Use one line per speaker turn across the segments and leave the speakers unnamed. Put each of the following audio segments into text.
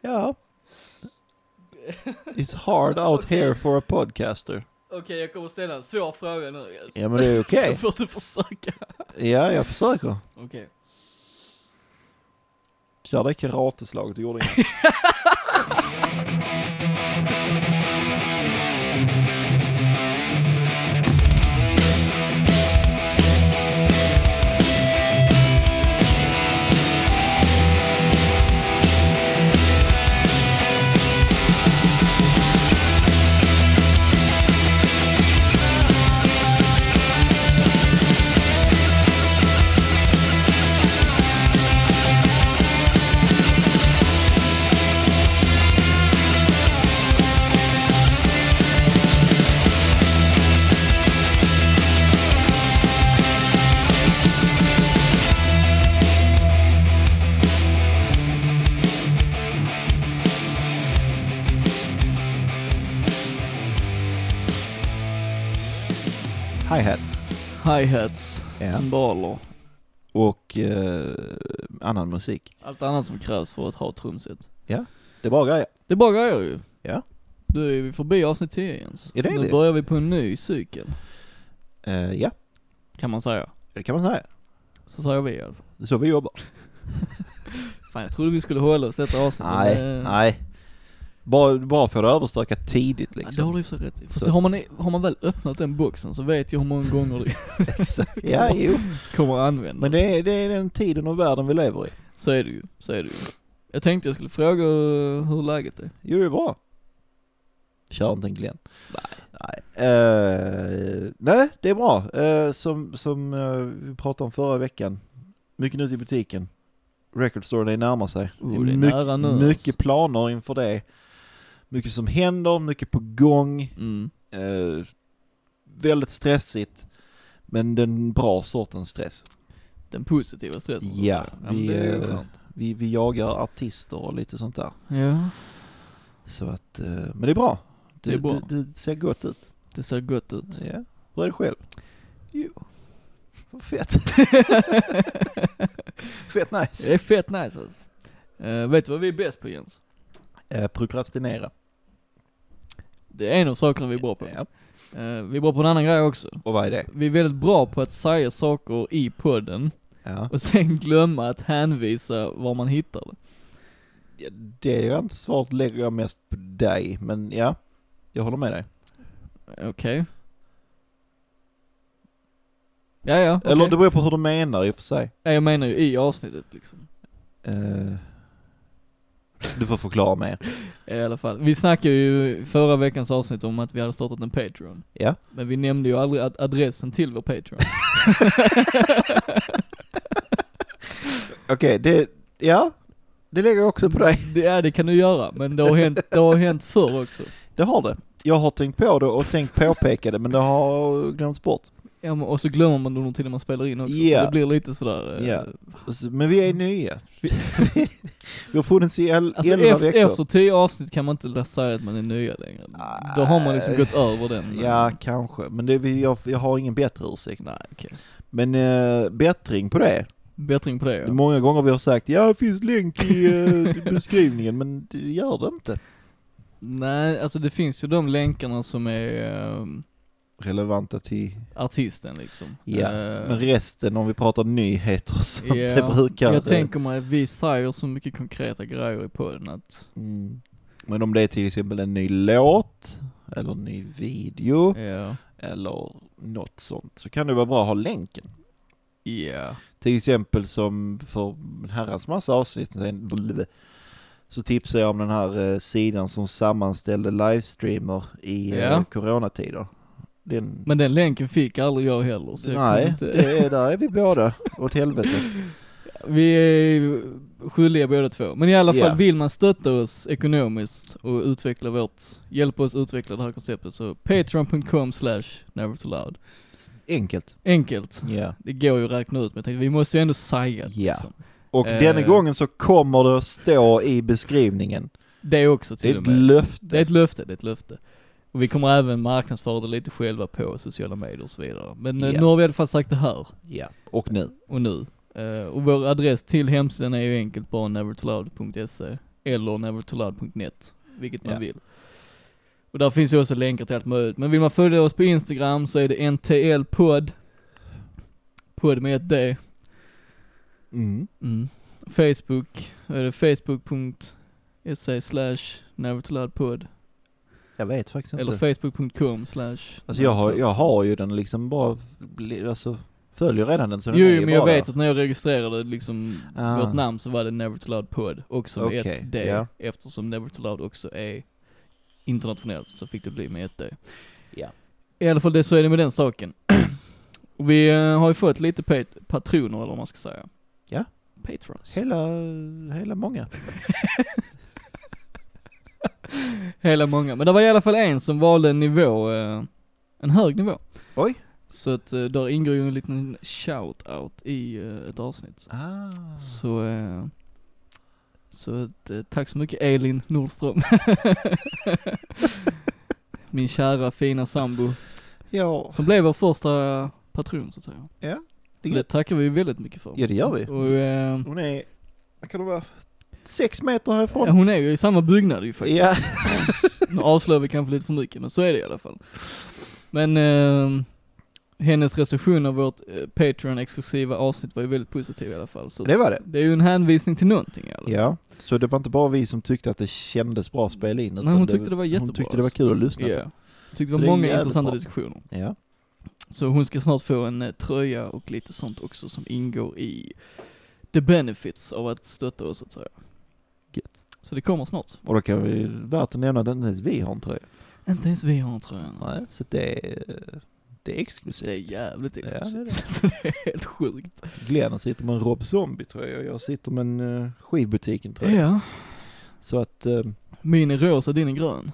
ja. It's hard out
Okej.
here for a podcaster.
Okej, jag kommer ställa en svår fråga nu. Yes.
Ja men det är okej.
Så får du försöka.
Ja jag försöker.
Okej.
Kör det karateslaget du gjorde innan. Hi-hats.
Hi-hats,
Ja.
cymbaler,
Och eh, annan musik.
allt annat som krävs för att ha ett trumset.
Det är bra grejer.
Det är bara grejer ju.
Ja.
Du är vi förbi avsnitt 10 Jens.
Är det
nu
det?
börjar vi på en ny cykel,
Eh, ja,
kan man säga.
det kan man säga.
Så säger vi i alla fall.
Det är så vi jobbar.
Fan jag trodde vi skulle hålla oss detta avsnitt. men
Nej,
eh, det-
nej. Bara, bara för att överstöka tidigt
Ja, det har
liksom.
du ju så rätt i. Fast
Så-
har man, har man väl öppnat den boxen så vet jag hur många gånger det
Exakt. Ja, jo.
kommer att användas.
Men det är, det är den tiden och världen vi lever i.
Så är det ju, så är det ju. Jag tänkte jag skulle fråga hur läget är.
Jo, det är bra. Kör inte en Glenn.
Nej.
Nej, eh, nej det är bra. Eh, som som eh, vi pratade om förra veckan. Mycket nytt i butiken. Record Store, det närmar sig.
Oh, det är
mycket,
nära nu, alltså.
mycket planer inför det. Mycket som händer, mycket på gång.
Mm.
Eh, väldigt stressigt. Men den bra sortens stress.
Den positiva stressen. så att
Ja,
säga. men
vi,
det är ju
eh,
skönt.
Vi, vi jagar artister och lite sånt där.
Ja,
Så att, eh, men det är bra. Det,
Det är bra.
Det, det ser gott ut.
det ser gott ut.
Ja. Hur är det själv?
Jo.
Vad Fett. Fett nice.
Det är fett nice alltså. Eh, vet du vad vi är bäst på Jens?
Eh, prokrastinera.
Det är en av sakerna vi är bra på.
Ja.
Eh, vi är bra på en annan grej också.
Och vad är det?
Vi är väldigt bra på att säga saker i podden
Ja.
och sen glömma att hänvisa var man hittar det.
Ja, Det är jag inte svaret lägger jag mest på dig, men ja. Jag håller med dig.
Okej. Ja, ja. okej.
Eller det beror på hur du menar i och för sig.
Ja, Jag menar ju i avsnittet liksom.
Eh, du får förklara mer.
I alla fall. Vi snackade ju i förra veckans avsnitt om att vi hade startat en Patreon.
Ja.
Men vi nämnde ju aldrig ad- adressen till vår Patreon.
Okej, det, ja. Det lägger jag också på dig.
det, ja, det kan du göra, men det har hänt, det har hänt förr också.
Det har det. Jag har tänkt på det och tänkt påpeka det, men det har glömts bort.
Ja, men- och så glömmer man det nog till när man spelar in också.
Ja.
Så det blir lite sådär. eh,
Ja. Alltså, Men vi är nya. Vi, vi har funnits i el,
Mm. Alltså
elva
efter,
veckor.
efter tio avsnitt kan man inte säga att man är nya längre. Då har man liksom gått över den.
Ja, kanske. Men det, vi- jag, jag har ingen bättre ursäkt.
Nej, okej.
Men eh, bättring på det.
Bättring på det ja.
Många gånger vi har sagt ja, det finns länk i eh, beskrivningen, men det gör det inte.
Nej, alltså det finns ju de länkarna som är eh,
Relevanta till...
artisten liksom.
Ja,
Eh,
Men resten, om vi pratar nyheter och sånt,
Ja,
det brukar...
Jag tänker mig att vi säger så mycket konkreta grejer i podden att,
Mm. Men om det är till exempel en ny låt, eller en ny video,
ja,
eller något sånt, så kan det vara bra att ha länken.
ja,
Till exempel som för en herrans massa avsnitt sen, blub, så tipsade jag om den här eh, sidan som sammanställde livestreamer i eh,
Ja.
coronatider. Den,
Men den länken fick aldrig jag heller så jag kan
nej,
inte,
det är, där är vi båda åt helvete.
vi är skyldiga båda två. Men i alla fall,
Ja.
vill man stötta oss ekonomiskt och utveckla vårt, hjälpa oss utveckla det här konceptet så patreon.com slash nevertoloud.
Enkelt.
Enkelt.
Ja.
Det går ju att räkna ut men jag tänkte, vi måste ju ändå säga det.
Ja.
Liksom.
Och
Eh.
denna gången så kommer det att stå i beskrivningen.
Det är också
Det
till
är ett
och med.
löfte.
Det är ett löfte, det är ett löfte. Och vi kommer även marknadsföra det lite själva på sociala medier och så vidare. Men eh,
Ja.
nu har vi i alla fall sagt det här
Ja. Och nu.
och nu. Eh, och vår adress till hemsidan är ju enkelt bara nevertoloud.se eller nevertoloud.net, vilket man
Ja.
vill. Och där finns ju också länkar till allt möjligt. Men vill man följa oss på Instagram så är det ntlpodd. Podd med ett D.
Mm.
Mm. Facebook, är det facebook.se slash nevertoloudpodd.
Jag vet faktiskt inte.
Eller facebook.com slash
Alltså jag har, jag har ju den liksom bara, f- bli- alltså följer redan den så den
Jo,
är
jo,
ju
men jag
bara
vet att när jag registrerade liksom
Ah.
vårt namn så var det Never Too Loud Pod också med
Okej,
ett D.
ja.
Eftersom Never Too Loud också är internationellt så fick det bli med ett D.
Ja.
I alla fall det, så är det med den saken. Och vi eh, har ju fått lite pat- patroner eller vad man ska säga.
Ja.
Patrons.
Hela, hela många.
Hela många. Men det var i alla fall en som valde en nivå, eh, en hög nivå.
Oj.
Så att eh, där ingår ju en liten shout-out i eh, ett avsnitt.
Ah.
Så, eh, så att, eh, tack så mycket Elin Nordström. Min kära fina sambo,
Ja,
som blev vår första patron så att säga.
Ja, det
det,
är
det tackar vi väldigt mycket för.
ja det gör vi.
Och, eh,
Hon är, vad kan det vara, sex meter härifrån.
ja, hon är ju i samma byggnad ju faktiskt.
Ja.
Nu avslöjar vi kanske lite för mycket, men så är det i alla fall. Men eh, hennes recension av vårt eh, Patreon-exklusiva avsnitt var ju väldigt positiv i alla fall. Så
Det var det.
Det är ju en hänvisning till någonting i alla fall.
ja, så det var inte bara vi som tyckte att det kändes bra att spela in. utan
Nej, hon tyckte det var jättebra.
Hon tyckte det var kul att lyssna
Ja. Tyckte det
Så
var
det är
många
jävligt
intressanta
bra.
diskussioner.
på. Ja.
Så hon ska snart få en eh, tröja och lite sånt också som ingår i the benefits av att stötta oss så att säga.
Gött.
Så det kommer snart.
Och då kan vi, värt att nämna att inte ens vi har en tröja.
Inte ens vi har en tröja.
Nej, så det är, det är exklusivt.
Det är jävligt
det är
exklusivt. Så det är helt sjukt.
Glenn sitter med en Rob Zombie-tröja och jag sitter med en uh, skivbutiken-tröja.
Ja.
Så att eh,
Min är rosa, din är grön.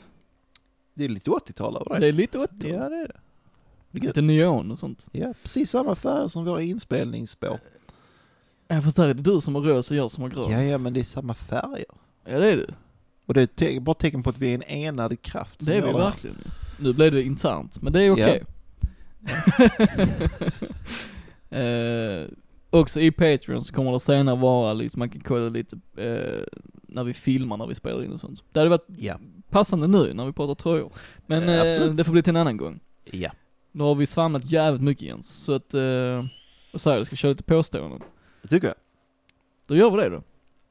det är lite 80-tal över
Det
det.
är lite åtta.
Ja, det är det. det är gött.
Lite neon och sånt.
Ja, precis samma färg som våra inspelningsspår.
Ja fast där är det du som har rosa och jag som har grön.
Ja, ja, men det är samma färger.
Ja det är du.
Och det är te- bara tecken på att vi är en enad kraft. som
Det är vi
gör här.
verkligen. Nu blev det internt, men det är okej. eh, också i Patreon så kommer det senare vara liksom, man kan kolla lite eh, när vi filmar, när vi spelar in och sånt. Det hade varit
Ja,
passande nu när vi pratar tröjor. Men
Eh,
eh,
absolut.
det får bli till en annan gång.
ja.
Nu har vi svamlat jävligt mycket Jens, så att, eh, vad säger du, ska vi köra lite påståenden?
Det tycker jag.
Då gör vi det då.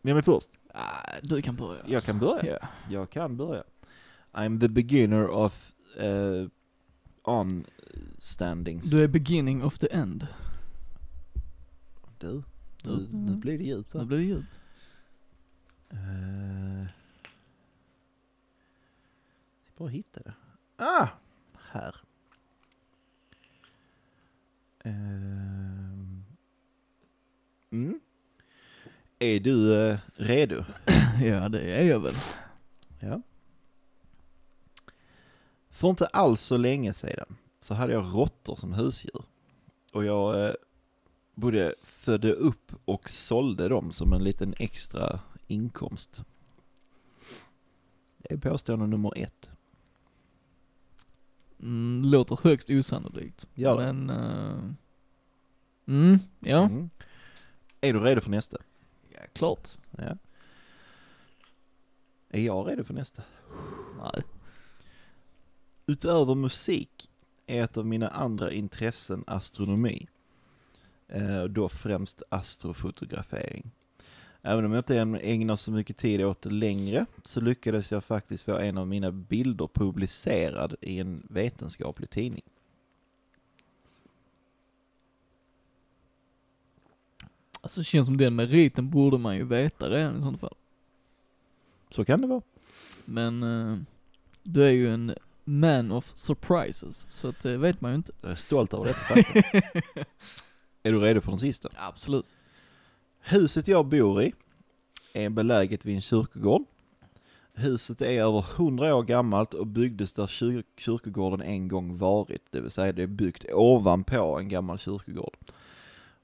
Ja, men först.
Ah, du kan börja.
Jag kan börja.
Ja.
Jag kan börja. I'm the beginner of eh, on standings.
Du är beginning of the end.
du, du,
Du.
nu blir det djupt
Mm. Nu
här.
blir det ljud.
Eh, jag bara hitta det. Ah! Här. Eh, Ehm. mm. Är du eh, redo?
Ja, det är jag väl.
Ja. För inte alls så länge sedan så hade jag råttor som husdjur. Och jag eh, både födde upp och sålde dem som en liten extra inkomst. Det är påstående nummer ett.
Mm, låter högst osannolikt.
Gör det.
Men... eh, mm, ja.
Mm. Är du redo för nästa?
ja. Klart.
Ja. Är jag redo för nästa?
Nej.
Utöver musik är ett av mina andra intressen astronomi. Eh, Då främst astrofotografering. Även om jag inte än ägnar så mycket tid åt det längre så lyckades jag faktiskt få en av mina bilder publicerad i en vetenskaplig tidning.
Alltså det känns som den meriten borde man ju veta redan i sånt fall.
Så kan det vara.
Men eh, du är ju en man of surprises, så att det vet man ju inte.
Jag är stolt över detta faktum. Är du redo för den sista?
Absolut.
Huset jag bor i är beläget vid en kyrkogård. Huset är över 100 år gammalt och byggdes där kyr- kyrkogården en gång varit, det vill säga det är byggt ovanpå en gammal kyrkogård.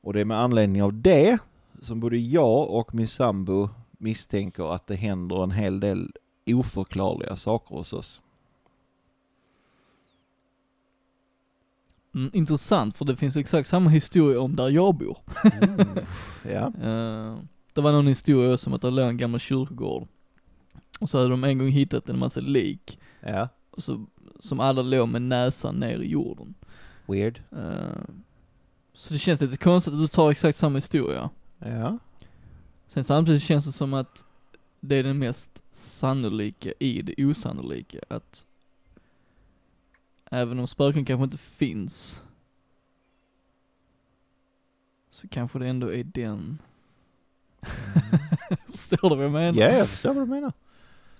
Och det är med anledning av det som både jag och min sambo misstänker att det händer en hel del oförklarliga saker hos oss.
Mm, intressant, för det finns exakt samma historia om där jag bor.
Mm. Ja,
Eh, det var någon historia också om att det låg en gammal kyrkogård. Och så hade de en gång hittat en massa lik,
ja.
och så, som alla låg med näsan ner i jorden.
Weird.
Eh, så det känns lite konstigt att du tar exakt samma historia.
Ja.
Sen samtidigt känns det som att det är den mest sannolika i det osannolika. Att även om spöken kanske inte finns, så kanske det ändå är den. Förstår du vad jag menar?
ja, jag förstår vad du menar.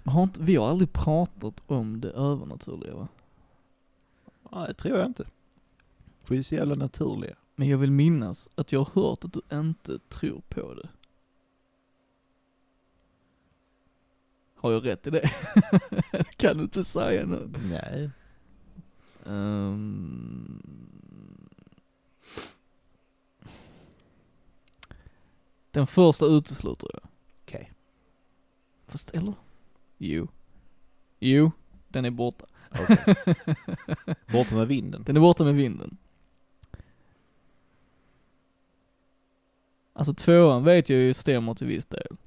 Har inte, vi har aldrig pratat om det övernaturliga va?
Nej, det tror jag inte. För vi är så jävla naturliga.
Men jag vill minnas att jag har hört att du inte tror på det. Har jag rätt i det? det kan du inte säga nu.
Nej.
Ehm. Den första utesluter jag.
Okej.
Fast eller? Jo. Jo, den är borta.
Okej. Borta med vinden.
Den är borta med vinden. Alltså tvåan vet jag ju stämmer till viss del.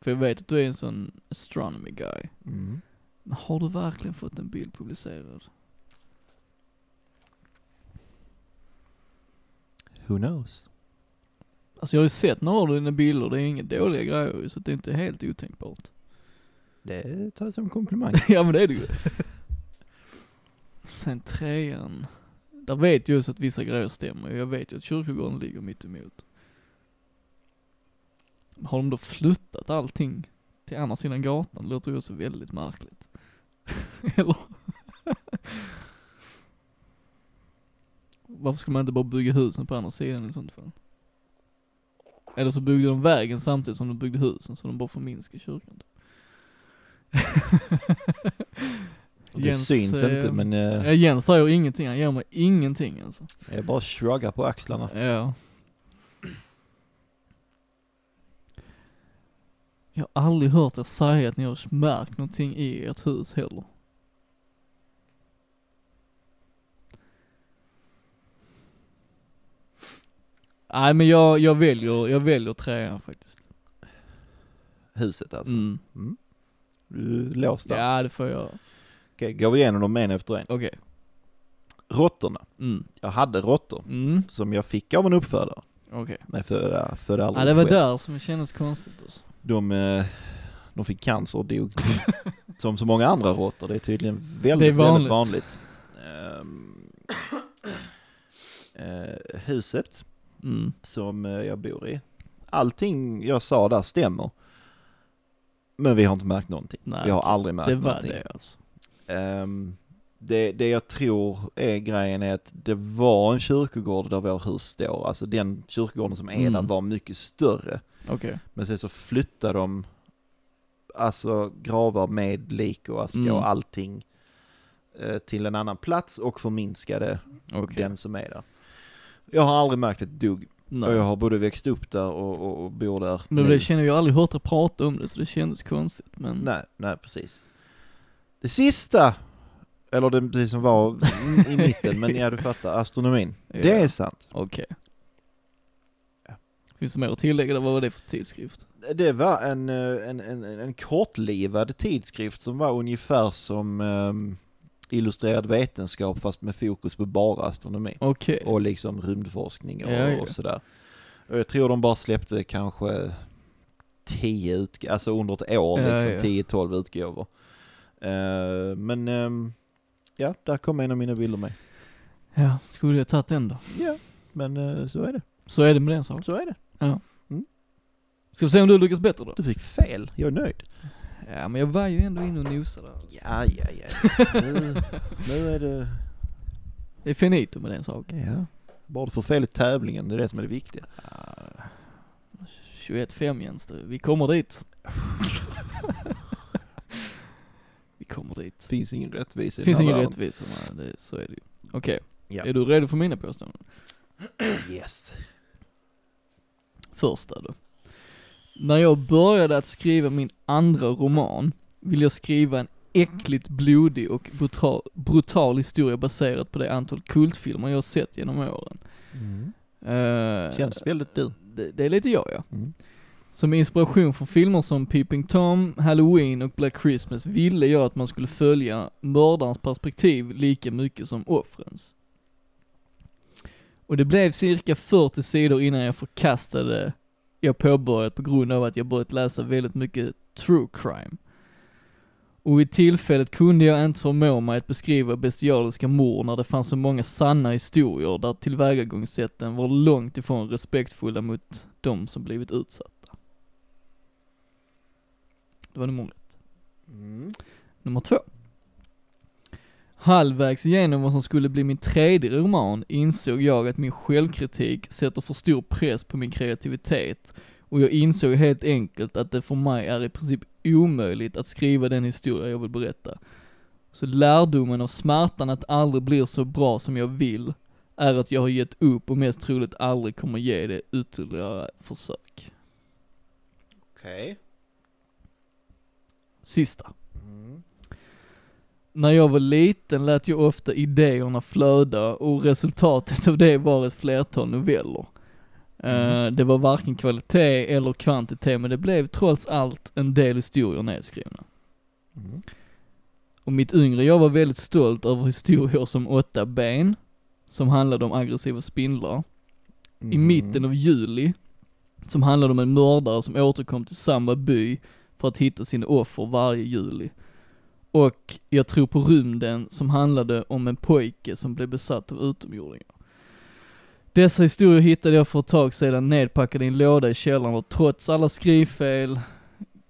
För jag vet att du är en sån astronomy guy.
Mm.
Men har du verkligen fått en bild publicerad?
Who knows?
Alltså jag har ju sett några av dina bilder, det är inga dåliga grejer ju, så det är inte helt otänkbart.
Det tar jag som en komplimang.
ja men det är det ju. Sen trean. Där vet jag också att vissa grejer stämmer jag vet ju att kyrkogården ligger mitt emot. Har de då flyttat allting till andra sidan gatan? Det låter ju också väldigt märkligt. Eller? Varför skulle man inte bara bygga husen på andra sidan i sånt fall? Eller så byggde de vägen samtidigt som de byggde husen så de bara förminskar kyrkan.
Det syns
eh,
inte men eh,
Ja, Jens säger ingenting, han ger mig ingenting alltså.
jag bara shruggar på axlarna.
Ja. Jag har aldrig hört er säga att ni har märkt någonting i ert hus heller. Nej men jag, jag väljer, jag väljer trean faktiskt.
Huset alltså.
Mm.
Du är låst där.
Ja det får jag göra.
Okej, går vi igenom dem en efter en.
Okej.
Råttorna.
Mm.
Jag hade råttor
Mm.
som jag fick av en uppfödare.
Okej.
Nej, födde födde aldrig
Ja det var
själv.
där som det kändes konstigt alltså.
De, eh, de fick cancer och dog. som så många andra råttor. Det är tydligen
Det är
väldigt,
vanligt.
väldigt vanligt. Ehm, eh, huset
Mm.
som eh, jag bor i. Allting jag sa där stämmer. Men vi har inte märkt någonting.
Nej,
vi har aldrig märkt
Det var
någonting.
det alltså.
Ehm, det, det jag tror är grejen är att det var en kyrkogård där vår hus står. Alltså den kyrkogården som är
Mm.
där var mycket större.
Okej.
Men sen så flyttade de alltså gravar med lik och aska
Mm.
och allting eh, till en annan plats och förminskade
Okej.
den som är där. Jag har aldrig märkt ett dugg och
Nej.
jag har både växt upp där och, och, och bor där
Men
nu.
det känner jag aldrig hört er prata om det så det kändes konstigt men.
Nej, nej precis. Det sista, eller det precis som var i mitten, men ja du fattar, astronomin.
Ja,
Det är sant.
Okej.
Ja.
Finns det mer att tillägga eller vad var det för tidskrift?
Det var en, eh, en, en, en kortlivad tidskrift som var ungefär som ehm, illustrerad vetenskap fast med fokus på bara astronomi.
Okej.
Och liksom rymdforskning och,
Ja, ja.
och sådär. Och jag tror de bara släppte kanske 10 utgåvor, alltså under ett år,
Ja, ja.
liksom 10-12 utgåvor. Eh, men ehm, ja, där kom en av mina bilder med.
Ja, skulle jag tagit den då?
Ja, men eh, så är det.
Så är det med den saken.
Så är det.
Ska vi se om du lyckas bättre då?
Du fick fel, jag är nöjd.
Ja, men jag var ju ändå inne och nosade där.
Ja, ja, ja. Nu, nu är det...
Det är finito med den saken.
Ja. Bara du får fel i tävlingen, det är det som är det viktiga.
Ah, 21-5 Jens, du. vi kommer dit. vi kommer dit.
Finns ingen rättvisa
Det finns
den här
ingen
världen.
rättvisa, nej, det, så är det ju. Okej,
Ja.
är du redo för mina påståenden?
Yes.
Första då. När jag började att skriva min andra roman ville jag skriva en äckligt blodig och brutal, brutal historia baserat på det antal kultfilmer jag har sett genom åren.
Mm.
Eh,
Känns väldigt du.
det, det är lite jag ja.
Mm.
Som inspiration från filmer som Peeping Tom, Halloween och Black Christmas ville jag att man skulle följa mördarens perspektiv lika mycket som offrens. Och det blev cirka 40 sidor innan jag förkastade jag påbörjat på grund av att jag börjat läsa väldigt mycket true crime. Och i tillfället kunde jag inte förmå mig att beskriva bestialiska mord när det fanns så många sanna historier där tillvägagångssätten var långt ifrån respektfulla mot de som blivit utsatta. Det var nummer ett.
Mm.
Nummer två. Halvvägs igenom vad som skulle bli min tredje roman insåg jag att min självkritik sätter för stor press på min kreativitet och jag insåg helt enkelt att det för mig är i princip omöjligt att skriva den historia jag vill berätta. Så lärdomen av smärtan att det aldrig blir så bra som jag vill är att jag har gett upp och mest troligt aldrig kommer ge det ytterligare försök.
Okej.
Sista.
Mm.
När jag var liten lät jag ofta idéerna flöda och resultatet av det var ett flertal noveller. Eh, det var varken kvalitet eller kvantitet men det blev trots allt en del historier nedskrivna.
Mm.
Och mitt yngre jag var väldigt stolt över historier som Åtta ben, som handlade om aggressiva spindlar. I
Mm.
mitten av juli, som handlade om en mördare som återkom till samma by för att hitta sina offer varje juli. Och Jag tror på rymden, som handlade om en pojke som blev besatt av utomjordingar. Dessa historier hittade jag för ett tag sedan nedpackade i en låda i källaren och trots alla skrivfel,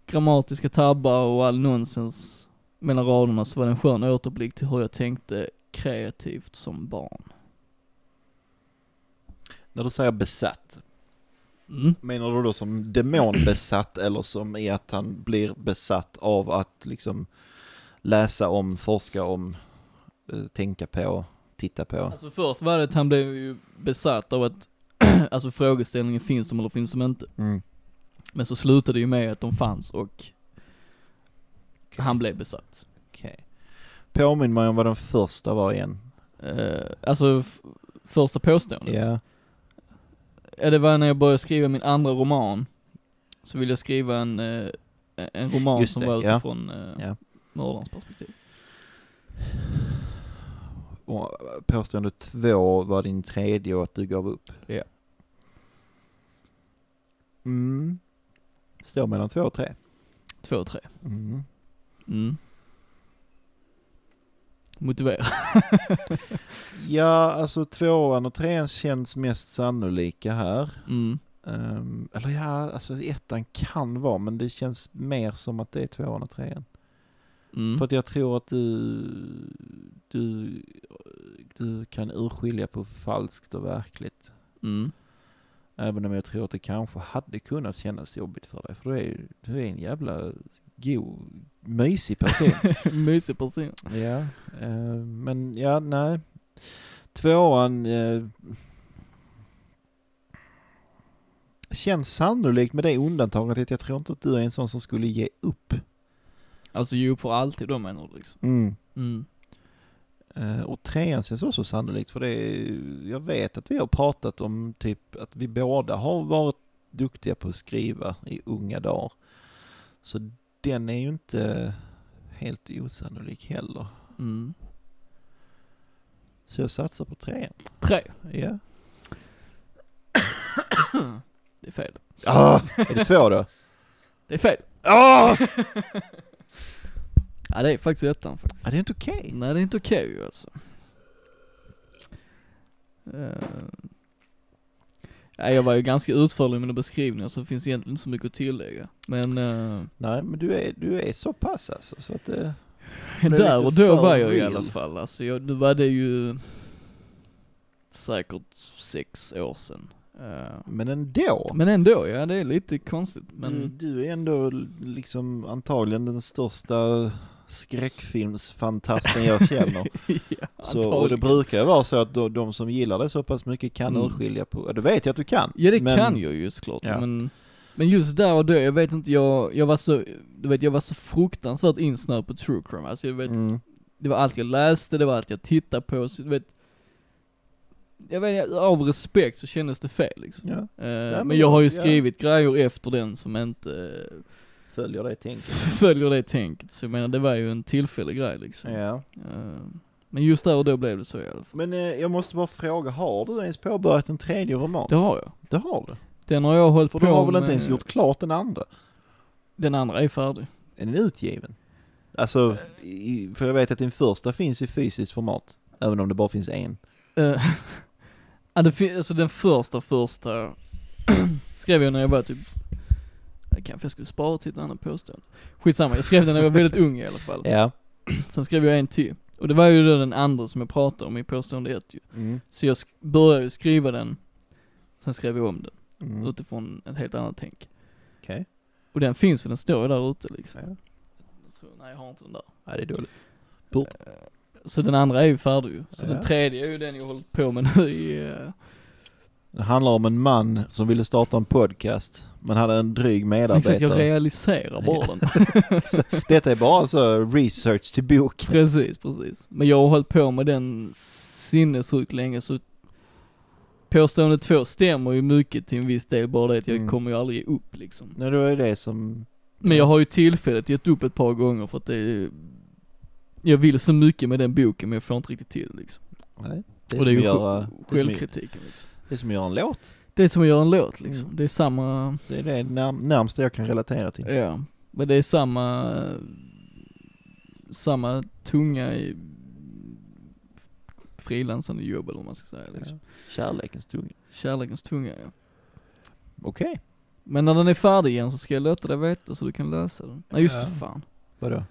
grammatiska tabbar och all nonsens mellan raderna så var det en skön återblick till hur jag tänkte kreativt som barn.
När du säger besatt,
Mm.
menar du då som demonbesatt eller som i att han blir besatt av att liksom läsa om, forska om, eh, tänka på, titta på?
Alltså först var det att han blev ju besatt av att, alltså frågeställningen finns de eller finns de inte.
Mm.
Men så slutade det ju med att de fanns och
Okej.
han blev besatt.
Okej. Påminn mig om vad den första var igen.
Eh, alltså f- första påståendet.
Ja.
Eh, Det var när jag började skriva min andra roman, så ville jag skriva en, eh, en roman
Just
som
det,
var
ja.
utifrån eh,
Ja.
mördarens perspektiv.
Och eh, påstående två var din tredje och att du gav upp.
Ja.
Mm. Står mellan två och tre.
Två och tre.
Mm.
Mm. Motivera.
Ja, alltså tvåan och trean känns mest sannolika här.
Mm.
Ehm, eller ja, alltså ettan kan vara, men det känns mer som att det är tvåan och trean.
Mm.
För att jag tror att du, du, du kan urskilja på falskt och verkligt.
Mm.
Även om jag tror att det kanske hade kunnat kännas jobbigt för dig, för du är, du är en jävla go, mysig person.
Mysig person.
Ja, eh, men ja, nej. Tvåan eh, känns sannolikt med det undantaget att jag tror inte att du är en sån som skulle ge upp.
Alltså ge upp för alltid då menar du liksom. Mm.
Eh, och trean känns också sannolikt för det är, jag vet att vi har pratat om typ att vi båda har varit duktiga på att skriva i unga dagar. Så den är ju inte helt osannolik heller.
Mm.
Så jag satsar på trean.
Tre.
Ja.
Det är fel.
Ah, är det två då?
Det är fel.
Ah!
Ja det är faktiskt ettan faktiskt.
Ja, det är inte okej.
Nej det är inte okej ju alltså. Eh. Ja, jag var ju ganska utförlig i mina beskrivningar så det finns egentligen inte så mycket att tillägga. Men eh,
Nej, men du är, du är så pass alltså, så att det... blev
där
lite
och då
för
var jag i
real.
alla fall. Alltså jag, nu var det ju säkert sex år sedan. Eh,
Men ändå. Mm.
Men ändå, ja det är lite konstigt.
Du,
Men
du är ändå liksom antagligen den största skräckfilmsfantasten jag känner.
ja,
så, och det
antagligen.
brukar ju vara så att de, de som gillar det så pass mycket kan
Mm.
urskilja på... Ja, det vet jag att du kan.
Ja det
men-
kan jag ju såklart,
Ja.
men, Men just där och då, jag vet inte, jag, jag var så, du vet jag var så fruktansvärt insnöad på true crime, alltså jag vet,
Mm.
det var allt jag läste, det var allt jag tittade på, så du vet. Jag vet inte, av respekt så kändes det fel liksom.
Ja,
Eh,
men
men, jag har ju
ja.
skrivit grejer efter den som inte eh,
följer det tänket.
följer det tänket, så jag menar det var ju en tillfällig grej liksom.
Ja.
Eh, men just där och då blev det så i alla fall.
Men eh, jag måste bara fråga, har du ens påbörjat en tredje roman?
Det har jag.
Det har du.
Den har jag hållit
För
på
du har väl inte
med-
ens gjort klart den andra?
Den andra är färdig.
Är den utgiven? Alltså, i, för jag vet att den första finns i fysiskt format. Även om det bara finns en.
Eh, ja, det fin- alltså den första första skrev jag när jag var typ, jag kanske jag skulle spara till ett annat påstående. Skitsamma, jag skrev den när jag var väldigt ung i alla fall.
Ja.
Sen skrev jag en till. Och det var ju då den andra som jag pratade om i påstående ett ju.
Mm.
Så jag sk- började ju skriva den, sen skrev jag om den
Mm. Okej.
utifrån ett helt annat tänk. Och den finns för den står ju där ute liksom.
Ja.
Jag tror, nej jag har inte den där.
ja, det är dåligt. Bort.
Så den andra är ju färdig ju. Så
Ja.
den tredje är ju den jag hållit på med nu i, eh,
Det handlar om en man som ville starta en podcast, men hade en dryg
exakt jag
medarbetare.
realiserar bara den.
Detta är bara alltså research till bok.
Precis, precis. Men jag har hållit på med den sinnessjukt länge så påstående två stämmer ju mycket till en viss del, bara det att jag
Mm.
kommer ju aldrig ge upp liksom.
Nej, det var ju det som...
Men jag har ju tillfället gett upp ett par gånger för att det är, jag vill så mycket med den boken men jag får inte riktigt till liksom.
Nej, det är
Och det
som
är ju
att göra...
sj-
Det är, som,
självkritiken liksom.
det är som att göra en låt.
Det är som att göra en låt liksom,
Mm.
det är samma,
Det är det närm- närmsta jag kan relatera till.
ja, men det är samma, samma tunga i frilansande jobb eller vad man ska säga liksom.
Kärlekens tunga.
Kärlekens tunga ja.
Okej.
Men när den är färdig igen så ska jag låta dig veta så du kan läsa den. Nej just
Ja.
det, fan.
Vadå?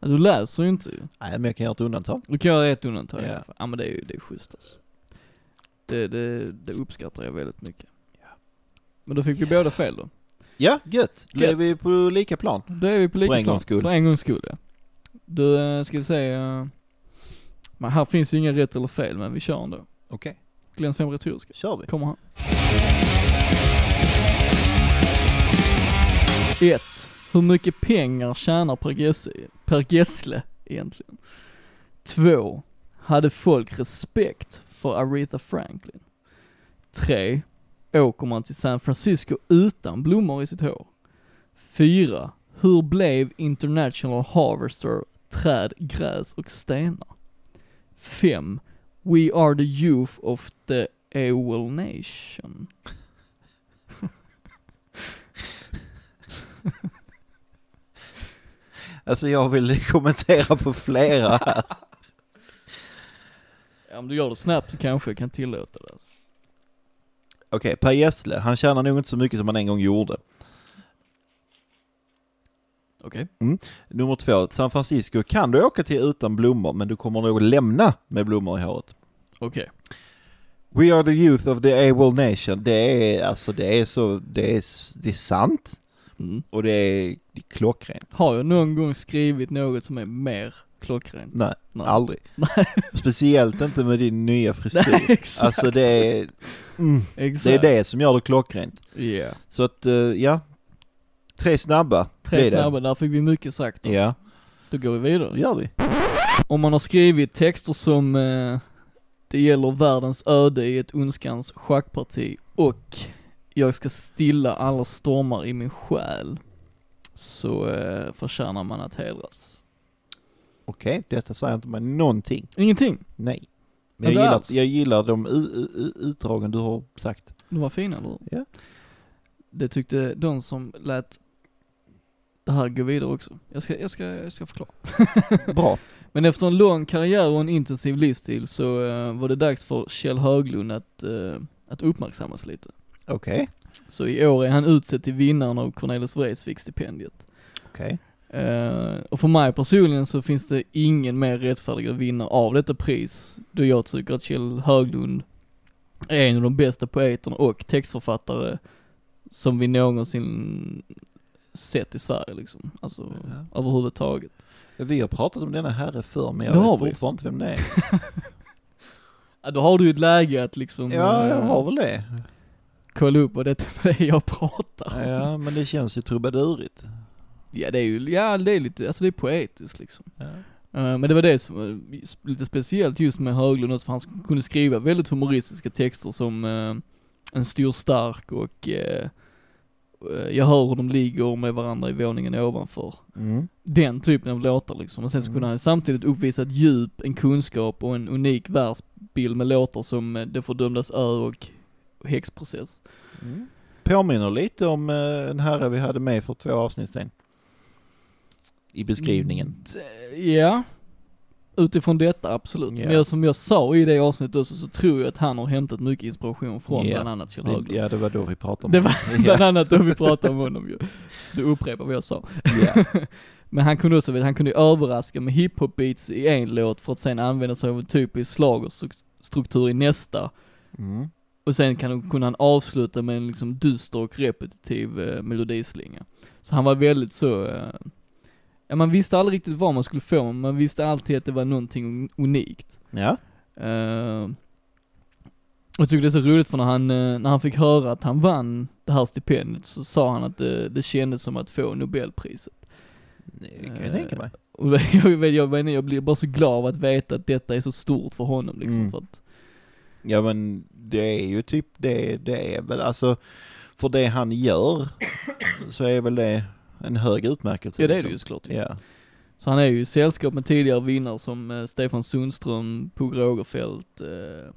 Ja, Du läser ju inte ju.
Nej, men jag kan göra ett undantag.
Du kan göra ett undantag
Ja.
i alla fall. Ja men det är ju, det är schysst alltså. Det, det, det uppskattar jag väldigt mycket. Men då fick vi båda fel då.
Ja, gött. Då är
Gött.
vi på lika plan.
Då är vi på lika
en
plan.
gångs skull.
För en gångs skull ja. Du, eh, ska vi säga... Men här finns ju inga rätt eller fel men vi kör ändå.
Okej,
Glens fem retoriska.
kör vi.
Kommer han. Ett. Hur mycket pengar tjänar Per, Gessle, per Gessle egentligen? Två. Hade folk respekt för Aretha Franklin? Tre. Åker man till San Francisco utan blommor i sitt hår? Fyra. Hur blev International Harvester träd, gräs och stenar? Fem. We are the youth of the AOL Nation.
Alltså jag vill kommentera på flera här.
Ja, om du gör det snabbt så kanske jag kan tillåta det. Alltså.
Okej, Per Gessle, han tjänar nog inte så mycket som han en gång gjorde.
Okej.
Mm. Nummer två, San Francisco kan du åka till utan blommor, men du kommer nog lämna med blommor i håret.
Okej.
We are the youth of the AWOL nation. Det är alltså, det är så, det är, det är sant och det är, det är klockrent.
Mm. Har jag någon gång skrivit något som är mer klockrent?
Nej,
Nej.
aldrig. Speciellt inte med din nya frisyr.
Exakt.
Alltså det är, mm,
Exakt.
det är det som gör det klockrent.
Ja.
Så att, eh, ja. Tre snabba
Tre
blir det.
snabba, där fick vi mycket sagt. Alltså.
Ja,
Då går vi vidare.
det gör vi.
Om man har skrivit texter som eh, Det gäller världens öde i ett ondskans schackparti och Jag ska stilla alla stormar i min själ. Så eh, förtjänar man att hedras.
Okej, detta säger inte mig någonting.
Ingenting.
Nej. Men
Inte
jag gillar,
alls.
jag gillar de u- u- u- utdragen du har sagt.
De var fina, eller hur?
Ja.
Det tyckte de som lät det här gå vidare också. Jag ska, jag ska, jag ska förklara.
Bra.
Men efter en lång karriär och en intensiv livsstil så eh, var det dags för Kjell Höglund att, eh, att uppmärksammas lite.
Okej.
Så i år är han utsedd till vinnaren av Cornelis Vreeswijk-stipendiet.
Okej.
Eh, och för mig personligen så finns det ingen mer rättfärdigare vinnare av detta pris, då jag tycker att Kjell Höglund är en av de bästa poeterna och textförfattare som vi någonsin sett i Sverige liksom. Alltså, överhuvudtaget.
Vi har pratat om denna herre förr, men jag
Det har
vet
vi.
fortfarande inte vem det är.
Ja, då har du ju ett läge att liksom
Ja, jag
eh,
har väl det.
kolla upp vad det är jag pratar om.
Ja, men det känns ju trubadurigt.
Ja, det är ju, ja det är lite, alltså det är poetiskt liksom.
Ja.
Eh, Men det var det som var lite speciellt just med Höglund också, för han kunde skriva väldigt humoristiska texter som eh, En stor stark och eh, eh, Jag hör hur de ligger med varandra i våningen ovanför.
Mm.
Den typen av låtar liksom. Och sen så kunde
Mm.
han samtidigt uppvisa ett djup, en kunskap och en unik världsbild med låtar som eh, Det fördömdas ö och Häxprocess.
Mm. Påminner lite om eh, en herre vi hade med för två avsnitt sedan. I beskrivningen.
D- Eh, Ja. Utifrån detta, absolut.
Ja.
Men jag, som jag sa i det avsnittet också, så tror jag att han har hämtat mycket inspiration från
Ja.
bland annat Kjell
Det-
Höglund.
Ja, det var då vi pratade om
Det var
ja.
bland annat då vi pratade om honom ju. Så Du upprepar vad jag sa.
Ja.
Men han kunde också, han kunde ju överraska med hiphop-beats i en låt för att sen använda sig av en typisk schlagerstruktur i nästa.
Mm.
Och sen kan, kunde han avsluta med en liksom dyster och repetitiv eh, melodislinga. Så han var väldigt så, eh, ja man visste aldrig riktigt vad man skulle få, men man visste alltid att det var någonting unikt.
ja.
Eh, och jag tycker det är så roligt för när han, eh, när han fick höra att han vann det här stipendiet så sa han att det, det kändes som att få Nobelpriset.
Det kan jag tänka mig.
Och jag, vet, jag, menar, jag blir bara så glad av att veta att detta är så stort för honom liksom.
Mm.
För att,
Ja men det är ju typ det, det är väl alltså för det han gör så är väl det en hög utmärkelse.
ja det är det ju
liksom.
såklart.
Ja.
Så han är ju i sällskap med tidigare vinnare som eh, Stefan Sundström, Pugh Rogefeldt, eh,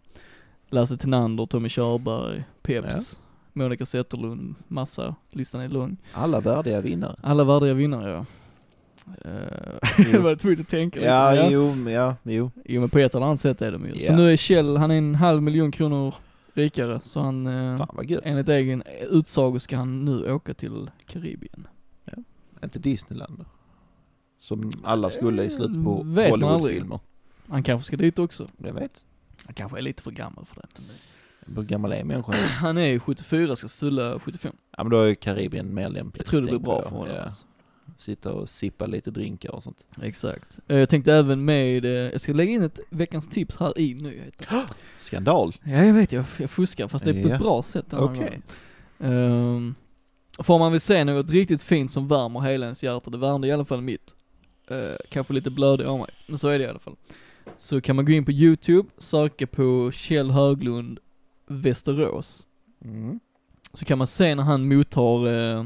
Lasse Tenander, Tommy Körberg, Peps, Monica Zetterlund, massa, listan är lång.
Alla värdiga vinnare.
Alla värdiga vinnare ja. Eh, jag var tvungen att tänka lite.
Ja,
men
jo, men ja, jo.
jo men på ett eller annat sätt är de ju. Så
Ja.
nu är Kjell, han är en halv miljon kronor rikare, så han, eh,
Fan vad gött.
enligt egen utsago ska han nu åka till Karibien.
Inte Disneyland då? Som alla skulle i slutet på
Eh, Vet man
Hollywoodfilmer.
Han kanske ska dit också.
Jag vet.
Han kanske är lite för gammal för det. men det-
Hur gammal är människan?
Han är ju 74, ska fylla 75.
Ja men då är ju Karibien mer lämpligt.
Jag tror det blir
tänker
bra
jag.
för honom.
Ja.
alltså.
Sitta och sippa lite drinkar och sånt.
Exakt. Eh, Jag tänkte även med, eh, jag ska lägga in ett veckans tips här i nyheten.
Skandal.
Ja jag vet, jag, jag fuskar fast det är på
Ja.
ett bra sätt den här
Okej.
gången. Ehm, Får man vill se något riktigt fint som värmer hela ens hjärta, det värmde i alla fall mitt. Eh, kanske lite blödig av mig, men så är det i alla fall. Så kan man gå in på YouTube, söka på Kjell Höglund Västerås.
Mm.
Så kan man se när han mottar, eh,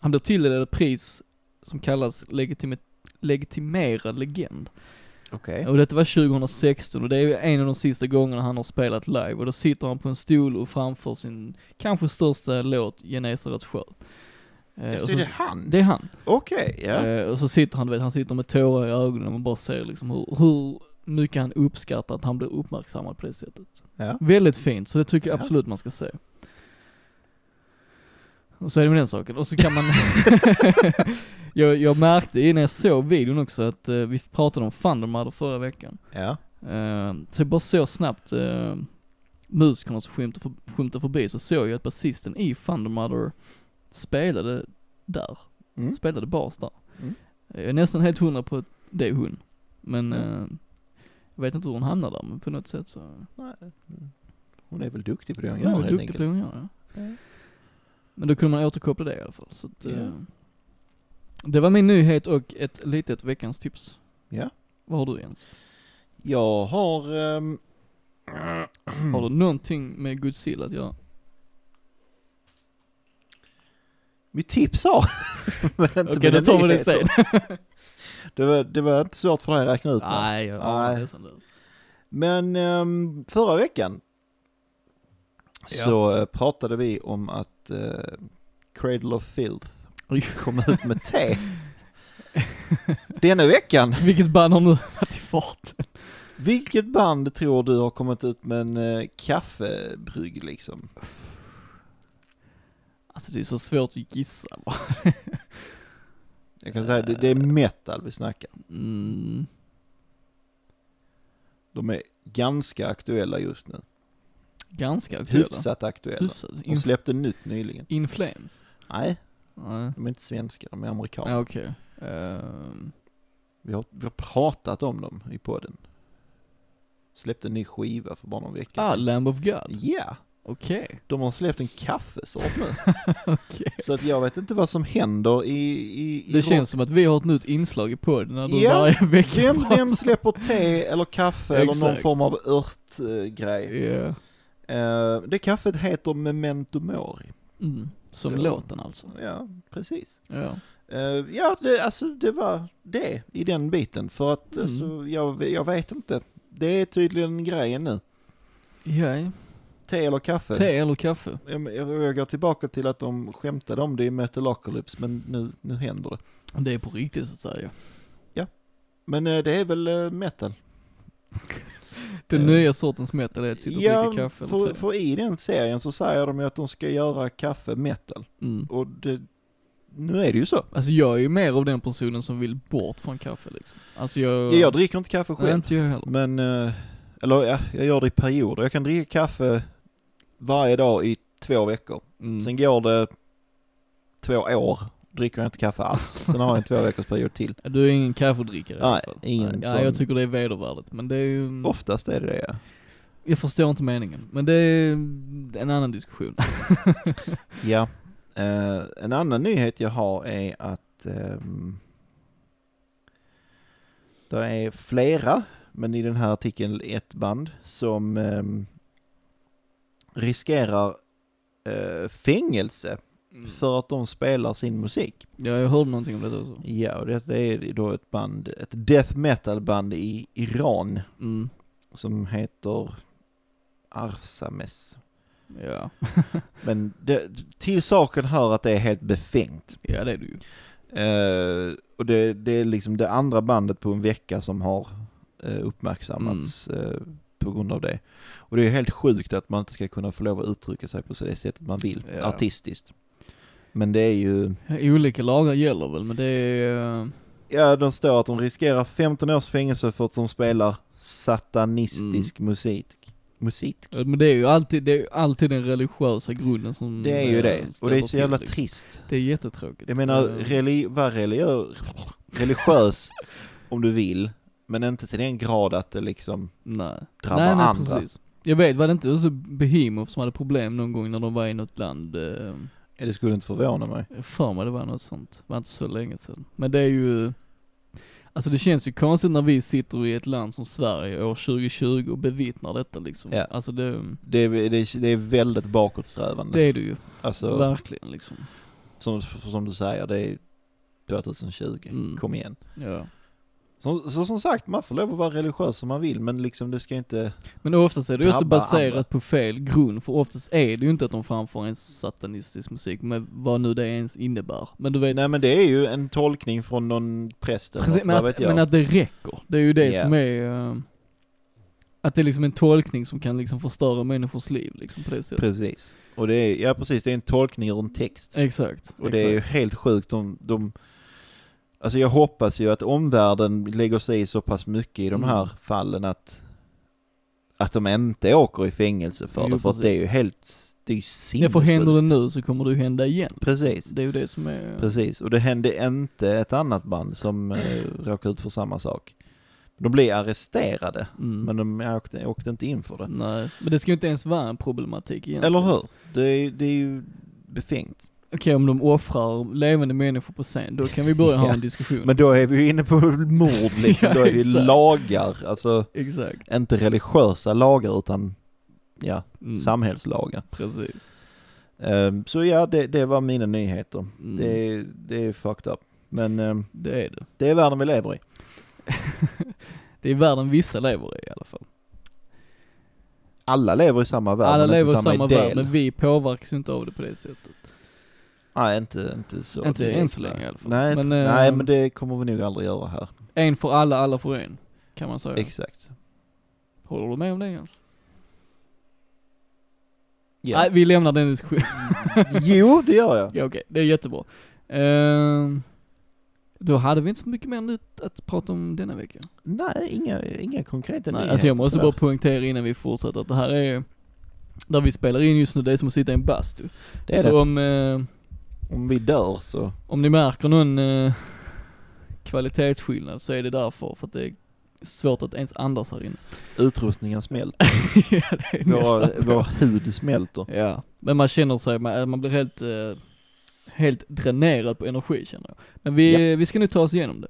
han blir tilldelad ett pris som kallas legitime, legitimerad legend.
Okej.
Och detta var 2016 och det är ju en av de sista gångerna han har spelat live och då sitter han på en stol och framför sin kanske största låt, Genesarets sjö. Eh, och
Så
så-
är det han?
det är han.
Okej, ja.
Eh, och så sitter han, du vet, han sitter med tårar i ögonen och man bara ser liksom hur, hur mycket han uppskattar att han blir uppmärksammad på det sättet.
Ja.
Väldigt fint, så det tycker jag
Ja.
absolut man ska se. Och så är det med den saken. Och så kan man... jag, jag märkte innan jag såg videon också att eh, vi pratade om Thundermother förra veckan.
Ja.
Eh, så jag bara så snabbt eh, musikerna som skymtade, för, skymtade förbi så såg jag att basisten i Thundermother spelade där.
Mm.
Spelade bas där.
Mm.
Jag är nästan helt hundra på att det är hon. Men
Mm.
eh, jag vet inte hur hon hamnar där men på något sätt så.
Nej. mm. Hon är väl duktig på det hon
Hon
gör
är väl
helt
duktig på det
enkelt.
hon gör ja.
Mm.
Men då kunde man återkoppla det i alla fall. Så att, eh,
Ja.
Det var min nyhet och ett litet veckans tips.
Ja.
Vad har du Jens?
Jag har... ehm, Mm.
Har du någonting med Godzilla att göra?
mitt tips har... men inte
Okej,
mina
då tar vi det
nyheter.
sen.
Det var, det var inte svårt för dig att räkna ut. va?
Nej, jag
Nej.
har nästan det.
Men ehm, förra veckan så eh, pratade vi om att eh, Cradle of Filth
Oj.
kom ut med te. Denna veckan,
Vilket band har nu varit i farten?
vilket band tror du har kommit ut med en eh, kaffebrygg liksom?
Alltså det är så svårt att gissa va?
Jag kan säga det, det är
Eh.
metal vi snackar.
Mm.
De är ganska aktuella just nu.
Ganska aktuella.
Hyfsat aktuella.
Hyfsat.
De
In,
släppte nytt nyligen.
in Flames?
Nej,
Nej,
de är inte svenska, de är
ja.
amerikaner.
okej. Ehm,
Vi har, vi har pratat om dem i podden. Släppte en ny skiva för bara någon vecka
ah,
sedan.
Lamb of God.
Ja,
Okej.
De har släppt en kaffesort nu.
Okej.
Så att jag vet inte vad som händer i... i, i
Det känns som att vi har ett nytt inslag i podden när du
Ja,
varje vecka
Vem,
pratar-
vem släpper te eller kaffe eller någon
Exakt.
form av örtgrej?
Ja.
Eh, det kaffet heter Memento Mori.
Mm. Som
Ja.
låten alltså.
Ja, precis.
Ja.
Eh, ja, det, alltså det var det i den biten. För att
Mm.
alltså, jag, jag vet inte. Det är tydligen grejen nu.
ja.
Te eller kaffe.
Te eller kaffe?
Jag, jag, jag går tillbaka till att de skämtade om det i Metalocalypse, men nu, nu händer det.
Det är på riktigt så att säga.
Eh. Men eh, det är väl eh, metal?
Den
Eh.
nya sortens metal är att sitta och dricka kaffe eller
för,
te.
för i den serien så säger de ju att de ska göra kaffe metal.
Mm.
Och det, nu är det ju så.
Alltså jag är ju mer av den personen som vill bort från kaffe liksom. Alltså jag...
Ja, jag dricker inte kaffe
Nej,
själv.
inte jag heller.
Men, eh, eller ja, jag gör det i perioder. Jag kan dricka kaffe varje dag i två veckor.
Mm.
Sen går det två år, dricker jag inte kaffe alls. Sen har jag en två veckors period till.
Du är ingen kaffedrickare i alla
Nej,
fall.
ingen
Nej,
sån.
jag tycker det är vedervärdigt. Men det är ju...
Oftast är det det ja.
Jag förstår inte meningen. Men det är en annan diskussion.
Ja. Eh, en annan nyhet jag har är att ehm, det är flera, men i den här artikeln ett band, som ehm, riskerar eh, fängelse för att de spelar sin musik.
Mm. Ja, jag hörde någonting om detta också.
Ja, och detta är då ett band, ett death metal band i Iran
Mm.
som heter Arsames.
Ja.
Men det, till saken hör att det är helt befängt.
ja, det är du ju.
Eh, och det, det är liksom det andra bandet på en vecka som har eh, uppmärksammats eh, på grund av det. Och det är helt sjukt att man inte ska kunna få lov att uttrycka sig på det sättet man vill,
Ja.
artistiskt. Men det är ju,
Ja, Olika lagar gäller väl, men det är... eh,
ja de står att de riskerar 15 års fängelse för att de spelar satanistisk musik. Musik?
ja, eh, Men det är ju alltid, det är ju alltid den religiösa grunden som...
Det är ju
eh,
det, och
ställer
det är så
till,
jävla
liksom.
trist.
Det är jättetråkigt.
Jag menar,
Eh,
reli- var religiö- religiös om du vill, men inte till den grad att det liksom
nej.
drabbar
nej, nej,
andra.
precis. Jag vet, var det inte också Behemoth som hade problem någon gång när de var i något land? eh,
Ja, Det skulle inte förvåna mig.
Jag för mig det var något sånt, det var inte så länge sedan. Men det är ju, alltså det känns ju konstigt när vi sitter i ett land som Sverige år 2020 och bevittnar detta liksom.
Ja.
Alltså det,
Det är, det är, det är väldigt bakåtsträvande.
det är det ju,
alltså,
verkligen liksom.
som, som du säger, det är 2020.
Mm.
Kom igen.
Ja.
Så, så som sagt, man får lov att vara religiös som man vill, men liksom det ska inte...
Men oftast är det ju också
Drabbar
baserat
andra.
på fel grund, för oftast är det ju inte att de framför en satanistisk musik, men vad nu det ens innebär. Men du vet,
Nej men det är ju en tolkning från någon präst eller
precis,
något, Alltså, vad
men,
vet
att,
jag.
men att det räcker, det är ju det
Ja.
som är, eh, att det är liksom en tolkning som kan liksom förstöra människors liv liksom på det sättet.
Precis. Och det är, ja precis, det är en tolkning ur en text.
Exakt.
Och det är ju helt sjukt, de, de... Alltså jag hoppas ju att omvärlden lägger sig i så pass mycket i de
Mm.
här fallen att... Att de inte åker i fängelse för
Jo,
det, för att
precis.
det är ju helt... Det är ju sinnessjukt.
Ja för händer det nu så kommer det ju hända igen.
Precis,
Det är ju det som är...
precis. Och det hände inte ett annat band som eh, råkade ut för samma sak. De blev arresterade,
Mm.
men de åkte, åkte inte in för det.
Nej, men det ska ju inte ens vara en problematik egentligen.
Eller hur? Det är, det är ju befängt.
Okej om de offrar levande människor på scen, då kan vi börja ha
Ja,
en diskussion.
Men då är vi ju inne på mord liksom,
Ja,
då är det ju
exakt.
lagar, alltså...
Exakt.
inte religiösa lagar utan ja,
Mm.
samhällslagar.
Precis.
Ehm, så ja, det, det var mina nyheter.
Mm. Det...
Det, det är fucked up. Men ehm,
det är det.
det är världen vi lever i.
Det är världen vissa lever i i alla fall.
Alla lever i samma värld,
Alla
men
lever i
inte
samma,
idéer.
värld, men vi påverkas ju inte av det på det sättet.
Nej, inte, inte så.
Inte
direkt,
än så
nej.
länge i alla fall.
Nej,
Men,
men, nej,
ehm,
men det kommer vi nog aldrig göra här.
En för alla, alla för en. Kan man säga.
Exakt.
Håller du med om det Jens?
Ja.
Nej, vi lämnar den diskussionen.
jo, det gör jag.
Ja okej, det är jättebra. Ehm, då hade vi inte så mycket mer nytt att prata om denna vecka.
Nej, inga, inga konkreta
Nej,
nyheter.
alltså jag måste
sådär.
bara poängtera innan vi fortsätter att det här är, där vi spelar in just nu, det är som att sitta i en bastu.
Det är
så
det.
om, eh,
Om vi dör så...
om ni märker någon eh, kvalitetsskillnad så är det därför, för att det är svårt att ens andas här inne.
Utrustningen smälter.
ja, det är nästan.
Vår, vår hud smälter.
Ja, men man känner sig, man, man blir helt, eh, helt dränerad på energi känner jag. Men vi, vi ska nu ta oss igenom det.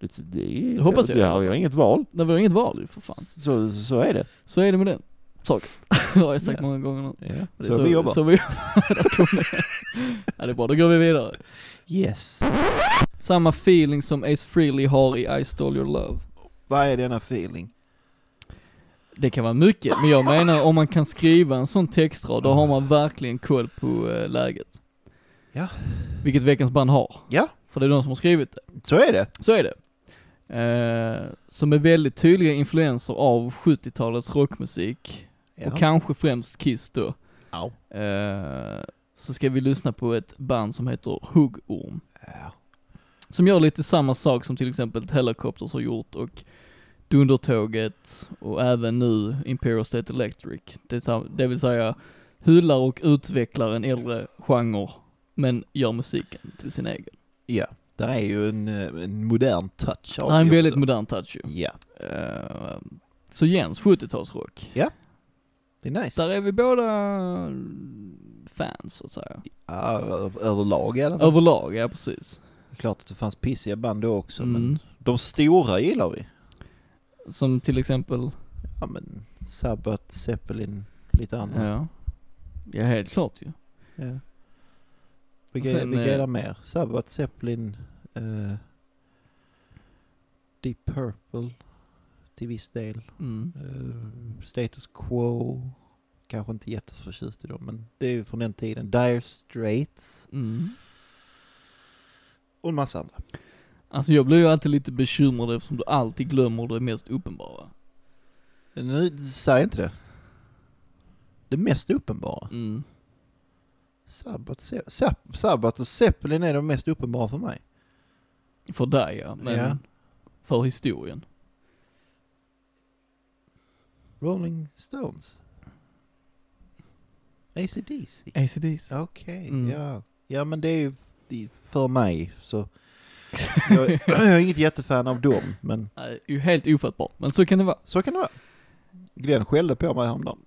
Det, det,
Det hoppas jag.
Ja, vi har inget val.
Nej, vi har inget val ju för fan.
Så, så är det.
Så är det med den saken. det har jag sagt
Ja.
många gånger nu.
Ja. Så, vi jobbar.
Så vi Där kom det. ja, det är bra, då går vi vidare.
Yes.
Samma feeling som Ace Frehley har i I Stole Your Love.
Vad är denna feeling?
Det kan vara mycket, men jag menar om man kan skriva en sån textrad, då har man verkligen koll på eh, läget.
Ja.
Vilket Veckans Band har.
Ja.
För det är de som har skrivit det.
Så är det.
Så är det. Eh, som är väldigt tydliga influenser av 70-talets rockmusik. Och kanske främst Kiss då.
Ja.
Eh, så ska vi lyssna på ett band som heter Huggorm.
Ja.
Som gör lite samma sak som till exempel Helicopters har gjort och Dundertåget och även nu Imperial State Electric. Det, är sam- det vill säga hyllar och utvecklar en äldre genre men gör musiken till sin egen.
Ja. Där är ju en, eh, en modern touch av
Det här är en
det
väldigt
också.
modern touch ju.
Ja.
Eh, Så Jens, 70-talsrock.
Det är nice.
Där är vi båda fans så att säga.
Ja, ö- överlag i alla fall.
Överlag, ja precis.
Det är Klart att det fanns pissiga band då också, men
Mm.
de stora gillar vi.
Som till exempel
Ja men Sabbath, Zeppelin, lite andra.
Ja. Ja, helt klart ju.
Ja. Vilka,
Och sen,
vilka är
eh,
det mer? Sabbath, Zeppelin, eh, Deep Purple till viss del.
Mm.
eh, status Quo, kanske inte jätteförtjust i dem men det är ju från den tiden. Dire Straits
Mm.
och en massa andra.
Alltså jag blir ju alltid lite bekymrad eftersom du alltid glömmer det mest uppenbara.
Nu säger jag inte det. Det mest uppenbara.
Mm.
Sabbath, Ze- Zapp- Sabbath och Zeppelin är de mest uppenbara för mig.
För dig ja, men
Ja.
för historien.
Rolling Stones. ACDC.
ACDC.
Okej,
Mm.
ja. Ja men det är ju det är för mig så. Jag, jag är inget jättefan av dem men
Nej, det är ju helt ofattbart, men så kan det vara.
så kan det vara. Glenn skällde på mig häromdagen.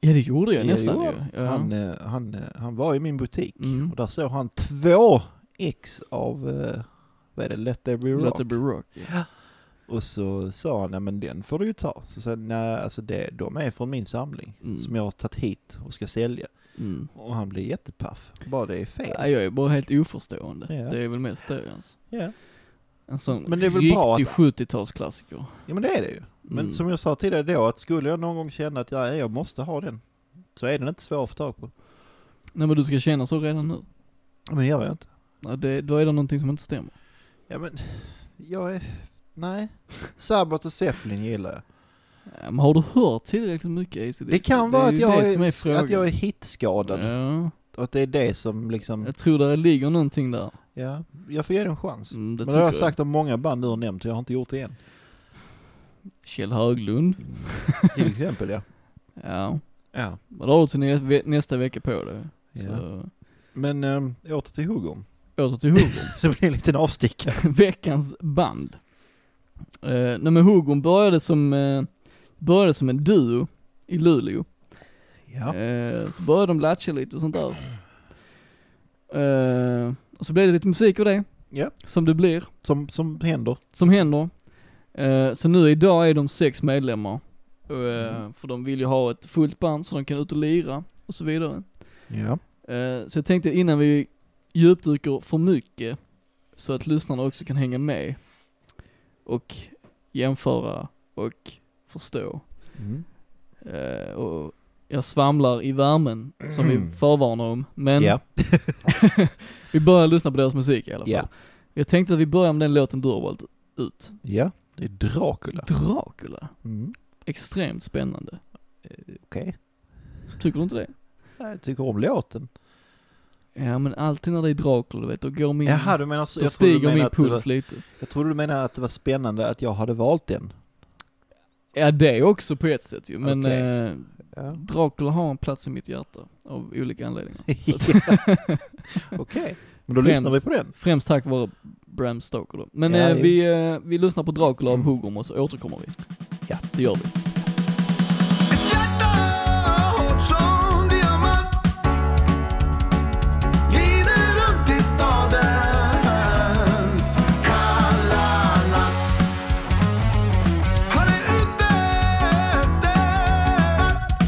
Ja det gjorde jag
Ja,
nästan
jo.
ju. Ja.
Han, eh, han, eh, han var i min butik
Mm.
och där såg han två ex av, eh, vad är det, Let There Be
Let
Rock.
it be rock. ja.
Och så sa han, nej men den får du ju ta. Så sa jag, nej alltså det, de är från min samling
Mm.
som jag har tagit hit och ska sälja.
Mm.
Och han blev jättepaff. Bara det är fel.
Nej, jag är bara helt oförstående.
Ja.
Det är väl mest det ens.
Ja.
En sån
Men det är väl
riktig
bra att-
70-talsklassiker.
ja men det är det ju. Men
Mm.
som jag sa tidigare då, att skulle jag någon gång känna att ja, jag måste ha den, så är den inte svår att få tag på.
Nej men du ska känna så redan nu.
Men det gör jag inte.
Ja, det, då är det någonting som inte stämmer.
Ja men, jag är, nej. Sabbath och Zeppelin gillar jag.
Ja, Men har du hört tillräckligt mycket ACDC?
Det kan vara
är
att
ju
jag,
det som
är,
frågan.
att jag är hitskadad
Ja,
och att det är det som liksom,
jag tror det ligger någonting där.
ja, jag får ge det en chans.
Mm, det
Men det
tycker
har jag
jag.
sagt om många band du har nämnt och jag har inte gjort det än.
Kjell Höglund.
Till exempel ja.
Ja.
ja.
Men då har du till nä- ve- nästa vecka på dig. Så,
Men äm, åter till Hugo.
åter till Hugon.
Det blir en liten avstickare.
Veckans band. Uh, nej men Hugon började som, eh, började som en duo i Luleå.
Ja.
Eh, så började de latcha lite och sånt där. Eh, och så blev det lite musik av det.
Ja.
Som det blir.
Som, som händer.
som händer. Eh, så nu idag är de sex medlemmar. Eh,
Mm.
För de vill ju ha ett fullt band så de kan ut och lira och så vidare.
Ja.
Eh, så jag tänkte innan vi djupdyker för mycket så att lyssnarna också kan hänga med och jämföra och förstå.
Mm.
Eh, och jag svamlar i värmen som vi förvarnar om. Men
Mm. Ja.
vi börjar lyssna på deras musik i alla fall.
Ja.
Jag tänkte att vi börjar med den låten du har valt ut.
Ja. Det är Dracula.
Dracula.
Mm.
Extremt spännande.
Okej.
Tycker du inte det?
Jag tycker om låten.
Ja men alltid när det är Dracula du vet, då går min,
Jaha, du menar så.
då
Jag trodde, du
stiger
menar
min
att det
puls
var,
lite.
jag trodde du menade att det var spännande att jag hade valt den.
Ja det är också på ett sätt ju, men
Okej.
eh,
Ja.
Dracula har en plats i mitt hjärta av olika anledningar.
Ja. Okej, men då lyssnar vi på den.
Främst tack vare Bram Stoker då. Men
Ja,
eh,
jo.
vi, eh, vi lyssnar på Dracula av
Mm.
Hugom och så återkommer vi.
Ja.
Det gör vi.
Jättehårt som diamant Glider runt i stadens kalla natt Han är ute efter att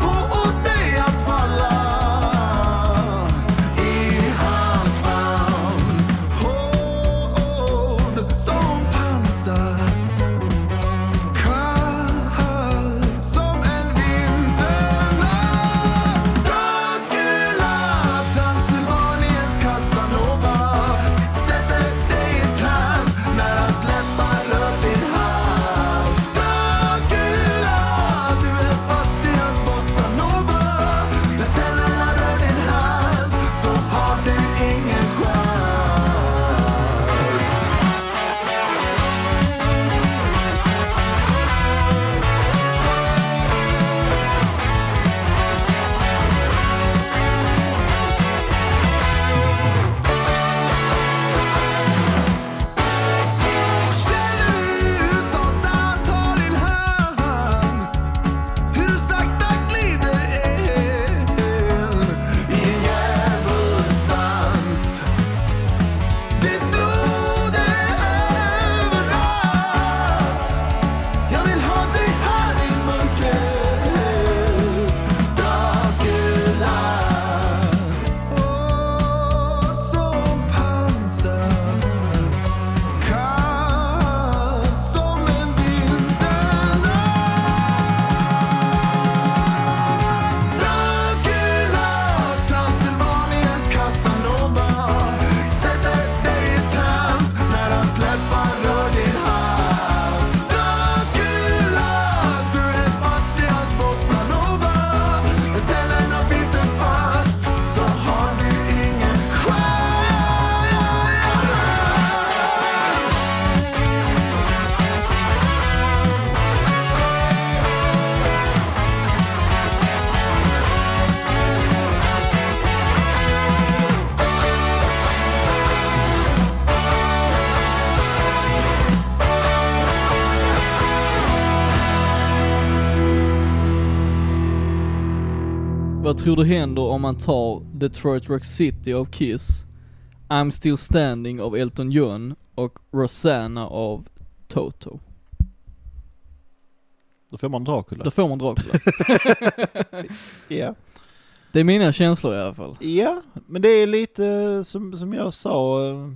få åt dig att falla i hans famn Hård som pansar Kall som en vinternatt Dracula, Transylvaniens Casanova Sätter dig i trans när hans läppar rör din hals Dracula, du är fast i hans bossanova När tänderna rör din hals så har du ingen chans Känner du hur Satan tar din hand? Hur sakta glider in i en djävulsdans? Ditt blod är överallt. Jag vill ha dig här i mörkret, Dracula. Hård som pansar Kall som en vinternatt Dracula, Transylvaniens Casanova Sätter dig i trans när hans läppar rör din hals Dracula, du är fast i hans bossanova När tänderna biter fast så har du ingen chans
Vad tror du händer om man tar Detroit Rock City av Kiss, I'm Still Standing av Elton John och Rosanna av Toto?
Då får man
Då
Dracula.
får man Dracula.
Ja.
Det är mina känslor i alla fall.
ja, men det är lite eh, som, som jag sa eh,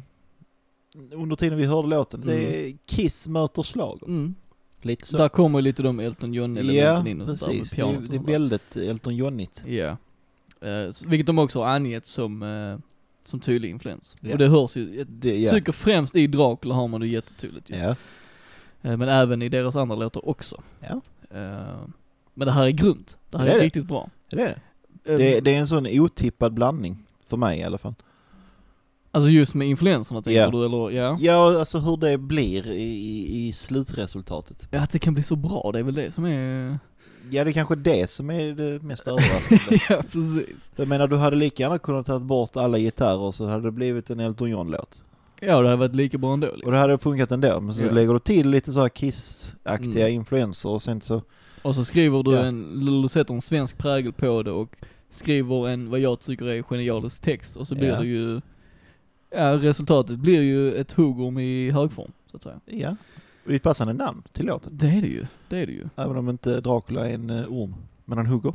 under tiden vi hörde låten. Det är Kiss möter slager.
Mm.
Lite så.
Där kommer ju lite de Elton John-elementen
ja,
in och sådär med
precis. Det,
pianot
är-
och
det är
sådär.
väldigt Elton Johnigt.
Ja. Eh, så- vilket de också har angett som, eh, som tydlig influens.
Ja.
Och det hörs ju, jag
Det, ja.
tycker främst i Dracula har man det jättetydligt ju.
Ja.
Eh, men även i deras andra låtar också.
Ja.
Eh, men det här är grymt. Det här
Det
är,
är det.
riktigt bra.
Det, är
Eh,
det. Det, det är en sån otippad blandning. För mig i alla fall.
Alltså just med influenserna tänker
Ja.
du eller? Ja.
Ja, alltså hur det blir i, i, i slutresultatet.
ja. Att det kan bli så bra, det är väl det som är...
Ja, det är kanske det som är det mest överraskande.
ja, precis.
Jag menar, du hade lika gärna kunnat ta bort alla gitarrer så hade det blivit en Elton John-låt.
Ja, det hade varit lika bra ändå
Och
liksom.
det hade funkat ändå, men så
Ja.
lägger du till lite så här Kiss-aktiga
Mm.
influenser och sen så...
Och så skriver du
Ja.
en, eller du sätter en svensk prägel på det och skriver en, vad jag tycker är genialisk text och så blir
Ja.
det ju, ja resultatet blir ju ett huggorm i högform, så att säga.
Ja. Och det är ett passande namn till låten.
Det är det ju, det är det ju.
Även om inte Dracula är en eh, orm, men han hugger.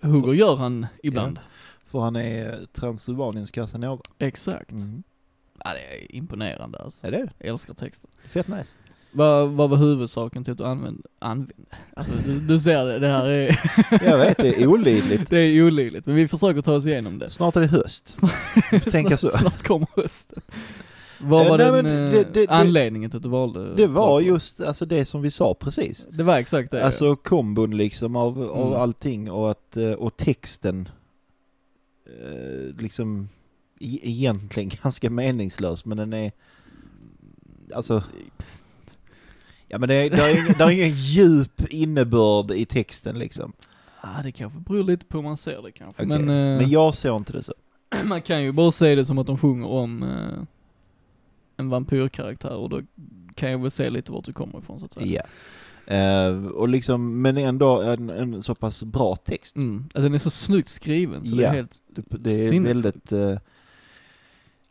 Huggor gör han ibland.
För han är eh, Transylvaniens Casanova.
Exakt.
Mm.
Ja, det är imponerande alltså.
Ja, det är det.
Jag älskar texten.
Fett nice.
Vad, vad var huvudsaken till att du använde, använde? Alltså du, du ser det, det här är,
Jag vet, det är olidligt.
det är olidligt. Men vi försöker ta oss igenom det.
Snart är det höst. Vi får tänka så.
Snart, snart kommer hösten. Vad
Eh,
var
nej,
den
men
eh,
det- det- det-
anledningen till att du valde?
Det var
Dracula?
just alltså, det som vi sa precis.
Det var exakt det.
Alltså kombon liksom av, av
Mm.
allting och att, eh, och texten eh, liksom e- egentligen ganska meningslös men den är alltså ja men det är, det är, ingen, det är ingen djup innebörd i texten liksom.
ah, det kanske beror lite på hur man ser det kanske.
Okej.
Men, eh,
Men jag såg inte det så.
Man kan ju bara se det som att de sjunger om eh, en vampyrkaraktär och då kan jag väl se lite vart du kommer ifrån så att säga.
Ja. Eh, och liksom, men ändå en, en så pass bra text.
Mm. Alltså, den är så snyggt skriven så det
Ja.
är helt,
Det, det är
Sinnes-
väldigt... eh,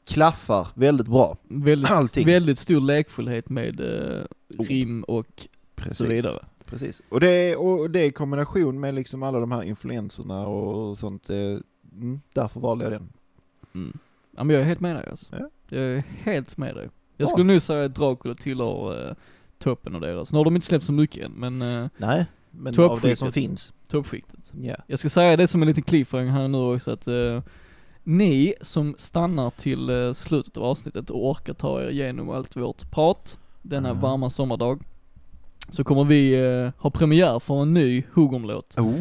klaffar väldigt bra.
väldigt,
Allting.
väldigt stor lekfullhet med eh, rim och
Precis.
så vidare.
Precis. Och det, och det i kombination med liksom alla de här influenserna och sånt. eh, Mm, därför valde jag den.
Mm. Ja men jag är helt med dig alltså.
Ja.
Jag är helt med dig. Jag
Bra.
skulle nu säga att Dracula tillhör eh, toppen av deras. Nu har de inte släppt så mycket än men eh,
Nej, men
Tog upp
av det som
skicket.
finns.
toppskiktet.
Ja.
Jag ska säga det som en liten cliffhanger här nu också att eh, ni som stannar till eh, slutet av avsnittet och orkar ta er igenom allt vårt prat denna
Mhm.
varma sommardag. Så kommer vi eh, ha premiär för en ny Hugom-låt.
Oh,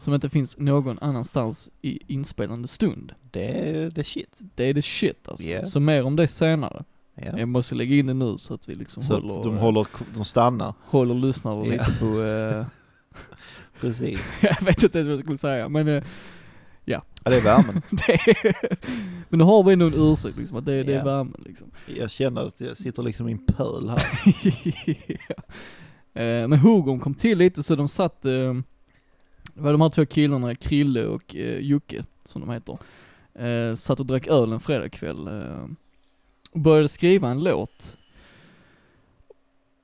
Som inte finns någon annanstans i inspelande stund.
det är det är shit.
Det är the shit alltså.
Yeah.
Så mer om det senare.
Ja.
Jag måste lägga in det nu så att vi liksom
Så
håller, eh,
att de håller, de stannar.
håller lyssnare
Ja.
lite på, eh,
Precis.
jag vet inte ens vad jag skulle säga men eh,
Ja, det är värmen.
det är, men nu har vi ändå en ursäkt liksom att det, det är
Ja.
värmen liksom.
Jag känner att jag sitter liksom i en pöl här.
Eh, Men Hugon kom till lite så de satt, eh, det var de här två killarna, Krille och eh, Jocke, som de heter, eh, satt och drack öl en fredagkväll eh, och började skriva en låt.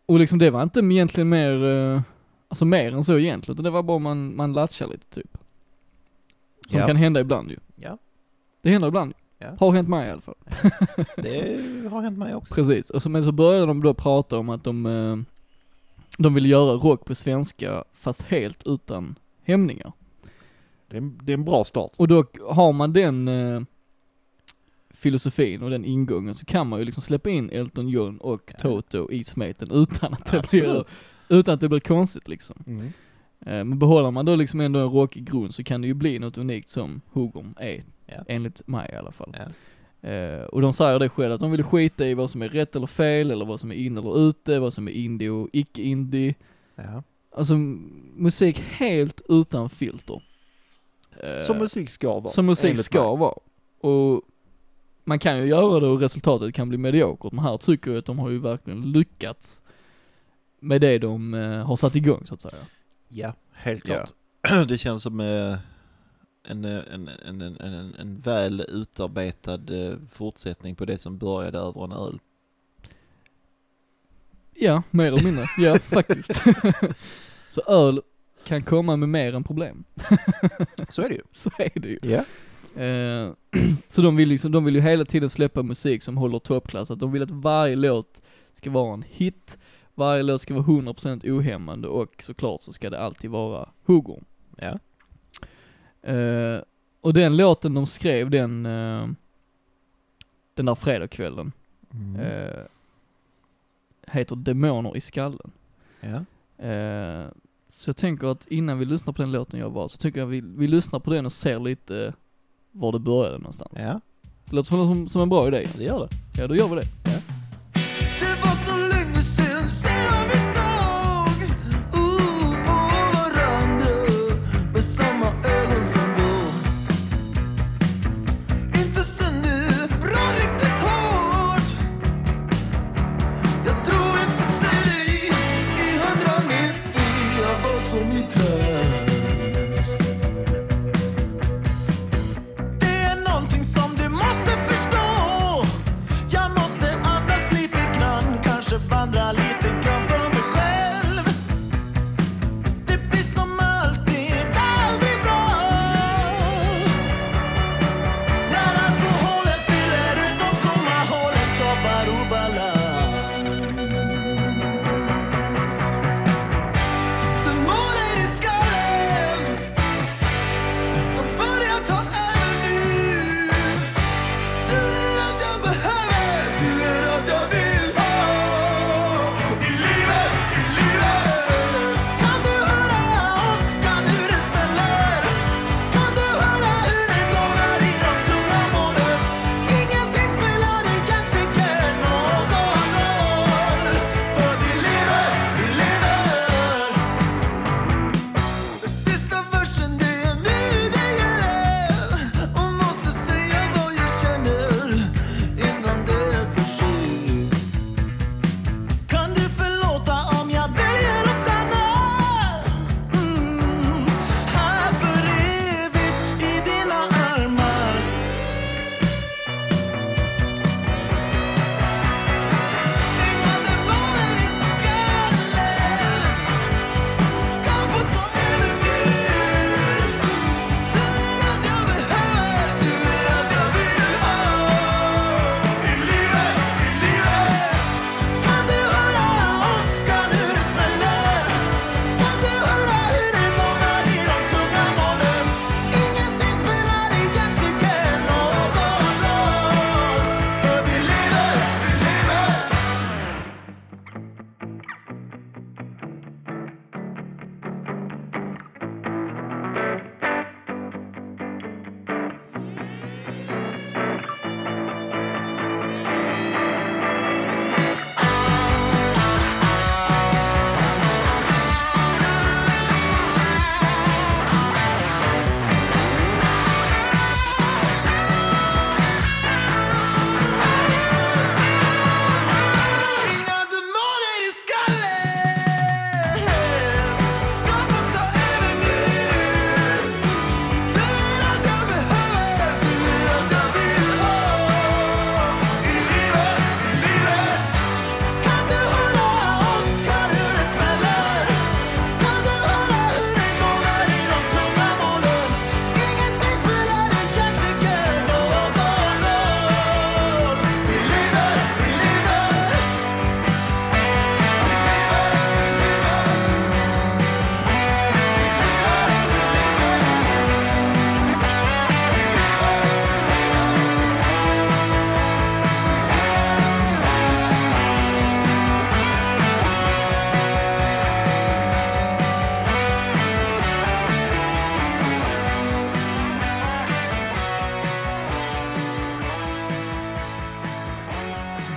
Och liksom det var inte egentligen mer, eh, alltså mer än så egentligen, utan det var bara man, man latchar lite typ. Som
Ja.
kan hända ibland ju.
Ja,
Det händer ibland ju.
Ja.
Har hänt mig i alla fall.
det har hänt mig också.
Precis, och så, men så började de då prata om att de, eh, de vill göra rock på svenska fast helt utan hämningar.
Det är en, det är en bra start.
Och då har man den eh, filosofin och den ingången så kan man ju liksom släppa in Elton John och
Ja.
Toto i smeten utan att det, blir,
Absolut.
utan att det blir konstigt liksom.
Mm.
Eh, Men behåller man då liksom ändå en rockig grund så kan det ju bli något unikt som Hugom är.
Ja.
Enligt mig i alla fall. Eh, och de säger det själv att de vill skita i vad som är rätt eller fel, eller vad som är in eller ute, vad som är indie och icke-indie.
Ja.
Alltså m- musik helt utan filter. Eh,
Som musik ska vara.
som musik
enligt mig.
ska vara. Och man kan ju göra det och resultatet kan bli mediokert, men här tycker jag att de har ju verkligen lyckats med det de eh, har satt igång så att säga.
Ja, helt klart. Det känns som eh, en, eh, en, en, en, en, en, en väl utarbetad eh, fortsättning på det som började över en öl.
Ja, mer eller mindre. Ja, faktiskt. så öl kan komma med mer än problem.
Så är det ju.
Så är det ju.
Ja.
Eh, så de vill, liksom, de vill ju hela tiden släppa musik som håller toppklass. Att de vill att varje låt ska vara en hit, varje låt ska vara 100% ohämmande och såklart så ska det alltid vara huggorm.
Ja.
Eh, och den låten de skrev den, eh, den där fredagskvällen,
Mm.
eh, heter Demoner i skallen.
Ja.
Eh, Så jag tänker att innan vi lyssnar på den låten jag valt, så tycker jag vi, vi lyssnar på den och ser lite var det började någonstans.
ja,
Det låter som- som, som en bra idé.
det gör det.
Ja, då gör vi det.
Det var så länge sen sedan vi såg uh, på varandra med samma ögon som då Inte sen nu, rör riktigt hårt Jag tror inte ser dig i 190 Jag var som i trans Det är någonting som du måste förstå Jag måste Mm,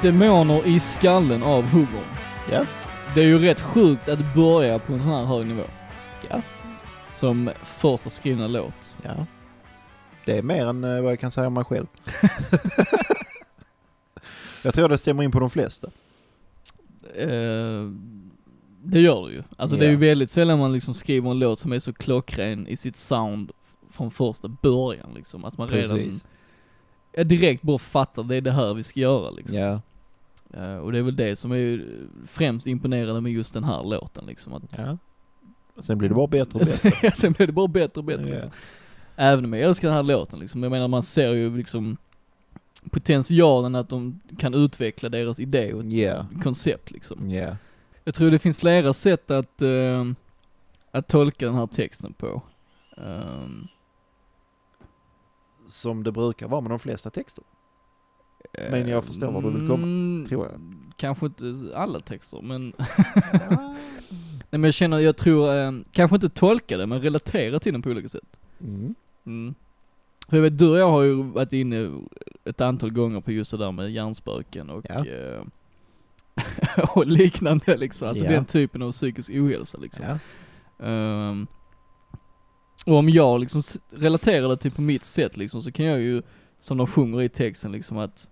Demoner i skallen av huggorn.
Ja.
Det är ju rätt sjukt att börja på en sån här hög nivå.
Ja.
Som första skrivna låt.
Ja. Det är mer än eh, vad jag kan säga om mig själv. jag tror det stämmer in på de flesta.
Eh, det gör det ju. Alltså det är
Ja.
ju väldigt sällan man liksom skriver en låt som är så klockren i sitt sound från första början liksom. Att man redan
Precis.
ja, direkt bara fattar det är det här vi ska göra liksom.
Ja.
Eh, och det är väl det som är ju främst imponerande med just den här låten liksom. Att,
ja. Sen blir det bara bättre och bättre.
Sen blir det bara bättre och bättre
Ja.
liksom. Även om jag älskar den här låten liksom. Jag menar man ser ju liksom potentialen att de kan utveckla deras idé och
Ja.
koncept liksom.
Ja.
Jag tror det finns flera sätt att, eh, att tolka den här texten på. Ehm,
Som det brukar vara med de flesta texter. Men jag förstår var du vill komma,
mm,
tror jag.
Kanske inte alla texter men, nej men jag känner, jag tror, eh, kanske inte tolka det men relatera till den på olika sätt.
Mm.
Mm. För jag vet, du och jag har ju varit inne ett antal gånger på just det där med hjärnspöken och,
Ja.
eh, och liknande liksom. Alltså
Ja.
den typen av psykisk ohälsa liksom.
Ja.
Ehm, och om jag liksom s- relaterar det till på mitt sätt liksom så kan jag ju, som de sjunger i texten liksom att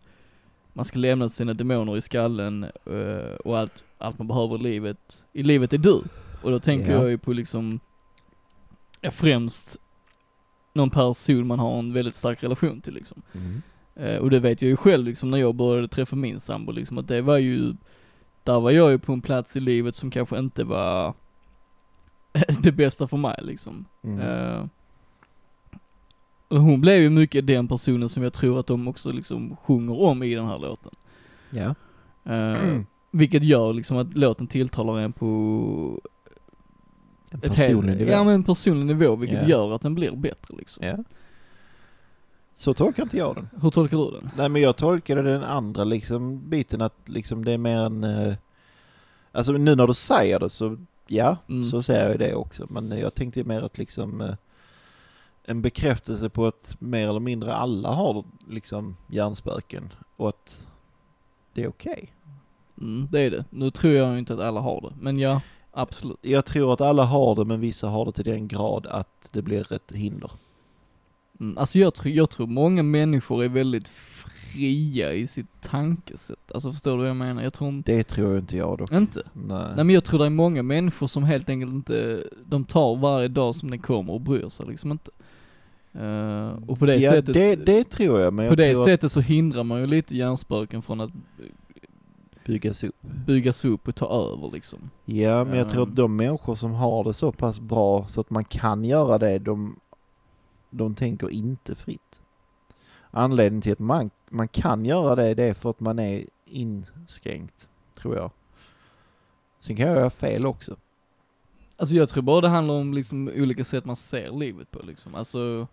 man ska lämna sina demoner i skallen eh, och allt, allt man behöver i livet, i livet är du. Och då tänker
Ja.
jag ju på liksom, ja, främst någon person man har en väldigt stark relation till liksom.
Mm.
Eh, och det vet jag ju själv liksom när jag började träffa min sambo liksom att det var ju, där var jag ju på en plats i livet som kanske inte var det bästa för mig liksom.
Mm.
Eh, och hon blev ju mycket den personen som jag tror att de också liksom sjunger om i den här låten.
Ja.
Eh, vilket gör liksom att låten tilltalar en på
En
ett
personlig
helt,
nivå.
ja men en personlig nivå vilket
Ja.
gör att den blir bättre liksom.
Ja. Så tolkar inte jag den.
Hur tolkar du den?
Nej men jag tolkade den andra liksom biten att liksom det är mer en... eh, Alltså nu när du säger det så ja,
Mm.
så säger jag ju det också. Men jag tänkte mer att liksom eh, en bekräftelse på att mer eller mindre alla har liksom hjärnspöken och att det är okej.
Mm, det är det. Nu tror jag inte att alla har det, men ja, absolut.
Jag tror att alla har det men vissa har det till den grad att det blir ett hinder.
Mm, alltså jag tror, jag tror många människor är väldigt fria i sitt tankesätt. Alltså förstår du vad jag menar? Jag tror inte...
Det tror inte jag dock.
Inte?
Nej.
Nej men jag tror det är många människor som helt enkelt inte, de tar varje dag som den kommer och bryr sig liksom inte. Eh, och på det
ja,
sättet,
det, det tror jag men
på
jag
det
tror
sättet så hindrar man ju lite hjärnspöken från att
att byggas upp.
byggas upp och ta över liksom.
Ja, men jag tror
Ehm.
att de människor som har det så pass bra så att man kan göra det, de, de tänker inte fritt. Anledningen till att man, man kan göra det, det är för att man är inskränkt, tror jag. Sen kan jag göra fel också.
Alltså jag tror bara det handlar om liksom olika sätt man ser livet på liksom. Alltså,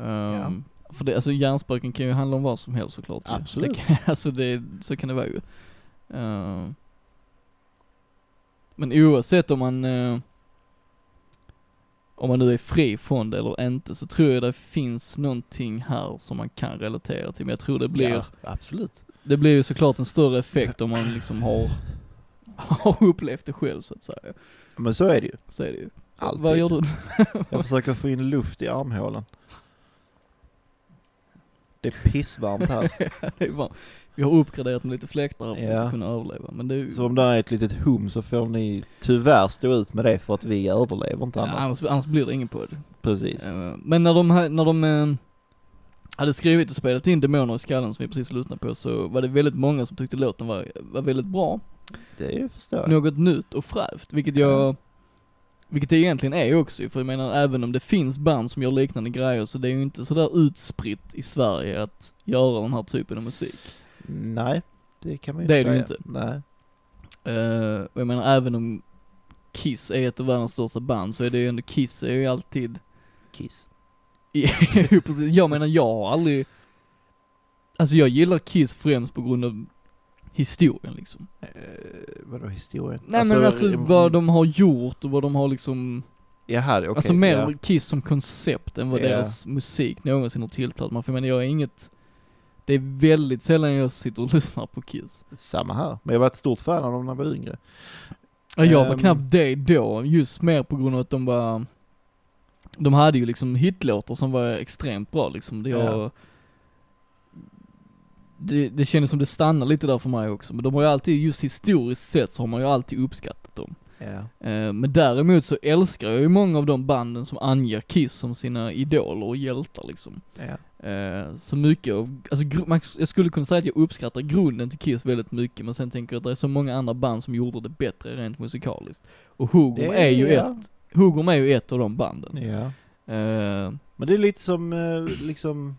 ehm, för det, alltså hjärnspöken kan ju handla om vad som helst såklart. ju.
Absolut.
Det kan, alltså det, så kan det vara ju. Ehm, men oavsett om man, eh, om man nu är fri från det eller inte så tror jag det finns någonting här som man kan relatera till. Men jag tror det blir,
Ja, absolut.
det blir ju såklart en större effekt om man liksom har, har upplevt det själv så att säga.
Men så är det ju.
Så är det ju.
Alltid.
Vad gör du?
Jag försöker få in luft i armhålan. Det är pissvarmt här.
Det är bara, vi har uppgraderat med lite fläktar här för att vi
Ja.
ska kunna överleva. Men det är ju,
Så om det är ett litet hum så får ni tyvärr stå ut med det för att vi överlever inte
annars.
annars.
Annars, annars blir det ingen podd.
Precis.
Eh, Men när de, här- när de eh, hade skrivit och spelat in Demoner i skallen som vi precis lyssnade på så var det väldigt många som tyckte låten var, var väldigt bra.
Det förstår jag.
Något nytt och fräscht, vilket jag vilket det egentligen är också ju, för jag menar även om det finns band som gör liknande grejer så det är ju inte sådär utspritt i Sverige att göra den här typen av musik.
Nej, det kan man ju
Det är
inte
det ju
säga.
inte.
Nej.
Eh, och jag menar även om Kiss är ett av världens största band så är det ju ändå, Kiss är ju alltid,
Kiss.
Jo, precis. jag menar jag har aldrig, alltså jag gillar Kiss främst på grund av historien liksom.
Eh, vadå historien? eh,
Nej men alltså vad de har gjort och vad de har liksom,
Jaha, okej.
alltså mer
ja.
Kiss som koncept än vad
Ja.
deras musik någonsin har tilltalat mig. För jag menar jag är inget, Det är väldigt sällan jag sitter och lyssnar på Kiss.
Samma här, men jag var ett stort fan av dem när jag var yngre.
Ja, jag var
Ehm.
knappt det då, just mer på grund av att de var, de hade ju liksom hitlåtar som var extremt bra liksom. Det, jag,
Ja.
det, det kändes som det stannade lite där för mig också, men de har ju alltid, just historiskt sett så har man ju alltid uppskattat dem.
Ja.
Eh, Men däremot så älskar jag ju många av de banden som anger Kiss som sina idoler och hjältar liksom.
Ja.
Eh, Så mycket av, alltså gru- man, jag skulle kunna säga att jag uppskattar grunden till Kiss väldigt mycket men sen tänker jag att det är så många andra band som gjorde det bättre rent musikaliskt. Och Hugom
Det-
är ju
ja.
ett, Hugom är ju ett av de banden.
ja.
Eh,
Men det är lite som, eh, liksom...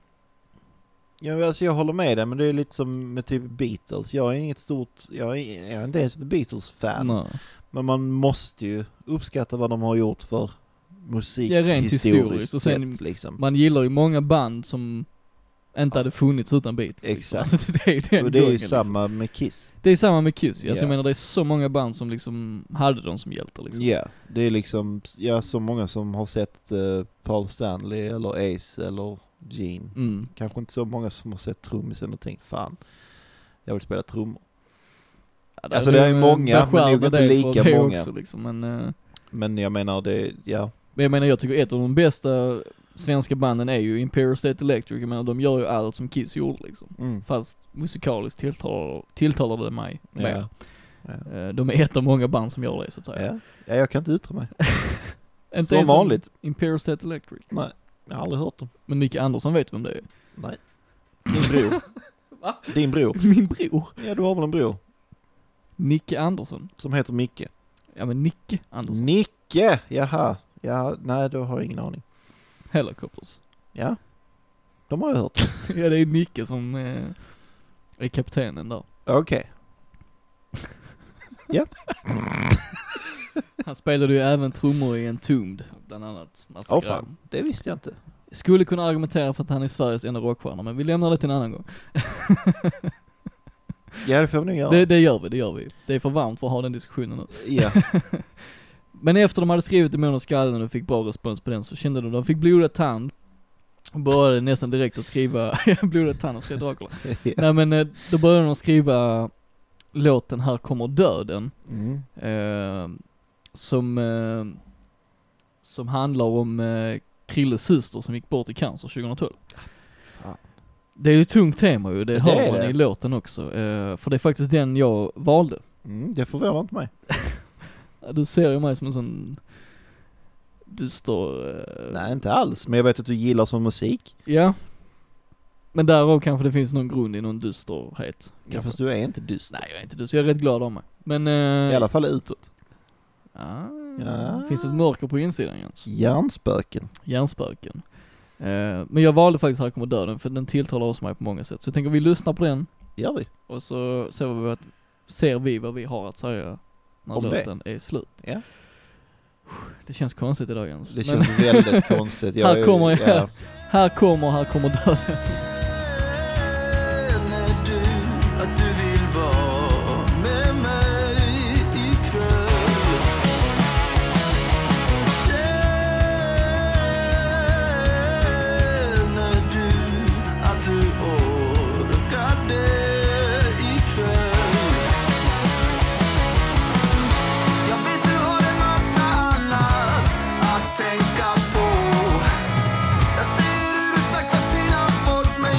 Ja, men alltså jag håller med dig, men det är lite som med typ Beatles. Jag är inget stort, jag är, jag är inte ens ett Beatles-fan.
nej.
Men man måste ju uppskatta vad de har gjort för musik
Ja, rent historiskt
historiskt
och sen-
sett liksom.
Man gillar ju många band som inte
Ja.
hade funnits utan Beatles. liksom.
Exakt.
Alltså det är ju den
Och det är ju
gången, liksom.
samma med Kiss.
Det är samma med Kiss, alltså
Ja.
jag menar det är så många band som liksom hade dem som hjältar liksom.
Ja, det är liksom, ja så många som har sett eh, Paul Stanley eller Ace eller Gene.
Mm.
Kanske inte så många som har sett trummisen och tänkt fan, jag vill spela trummor.
Ja,
Alltså, det är
nog,
ju många,
eh,
men nog inte
beskärda dig
lika
för det
många.
Också, liksom. men, eh,
Men jag menar det, ja.
men jag menar, jag tycker ett av de bästa svenska banden är ju Imperial State Electric, jag menar de gör ju allt som Kiss gjorde liksom.
Mm.
Fast musikaliskt tilltalar, tilltalar det mig
Ja.
mer.
Ja.
Eh, De är ett av många band som gör det så att säga.
Ja. ja, jag kan inte yttra mig.
Inte
Som
ens
vanligt.
Imperial State Electric.
Nej, jag har aldrig hört dem.
Men Micke Andersson vet vem det är.
Nej. Din bror. Din bror.
Min bror!
Ja, du har väl en bror
Nicke Andersson.
som heter Micke.
Ja men Nicke Andersson.
Nicke! Jaha. Ja, nej, då har jag ingen aning. Mm.
Helicopters.
Ja, de har jag hört.
ja det är Nicke som eh, är kaptenen där.
Okej.
Han spelade ju även trummor i Entombed, bland annat. Massa
Åh
grejer.
fan, det visste jag inte.
Skulle kunna argumentera för att han är Sveriges enda rockstjärna, men vi lämnar det till en annan gång.
Ja, det får vi nog göra.
Det, det gör vi, det gör vi. Det är för varmt för att ha den diskussionen nu.
Ja.
Men efter de hade skrivit Demoner i skallen och fick bra respons på den så kände de, de fick blodad tand. Och började nästan direkt att skriva, blodad tand och skrev Dracula. Nej men eh, då började de skriva låten Här kommer döden.
Mm.
eh, som, eh, som handlar om eh, Krilles syster som gick bort i cancer 2012.
fan.
Det är ju ett tungt tema ju, det,
Det
hör
är
man
det.
i låten också. Eh, för det är faktiskt den jag valde.
Mm, det förvånar inte mig.
Du ser ju mig som en sån dyster... Eh,
Nej, inte alls. Men jag vet att du gillar sån musik.
Ja. Men därav kanske det finns någon grund i någon dysterhet.
Ja,
kanske.
fast du är inte dyster.
Nej jag är inte dyster, jag är rätt glad av mig. Men... Eh,
I alla fall utåt.
Ah,
Ja.
Finns ett mörker på insidan Jens.
Hjärnspöken.
Hjärnspöken. Eh, men jag valde faktiskt Här kommer döden för den tilltalar oss mig på många sätt. Så jag tänker vi lyssnar på den
Gör vi.
och så ser vi vad, ser vi, vad vi har att säga när
Om det.
låten är slut.
Ja.
Det känns konstigt idag Jens.
Det
men
känns väldigt konstigt.
Här
är ju-
kommer jag.
ja.
här kommer, här kommer döden.
Känner du att du vill vara med mig ikväll? Känner du att du orkar det ikväll? Jag vet du har en massa annat att tänka på jag ser hur du sakta tinar bort mig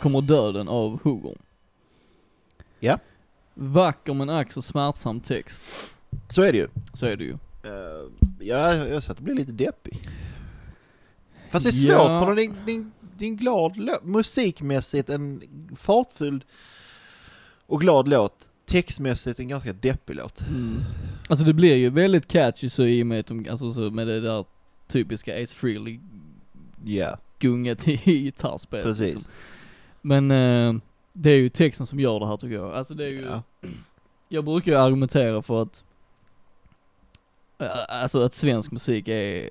kommer döden av huggorm.
Ja.
Vacker men ack så smärtsam text.
Så är det ju.
Så är det ju.
Eh, ja, jag sa att det blir lite deppig. Fast det är svårt
Ja.
för det är en- det är en- det är en glad låt. Musikmässigt en fartfylld och glad låt. Textmässigt en ganska deppig låt.
Alltså det blir ju väldigt catchy så i och med att de, alltså så med det där typiska Ace Frehley
Ja,
gunget i gitarrspelet.
precis.
liksom. Men eh, det är ju texten som gör det här tycker jag. Alltså det är ju,
Ja.
jag brukar ju argumentera för att, eh, alltså att svensk musik är,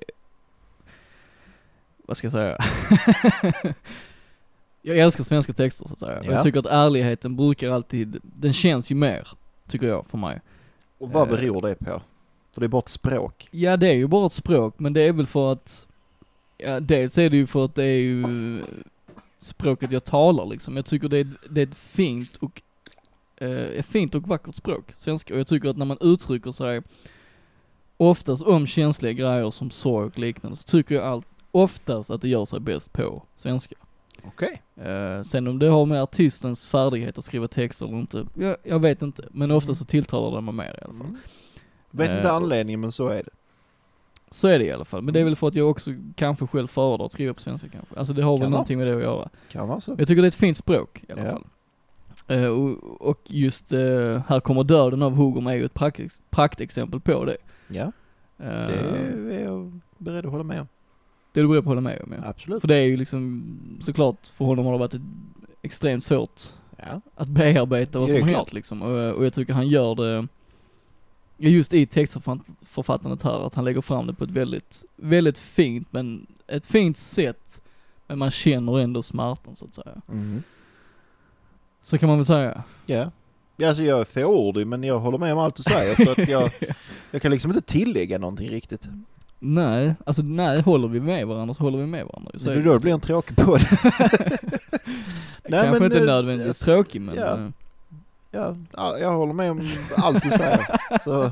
vad ska jag säga? jag älskar svenska texter så att säga. Och
Ja.
Jag tycker att ärligheten brukar alltid, den känns ju mer, tycker jag, för mig.
Och vad
Eh.
beror det på? För det är bara ett språk.
Ja det är ju bara ett språk, men det är väl för att, ja, dels är det ju för att det är ju språket jag talar liksom. Jag tycker det är, det är ett fint och, eh, ett fint och vackert språk, svenska. Och jag tycker att när man uttrycker sig oftast om känsliga grejer som sorg och liknande, så tycker jag allt, oftast att det gör sig bäst på svenska.
Okej.
Eh, sen om det har med artistens färdighet att skriva texter eller inte, jag, jag vet inte. Men ofta så tilltalar det mig mer i alla fall.
Mm. Vet inte
Eh.
anledningen men så är det.
Så är det i alla fall. Men
Mm.
det är väl för att jag också kanske själv föredrar att skriva på svenska kanske. Alltså det har
Kan vara.
väl någonting med det att göra.
Kan vara så.
Jag tycker det är ett fint språk i alla
Ja.
fall. Eh, och, och just eh, Här kommer döden av Hugom är ju ett prakt, praktexempel på det.
Ja,
Eh,
det är jag beredd att hålla med om.
det är du beredd på att hålla med om ja.
Absolut.
För det är ju liksom, såklart för honom har det varit ett, extremt svårt
Ja.
att bearbeta vad
Det är
som har
klart.
hänt liksom. Och, och jag tycker han gör det, ja, just i textförfattandet här, att han lägger fram det på ett väldigt, väldigt fint, men ett fint sätt. Men man känner ändå smärtan så att säga.
Mm.
Så kan man väl säga.
Ja. Ja, Alltså jag är fåordig men jag håller med om allt du säger så att jag, jag kan liksom inte tillägga någonting riktigt.
Mm. Nej, alltså nej, håller vi med varandra så håller vi med varandra. Så
Det är då det blir en tråkig podd. nej,
kanske
men,
inte
eh,
nödvändigtvis
alltså,
tråkig men
ja.
eh,
Ja, ja, jag håller med om allt du säger. Så,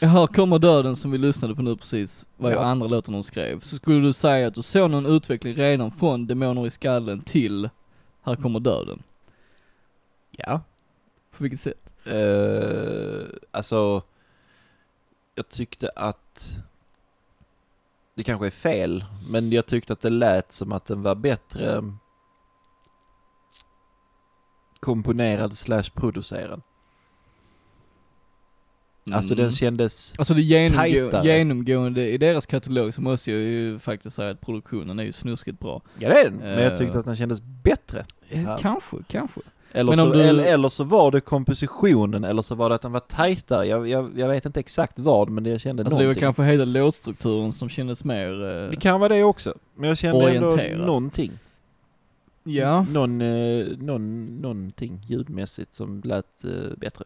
Ja, här kommer döden som vi lyssnade på nu precis, var ju
Ja.
andra låten hon skrev. Så skulle du säga att du såg någon utveckling redan från Demoner i skallen till Här kommer döden?
ja.
På vilket sätt?
Uh, alltså, jag tyckte att... Det kanske är fel, men jag tyckte att det lät som att den var bättre komponerad slash producerad. Alltså den kändes...
Alltså det genomgå-
tajtare.
genomgående i deras katalog så måste jag ju faktiskt säga att produktionen är ju snuskigt bra.
Ja det är den, men jag tyckte
Eh.
att den kändes bättre.
Eh,
Ja.
Kanske, kanske.
Eller
Men
så,
om du-
eller, eller så var det kompositionen, eller så var det att den var tajtare. Jag, jag, jag vet inte exakt vad, men det jag kände
Alltså det var
någonting.
kanske hela låtstrukturen som kändes mer, eh,
Det kan vara det också, men jag kände ändå
Orienterad.
någonting.
ja.
Någon, eh, någon, någonting ljudmässigt som lät eh, bättre.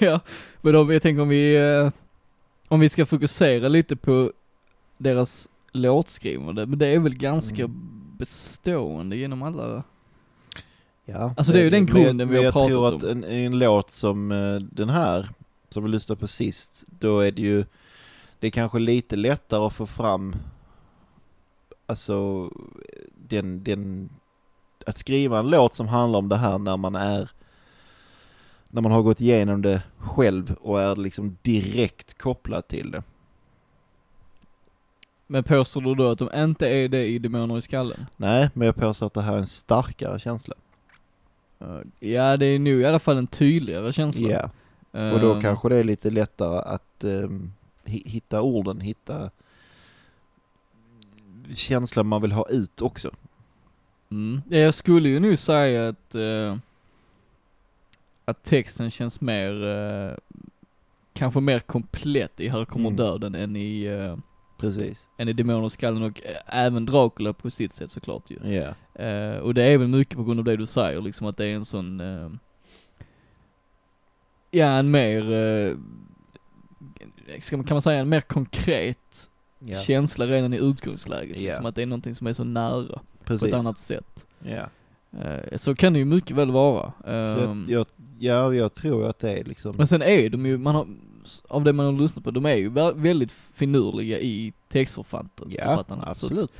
ja. Men om, jag tänker om vi, eh, om vi ska fokusera lite på deras låtskrivande, men det är väl ganska
Mm.
bestående genom alla
Ja.
Alltså, det är ju den grunden
men,
vi har
jag
pratat
tror
om.
att en, en låt som eh, den här, som vi lyssnade på sist, då är det ju, det är kanske lite lättare att få fram, alltså, den, den, att skriva en låt som handlar om det här när man är när man har gått igenom det själv och är liksom direkt kopplad till det.
Men påstår du då att de inte är det i Demoner i skallen?
Nej, men jag påstår att det här är en starkare känsla.
Eh, Ja, det är nog i alla fall en tydligare känsla.
Ja. Och då
Eh,
kanske det är lite lättare att ehm, hi- hitta orden, hitta känslan man vill ha ut också.
Mm. Ja, jag skulle ju nu säga att, eh, att texten känns mer, eh, kanske mer komplett i Här kommer
Mm.
döden än i, eh,
Precis.
än i Demoner i skallen och eh, även Dracula på sitt sätt såklart ju.
Ja.
Eh, och det är väl mycket på grund av det du säger, liksom att det är en sån, eh, ja en mer, eh, ska man, kan man säga en mer konkret
Ja,
känsla redan i utgångsläget.
Ja.
Liksom att det är någonting som är så nära
Precis.
på ett annat sätt.
Ja.
Eh, så kan det ju mycket väl vara.
Så
Ehm,
Jag, jag, ja, jag tror att det är liksom...
Men sen är de ju, man har, av det man har lyssnat på, de är ju vä- väldigt finurliga i textförfattandet.
Ja,
Så att-
absolut.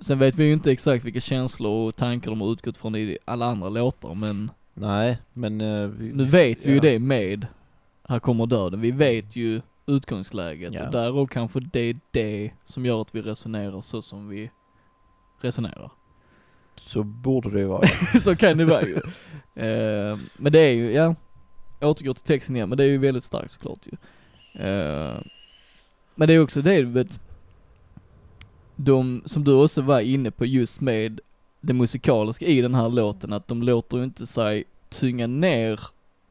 Sen vet vi ju inte exakt vilka känslor och tankar de har utgått från i alla andra låtar, men
Nej, men... eh, vi-
nu vet vi ju
ja.
det med Här kommer döden. Vi vet ju utgångsläget
Ja.
och därav kanske det är det som gör att vi resonerar så som vi resonerar.
Så borde det ju vara.
så kan det vara ju. Eh, men det är ju, ja, återgår till texten igen, men det är ju väldigt starkt såklart ju. Eh, men det är också det, du vet, de, som du också var inne på just med det musikaliska i den här låten, att de låter ju inte sig tynga ner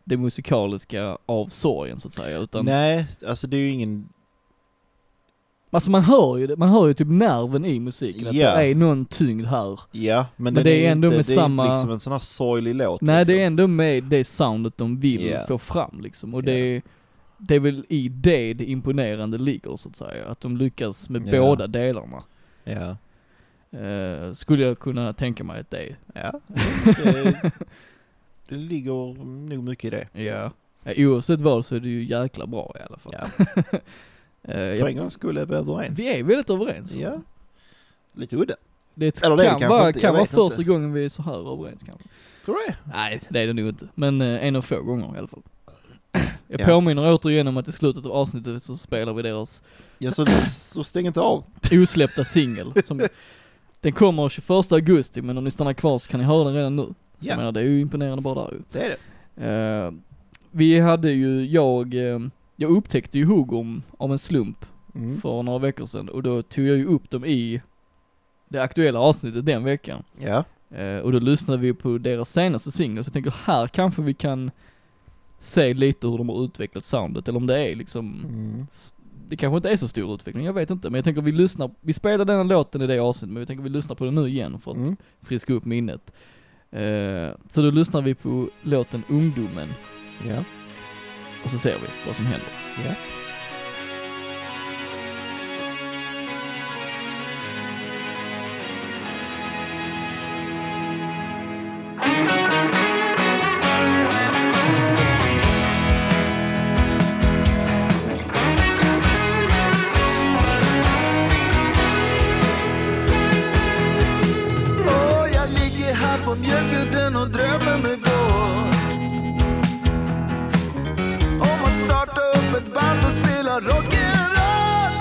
det musikaliska av sorgen så att säga, utan
Nej, alltså det är ju ingen...
alltså man hör ju det, man hör ju typ nerven i musiken, att
Ja.
det är någon tyngd här.
Ja, men,
Men
den
det är ändå
inte,
med
det är
samma-
inte liksom en sån här sorglig låt.
Nej
liksom.
det är ändå med det soundet de vill
Ja.
få fram liksom och det, det är väl i det det imponerande ligger så att säga. Att de lyckas med
Ja.
båda delarna.
Ja.
Eh, skulle jag kunna tänka mig att det är.
Ja. Det, det ligger nog mycket i det.
Ja. Eh, Oavsett vad så är det ju jäkla bra i alla fall.
Ja.
Eh,
För
jag,
en gångs skull är vi överens.
vi är väldigt överens. alltså.
Ja. Lite udda.
Det ett-
Eller
kan
det är det kanske
vara,
inte, jag
kan vara
vet
första
inte.
gången vi är så här överens kanske.
Tror du det?
Nej det är det nog inte. Men eh, en av få gånger i alla fall. Jag
Ja.
påminner återigen om att i slutet av avsnittet så spelar vi deras
Ja, så, så stäng inte av.
osläppta singel. Som, den kommer 21 augusti men om ni stannar kvar så kan ni höra den redan nu. Så
Ja.
jag menar, det är ju imponerande bara där ju.
Det är det.
Eh, vi hade ju, jag, eh, jag upptäckte ju Hugom av en slump
Mm.
för några veckor sedan och då tog jag ju upp dem i det aktuella avsnittet den veckan.
Ja.
Eh, och då lyssnade vi på deras senaste singel så jag tänker här kanske vi kan se lite hur de har utvecklat soundet eller om det är liksom
Mm.
det kanske inte är så stor utveckling, jag vet inte. Men jag tänker vi lyssnar, vi spelar den här låten i det avsnittet, men vi tänker vi lyssnar på den nu igen för att
Mm.
friska upp minnet. Eh, så då lyssnar vi på låten Ungdomen
Ja.
och så ser vi vad som händer.
Ja.
Och jag ligger här på mjölkudden och drömmer mig bort Om att starta upp ett band och spela rock'n'roll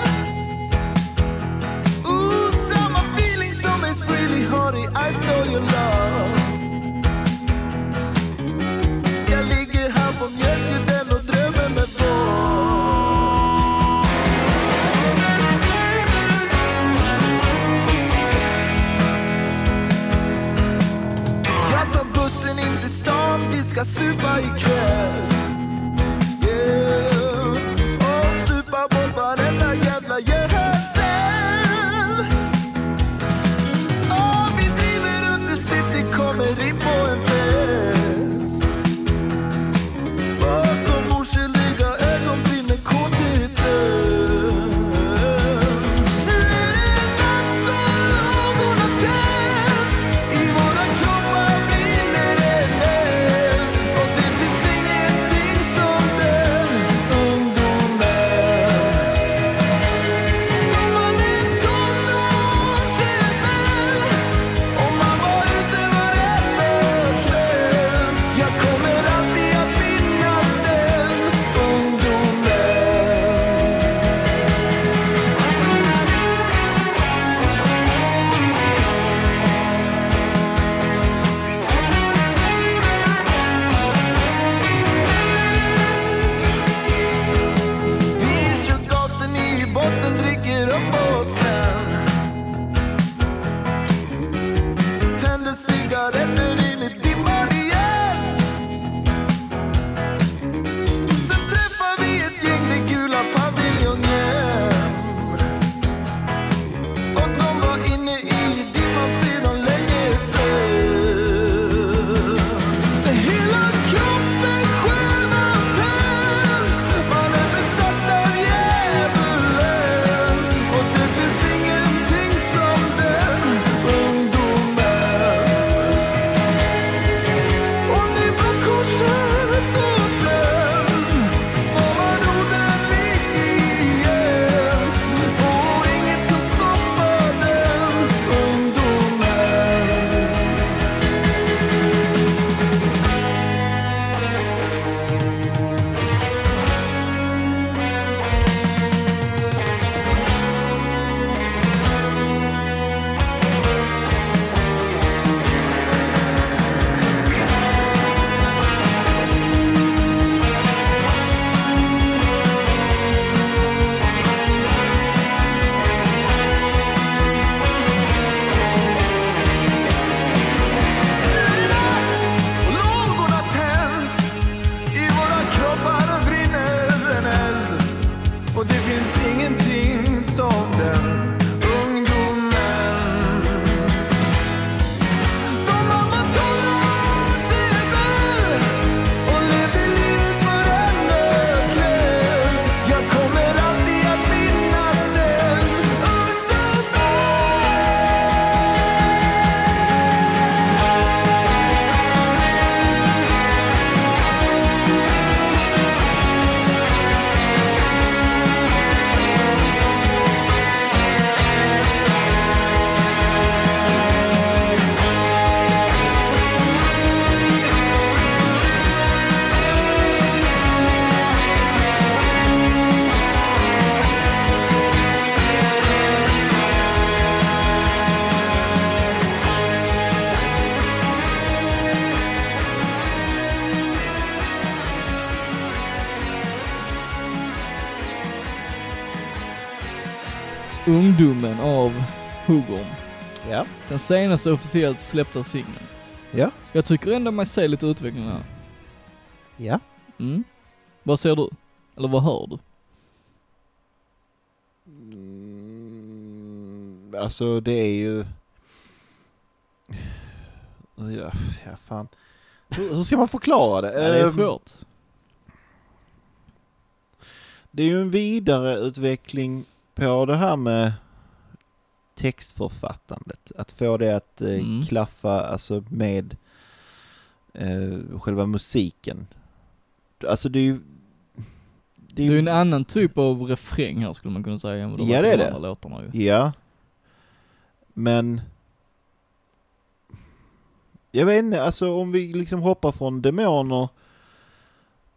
Ooh, samma feeling som Ace Frehley har i I stole your love Jag ligger här på mjölkudden och drömmer mig bort Jag tar bussen in till stan, vi ska supa ikväll Yeah. Och supa bort varenda jävla jävel Och vi driver runt i city, kommer in på en fest Bakom oskyldiga ögon brinner kåtheten Nu är det natt och lågorna tänds I våra kroppar brinner en eld Och det finns ingenting
Ungdomen av Hugom.
Ja.
Den senaste officiellt släppta singeln.
Ja.
Jag tycker ändå man ser lite utveckling här.
Ja.
Mm. Vad ser du? Eller vad hör du?
Mm, alltså det är ju... Ja, ja fan. Hur, hur ska man förklara det?
Ja, det är
Ehm,
svårt.
Det är ju en vidareutveckling på det här med textförfattandet. Att få det att eh,
Mm.
klaffa alltså, med eh, själva musiken. Alltså det är ju...
Det är ju en annan typ av refräng här skulle man kunna säga. än vad
Ja,
var
det
på
är
de
det.
andra Låtarna ju.
Ja. Men... Jag vet inte, alltså om vi liksom hoppar från demoner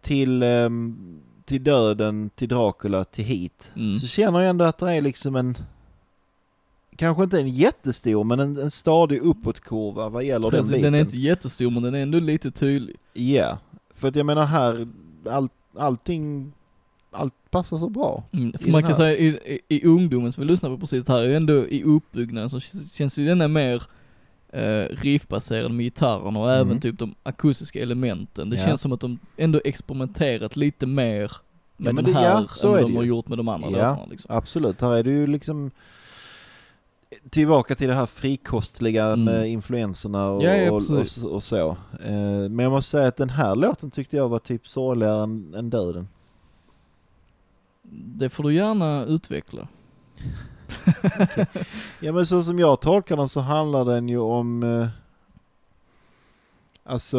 till, ehm, till döden, till Dracula, till hit.
Mm.
Så känner jag ändå att det är liksom en... Kanske inte en jättestor, men en, en stadig uppåtkurva vad gäller
Precis,
den biten.
den är inte jättestor men den är ändå lite tydlig.
Ja, för att jag menar här, all, allting... Allt passar så bra.
Mm,
I
för
den
man kan
här.
säga i, i, i ungdomen som vi lyssnar på precis här, är ju ändå i uppbyggnaden så k- känns ju denna mer eh, riffbaserad med gitarren och
Mm.
även typ de akustiska elementen. Det
Ja.
känns som att de ändå experimenterat lite mer med
men
den
det- ja,
här
så är
än vad
det
de har
ju.
gjort med de andra
Ja.
låtarna liksom.
Absolut, här är det ju liksom tillbaka till det här frikostliga
Mm.
med influenserna och,
Ja, ja,
och,
precis.
och, och så. Eh, Men jag måste säga att den här låten tyckte jag var typ sorgligare än, än döden.
Det får du gärna utveckla.
Ja men så som jag tolkar den så handlar den ju om eh, alltså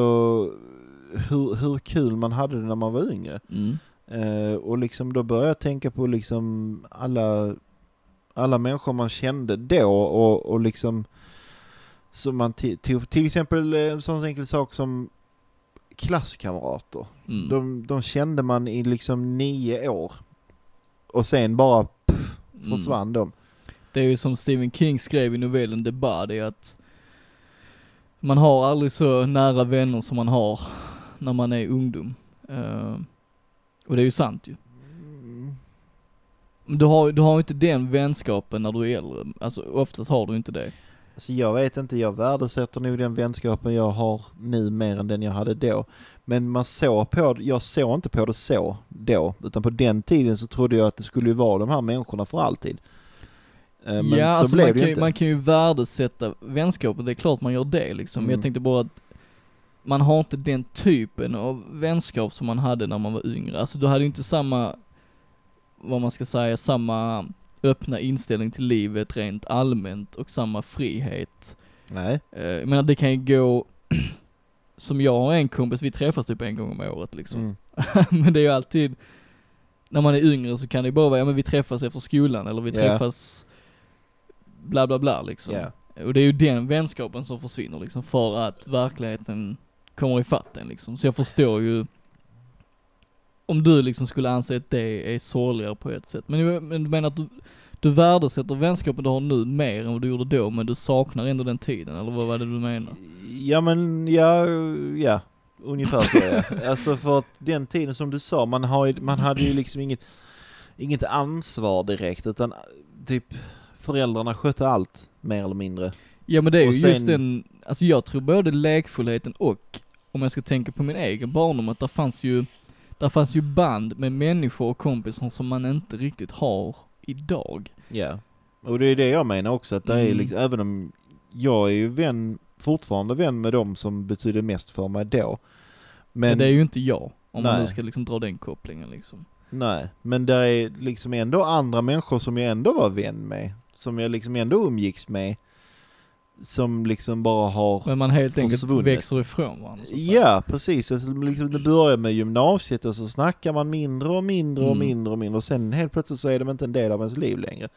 hur, hur kul man hade det när man var yngre.
Mm.
Eh, och liksom då började jag tänka på liksom alla, alla människor man kände då och, och liksom som man ti- tog, till exempel eh, en sån enkel sak som klasskamrater.
Mm.
De, de kände man i liksom nio år och sen bara
Mm.
försvann de.
Det är ju som Stephen King skrev i novellen The Body att man har aldrig så nära vänner som man har när man är ungdom. Eh, och det är ju sant ju.
Mm.
Men Du har, du har ju inte den vänskapen när du är äldre. Alltså oftast har du inte det.
Alltså jag vet inte, jag värdesätter nog den vänskapen jag har nu mer än den jag hade då. Men man såg på jag såg inte på det så då, utan på den tiden så trodde jag att det skulle ju vara de här människorna för alltid. Eh, Men
ja,
så
alltså
blev
man,
det
kan,
ju
ju-
inte.
man kan ju värdesätta vänskapen, det är klart man gör det liksom. Men
Mm.
Jag tänkte bara att man har inte den typen av vänskap som man hade när man var yngre. Alltså du hade ju inte samma, vad man ska säga, samma öppna inställning till livet rent allmänt och samma frihet.
Nej,
Eh, Jag menar det kan ju gå, som jag och en kompis, vi träffas typ en gång om året liksom.
mm.
men det är ju alltid, när man är yngre så kan det ju bara vara, ja men vi träffas efter skolan eller vi
Ja.
träffas bla bla bla liksom.
ja.
Och det är ju den vänskapen som försvinner liksom för att verkligheten kommer ifatt en liksom. Så jag förstår ju om du liksom skulle anse att det är sorgligare på ett sätt. Men jag- men du menar att du, du värdesätter vänskapen du har nu mer än vad du gjorde då men du saknar ändå den tiden eller vad var det du menar?
ja men, ja, ja. Ungefär så ja. Alltså för att den tiden som du sa, man, har, ju- man hade ju liksom inget, inget ansvar direkt utan eh, typ föräldrarna skötte allt mer eller mindre.
Ja men det är
Och
ju
sen-
just den, alltså jag tror både lekfullheten och, om jag ska tänka på min egen barndom, att där fanns ju, där fanns ju band med människor och kompisar som man inte riktigt har idag.
Ja, och det är det jag menar också att det är
Mm.
liksom, även om jag är ju vän, fortfarande vän med dem som betyder mest för mig då.
Men,
Men,
det är ju inte jag, om man
Nej.
nu ska liksom dra den kopplingen liksom.
nej, men det är liksom ändå andra människor som jag ändå var vän med, som jag liksom ändå umgicks med, som liksom bara har
Men man helt enkelt
Försvunnet.
växer ifrån varandra så att säga.
Ja, precis. Alltså, liksom, det börjar med gymnasiet och så snackar man mindre och mindre och
Mm.
mindre och mindre och sen helt plötsligt så är de inte en del av ens liv längre.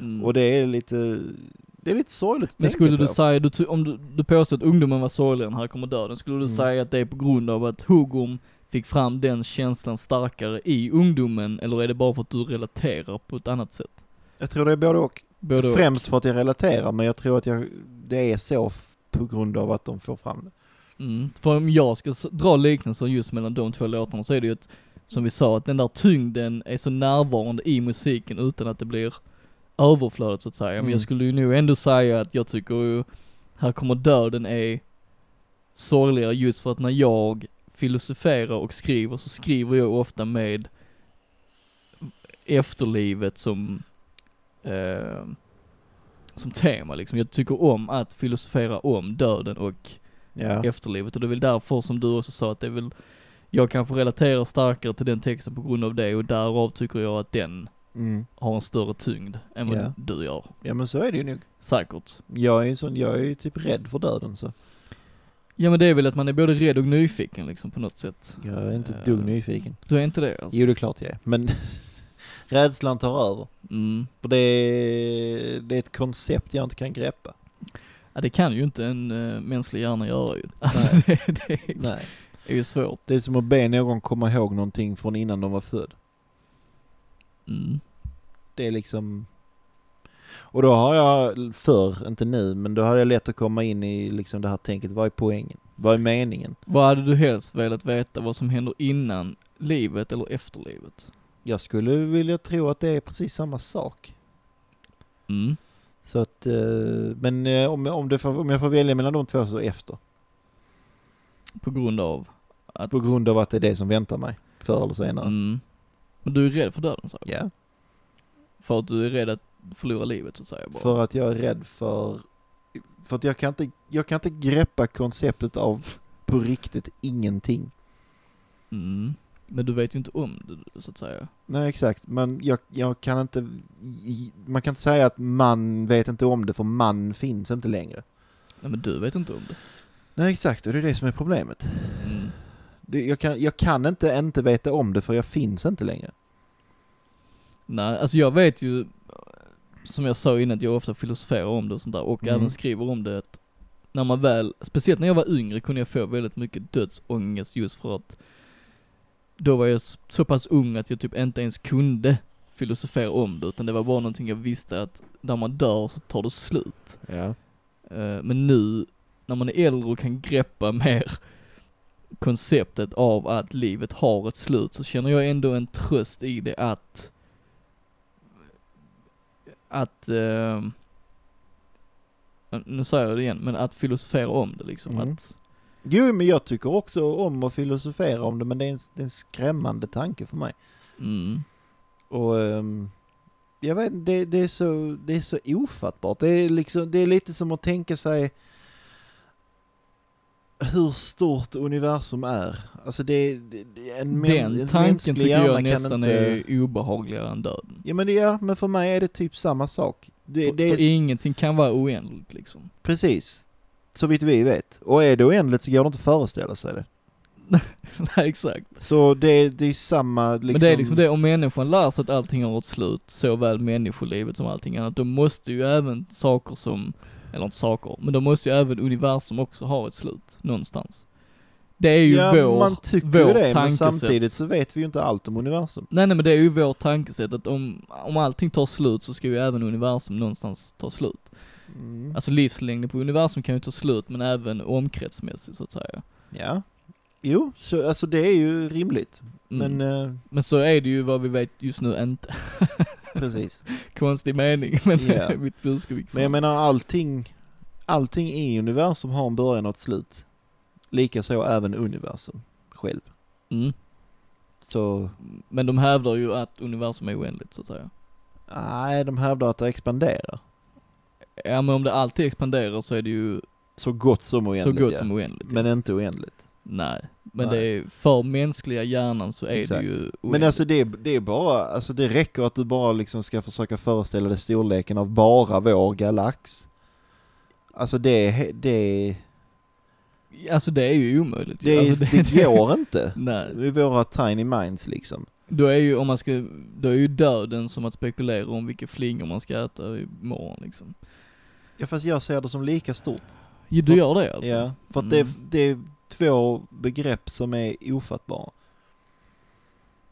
Mm.
Och det är lite, det är lite sorgligt att
Men
tänka
skulle du
på.
säga, du, ty- om du, du påstår att ungdomen var sorgligare än Här kommer döden, skulle du
Mm.
säga att det är på grund av att Hugom fick fram den känslan starkare i ungdomen, eller är det bara för att du relaterar på ett annat sätt?
Jag tror det är både och.
Både och.
Främst för att jag relaterar men jag tror att jag, det är så f- på grund av att de får fram det.
Mm. För om jag ska s- dra liknelsen just mellan de två låtarna så är det ju ett, som vi sa, att den där tyngden är så närvarande i musiken utan att det blir överflödet så att säga. Men
Mm.
jag skulle ju nog ändå säga att jag tycker ju Här kommer döden är sorgligare just för att när jag filosoferar och skriver så skriver jag ofta med efterlivet som eh, som tema liksom. Jag tycker om att filosofera om döden och
Ja.
efterlivet och det är väl därför som du också sa att det är väl jag kanske relaterar starkare till den texten på grund av det och därav tycker jag att den
Mm.
har en större tyngd än vad
Ja.
du gör.
ja, men så är det ju nog.
Säkert.
Jag är, en sån, jag är ju typ rädd för döden så.
Ja men det är väl att man är både rädd och nyfiken liksom på något sätt.
Jag är inte ett dugg
Eh,
nyfiken.
Du är inte det alltså?
Jo, det är klart jag är. Men rädslan tar över.
Mm.
För det är, det är ett koncept jag inte kan greppa.
Ja, det kan ju inte en eh, mänsklig hjärna göra ju. Alltså det, det
Nej.
är ju svårt.
Det är som att be någon komma ihåg någonting från innan de var född.
Mm.
Det är liksom... Och då har jag förr, inte nu, men då hade jag lätt att komma in i liksom det här tänket. Vad är poängen? Vad är meningen?
Vad hade du helst velat veta vad som händer innan livet eller efterlivet?
Jag skulle vilja tro att det är precis samma sak.
Mm.
Så att, eh, men eh, om, om, det får, om jag får välja mellan de två så efter.
På grund av att...
På grund av att det är det som väntar mig. Förr eller senare.
Mm. Men du är rädd för döden så?
Ja.
För att du är rädd att förlora livet så att säga bara?
För att jag är rädd för... För att jag kan inte, jag kan inte greppa konceptet av på riktigt ingenting.
Mm. Men du vet ju inte om det så att säga.
Nej exakt, men jag, jag kan inte... i- Man kan inte säga att man vet inte om det för man finns inte längre.
Nej men du vet inte om det.
Nej exakt, och det är det som är problemet.
Mm.
Det, jag, kan, jag kan inte inte veta om det för jag finns inte längre.
Nej, alltså jag vet ju, som jag sa innan, att jag ofta filosoferar om det och sånt där och
Mm.
även skriver om det att när man väl, speciellt när jag var yngre kunde jag få väldigt mycket dödsångest just för att då var jag så pass ung att jag typ inte ens kunde filosofera om det utan det var bara någonting jag visste att när man dör så tar det slut.
Ja.
Eh, Men nu, när man är äldre och kan greppa mer konceptet av att livet har ett slut, så känner jag ändå en tröst i det att att eh, nu säger jag det igen, men att filosofera om det liksom.
Mm.
Att,
Jo, men jag tycker också om att filosofera om det, men det är en, det är en skrämmande tanke för mig.
mm,
Och ehm, jag vet inte, det, det, är så, det är så ofattbart. Det är, liksom, det är lite som att tänka sig hur stort universum är. Alltså det, det, det en, mäns,
den
en
tanken
mänsklig
tycker
hjärna
jag
kan
nästan
inte...
är obehagligare än döden.
Ja men, det, ja men för mig är det typ samma sak. Det,
för,
det
för
är,
ingenting kan vara oändligt liksom.
precis, så vitt vi vet. Och är det oändligt så går det inte att föreställa sig det.
Nej exakt.
Så det, det är samma liksom...
Men det är liksom det, om människan lär sig att allting har ett slut, såväl människolivet som allting annat, då måste ju även saker som, eller inte saker, men då måste ju även universum också ha ett slut, någonstans. Det är ju
ja,
vår,
man tycker
vår
ju det, men
tankesätt.
samtidigt så vet vi ju inte allt om universum.
Nej nej men det är ju vårt tankesätt att om, om allting tar slut så ska ju även universum någonstans ta slut.
Mm.
Alltså livslängden på universum kan ju ta slut men även omkretsmässigt så att säga.
Ja. Jo, så, alltså det är ju rimligt.
Mm. Men,
Men eh,
men så är det ju vad vi vet just nu inte.
precis.
Konstig mening men det
Ja.
är mitt budskap.
Men jag menar allting, allting i universum har en början och ett slut. Likaså även universum själv.
mm.
Så
Men de hävdar ju att universum är oändligt så att säga.
nej, de hävdar att det expanderar.
Ja men om det alltid expanderar så är det ju
Så gott som oändligt.
så gott
ja.
som oändligt.
Men inte oändligt.
Nej, men
Nej.
det är för mänskliga hjärnan så är
Exakt.
det ju oändligt.
Men alltså det, det är bara, alltså det räcker att du bara liksom ska försöka föreställa dig storleken av bara vår galax. Alltså det, är he- det,
Alltså det är ju omöjligt. ju.
det,
alltså,
det, det går inte.
Nej,
I våra tiny minds liksom.
då är ju om man ska, då är ju döden som att spekulera om vilka flingor man ska äta imorgon liksom.
Ja fast jag ser det som lika stort.
Ja, du
För-
gör det alltså?
Ja, för att
Mm.
det, är, det är två begrepp som är ofattbara.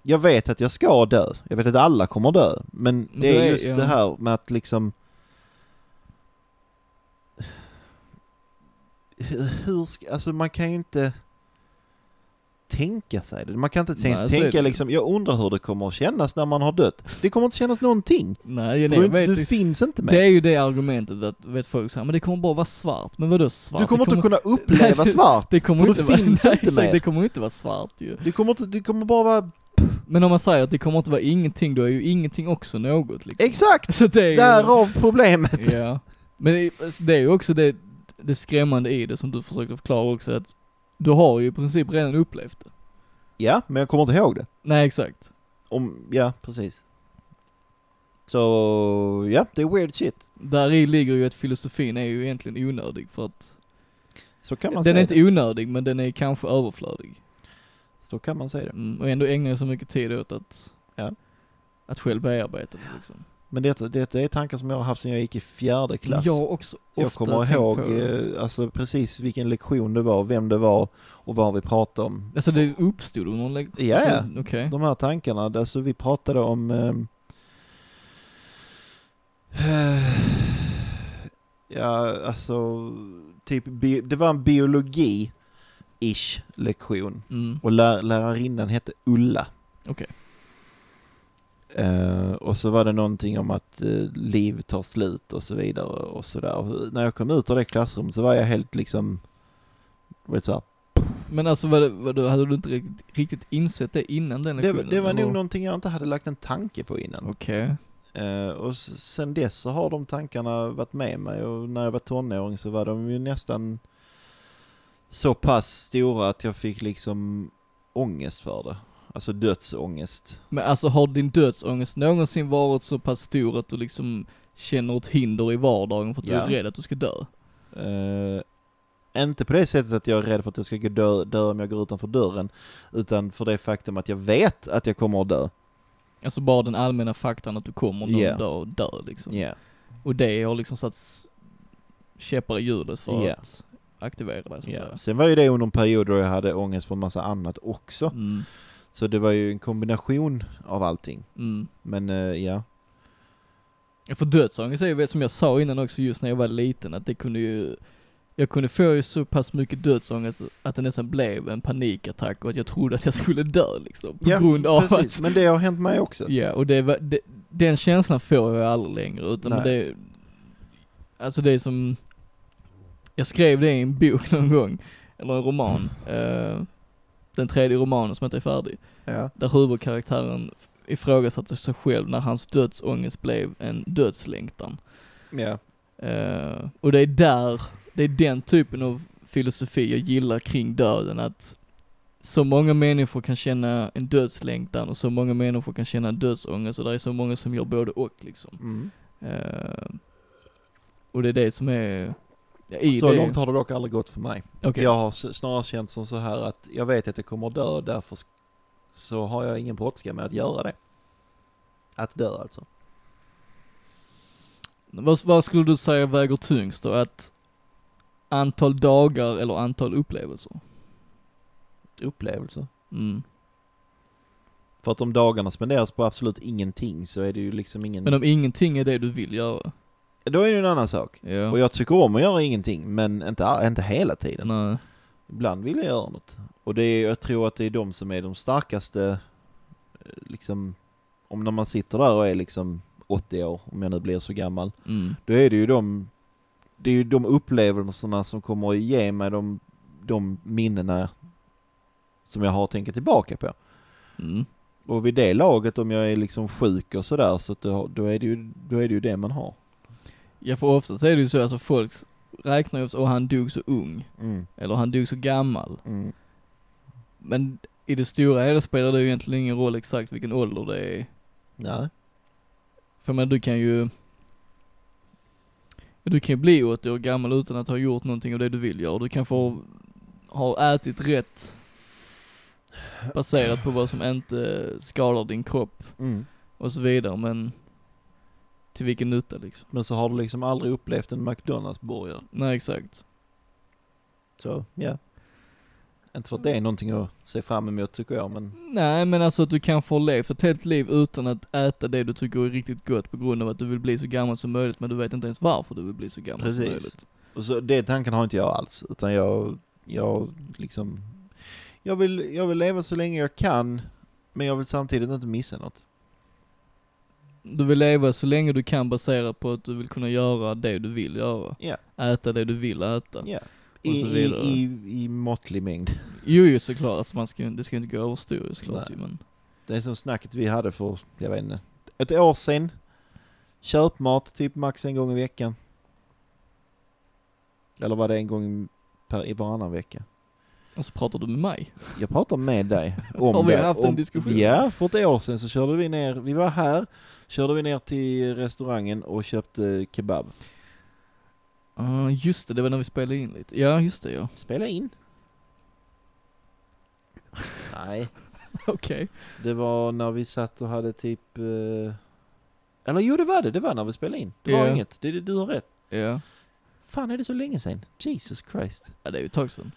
Jag vet att jag ska dö, jag vet att alla kommer dö, men
Men
det
då
är
är-
just
ja.
det här med att liksom... Hur- Hur ska, alltså man kan ju inte tänka sig det. Man kan inte
Nej,
ens
så är
tänka
det.
liksom, jag undrar hur det kommer att kännas när man har dött. Det kommer inte kännas någonting.
Nej, nej,
Du,
jag vet
du
inte.
finns inte med.
Det är ju det argumentet att, vet folk så här, men det kommer bara vara svart. Men vadå svart?
Du kommer
det
inte kunna uppleva
Nej,
svart.
det kommer
för
inte
du finns
vara,
inte
nej,
med.
Det kommer inte vara svart ju.
Det kommer, inte, det kommer bara vara...
Men om man säger att det kommer inte vara ingenting, då är ju ingenting också något liksom.
Exakt!
Så det är ju...
Därav problemet.
Ja. Men det är- alltså, det är ju också det, det skrämmande i det som du försökte förklara också att du har ju i princip redan upplevt det.
Ja, men jag kommer inte ihåg det.
Nej exakt.
Om, ja, precis. Så, ja, det är weird shit.
Där i ligger ju att filosofin är ju egentligen onödig för att
Så kan man
den
säga
är
det.
inte onödig men den är kanske överflödig.
Så kan man säga det.
Mm, och ändå ägnar jag så mycket tid åt att,
Ja.
att själv bearbeta det liksom.
Men detta, detta är tankar som jag har haft sedan jag gick i fjärde klass.
Jag har också ofta
jag kommer
tänkt
ihåg
på det.
eh, alltså, precis vilken lektion det var, vem det var och vad vi pratade om.
Alltså det uppstod någon lek-
Ja, ja.
alltså, Okej.
De här tankarna, alltså vi pratade om... ehm, ja, alltså, typ, bi- det var en biologi-ish lektion.
Mm.
Och lär, lärarinnan hette Ulla.
Okej.
Eh, och så var det någonting om att eh, liv tar slut och så vidare och sådär. Och När jag kom ut ur det klassrummet så var jag helt liksom, du vet så här,
Men alltså vad, vad, hade du inte riktigt, riktigt insett det innan den
det, var-
lektionen?
det var nog
eller?
någonting jag inte hade lagt en tanke på innan.
Okej.
Eh, och s- sen dess så har de tankarna varit med mig och när jag var tonåring så var de ju nästan så pass stora att jag fick liksom ångest för det. Alltså dödsångest.
Men alltså har din dödsångest någonsin varit så pass stor att du liksom känner ett hinder i vardagen för att
Ja.
du är rädd att du ska dö?
Eh, inte på det sättet att jag är rädd för att jag ska gå dö, dö om jag går utanför dörren, utan för det faktum att jag vet att jag kommer att dö.
Alltså bara den allmänna faktan att du kommer någon
Ja.
dag och dör liksom.
Ja,
Och det har liksom satt s- käppar i hjulet för
Ja.
att aktivera dig så att
ja.
säga.
Sen var ju det under en period då jag hade ångest för en massa annat också.
Mm,
Så det var ju en kombination av allting.
mm.
Men eh, ja,
Ja, För dödsångest är ju väl som jag sa innan också just när jag var liten att det kunde ju jag kunde få ju så pass mycket dödsångest att det nästan blev en panikattack och att jag trodde att jag skulle dö liksom. På
Ja,
grund av att
precis. Men det har hänt mig också.
Ja, och det, var- det, den känslan får jag aldrig längre utan
Nej.
det, alltså det är som, jag skrev det i en bok någon gång, eller en roman, eh, den tredje romanen som inte är färdig,
Ja.
där huvudkaraktären ifrågasatte sig själv när hans dödsångest blev en dödslängtan.
Ja.
Eh, och det är där, det är den typen av filosofi jag gillar kring döden, att så många människor kan känna en dödslängtan och så många människor kan känna en dödsångest och det är så många som gör både och liksom.
Mm.
Eh, och det är det som är, ja, i
Så
det.
långt har det dock aldrig gått för mig.
Okej.
Jag har s- snarare känt som så här att jag vet att jag kommer att dö och därför sk- så har jag ingen brådska med att göra det. Att dö alltså.
Vad, vad skulle du säga väger tyngst då? Att antal dagar eller antal upplevelser?
Upplevelse.
Mm.
För att om dagarna spenderas på absolut ingenting så är det ju liksom ingen...
Men om ingenting är det du vill göra?
Då är det ju en annan sak.
Ja.
Och jag tycker om att göra ingenting men inte, a- inte hela tiden.
Nej.
Ibland vill jag göra något. Och det är, jag tror att det är de som är de starkaste, eh, liksom, om när man sitter där och är liksom 80 år, om jag nu blir så gammal,
Mm.
då är det ju de, det är ju de upplevelserna som kommer att ge mig de, de minnena som jag har att tänka tillbaka på.
Mm.
Och vid det laget, om jag är liksom sjuk och sådär, så att då, då, är det ju, då är det ju det man har.
Ja för oftast är det ju så, alltså folk s- räknar ju ofta, åh han dog så ung,
Mm,
eller han dog så gammal.
mm.
Men i det stora hela spelar det ju egentligen ingen roll exakt vilken ålder det är.
Nej.
För men du kan ju, du kan ju bli 80 år gammal utan att ha gjort någonting av det du vill göra. Du kanske har, har ätit rätt baserat på vad som inte skadar din kropp
Mm.
och så vidare men till vilken nytta liksom.
Men så har du liksom aldrig upplevt en McDonalds-burgare.
Nej exakt.
Så ja. Inte för att det är någonting att se fram emot tycker jag men
Nej men alltså att du kanske har levt ett helt liv utan att äta det du tycker är riktigt gott på grund av att du vill bli så gammal som möjligt men du vet inte ens varför du vill bli så gammal
Precis.
som möjligt.
och så, det tanken har inte jag alls utan jag, jag liksom Jag vill, jag vill leva så länge jag kan, men jag vill samtidigt inte missa något.
Du vill leva så länge du kan baserat på att du vill kunna göra det du vill göra.
Ja.
Äta det du vill äta.
Ja.
Och
I,
så
i,
vidare.
i, I måttlig mängd.
Jo, ju såklart. Alltså man ska, ju- det ska ju inte gå överstyr såklart ju, men.
Det är som snacket vi hade för, jag vet inte, ett år sedan. Köpmat typ max en gång i veckan. Eller var det en gång per, i varannan vecka?
Och så pratar du med mig.
Jag pratar med dig om
Har vi
det.
haft en
om,
diskussion?
Ja, för ett år sedan så körde vi ner, vi var här, körde vi ner till restaurangen och köpte kebab.
Ah, just det, det var när vi spelade in lite. Ja, just det ja.
Spela in. Nej,
Okej.
det var när vi satt och hade typ... eh, Eller jo, det var det. Det var när vi spelade in. Det var
Ja.
inget. Det, du har rätt.
Ja.
Fan är det så länge sedan? Jesus Christ.
ja, det är ju ett tag sedan.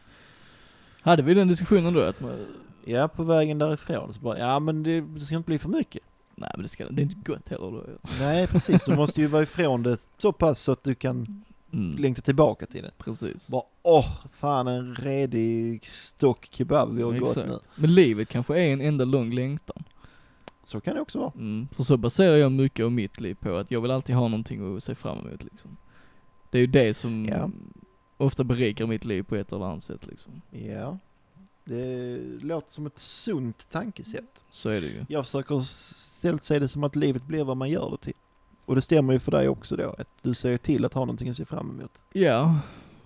Hade vi den diskussionen då? Att man,
Ja, på vägen därifrån så bara, ja men det, det ska inte bli för mycket.
nej men det, ska, det är inte gott heller då. ja.
Nej, precis. Du måste ju vara ifrån det så pass så att du kan
Mm,
längta tillbaka till det.
precis.
Bara, åh, fan en redig stock kebab vi har gått
Exakt.
nu.
Men livet kanske är en enda lång längtan.
Så kan det också vara.
Mm, för så baserar jag mycket av mitt liv på att jag vill alltid ha någonting att se fram emot liksom. Det är ju det som
Ja.
ofta berikar mitt liv på ett eller annat sätt liksom.
Ja. Det låter som ett sunt tankesätt.
Så är det ju.
Jag försöker ställt sig det som att livet blir vad man gör det till. Och det stämmer ju för dig också då, att du ser till att ha någonting att se fram emot.
Ja,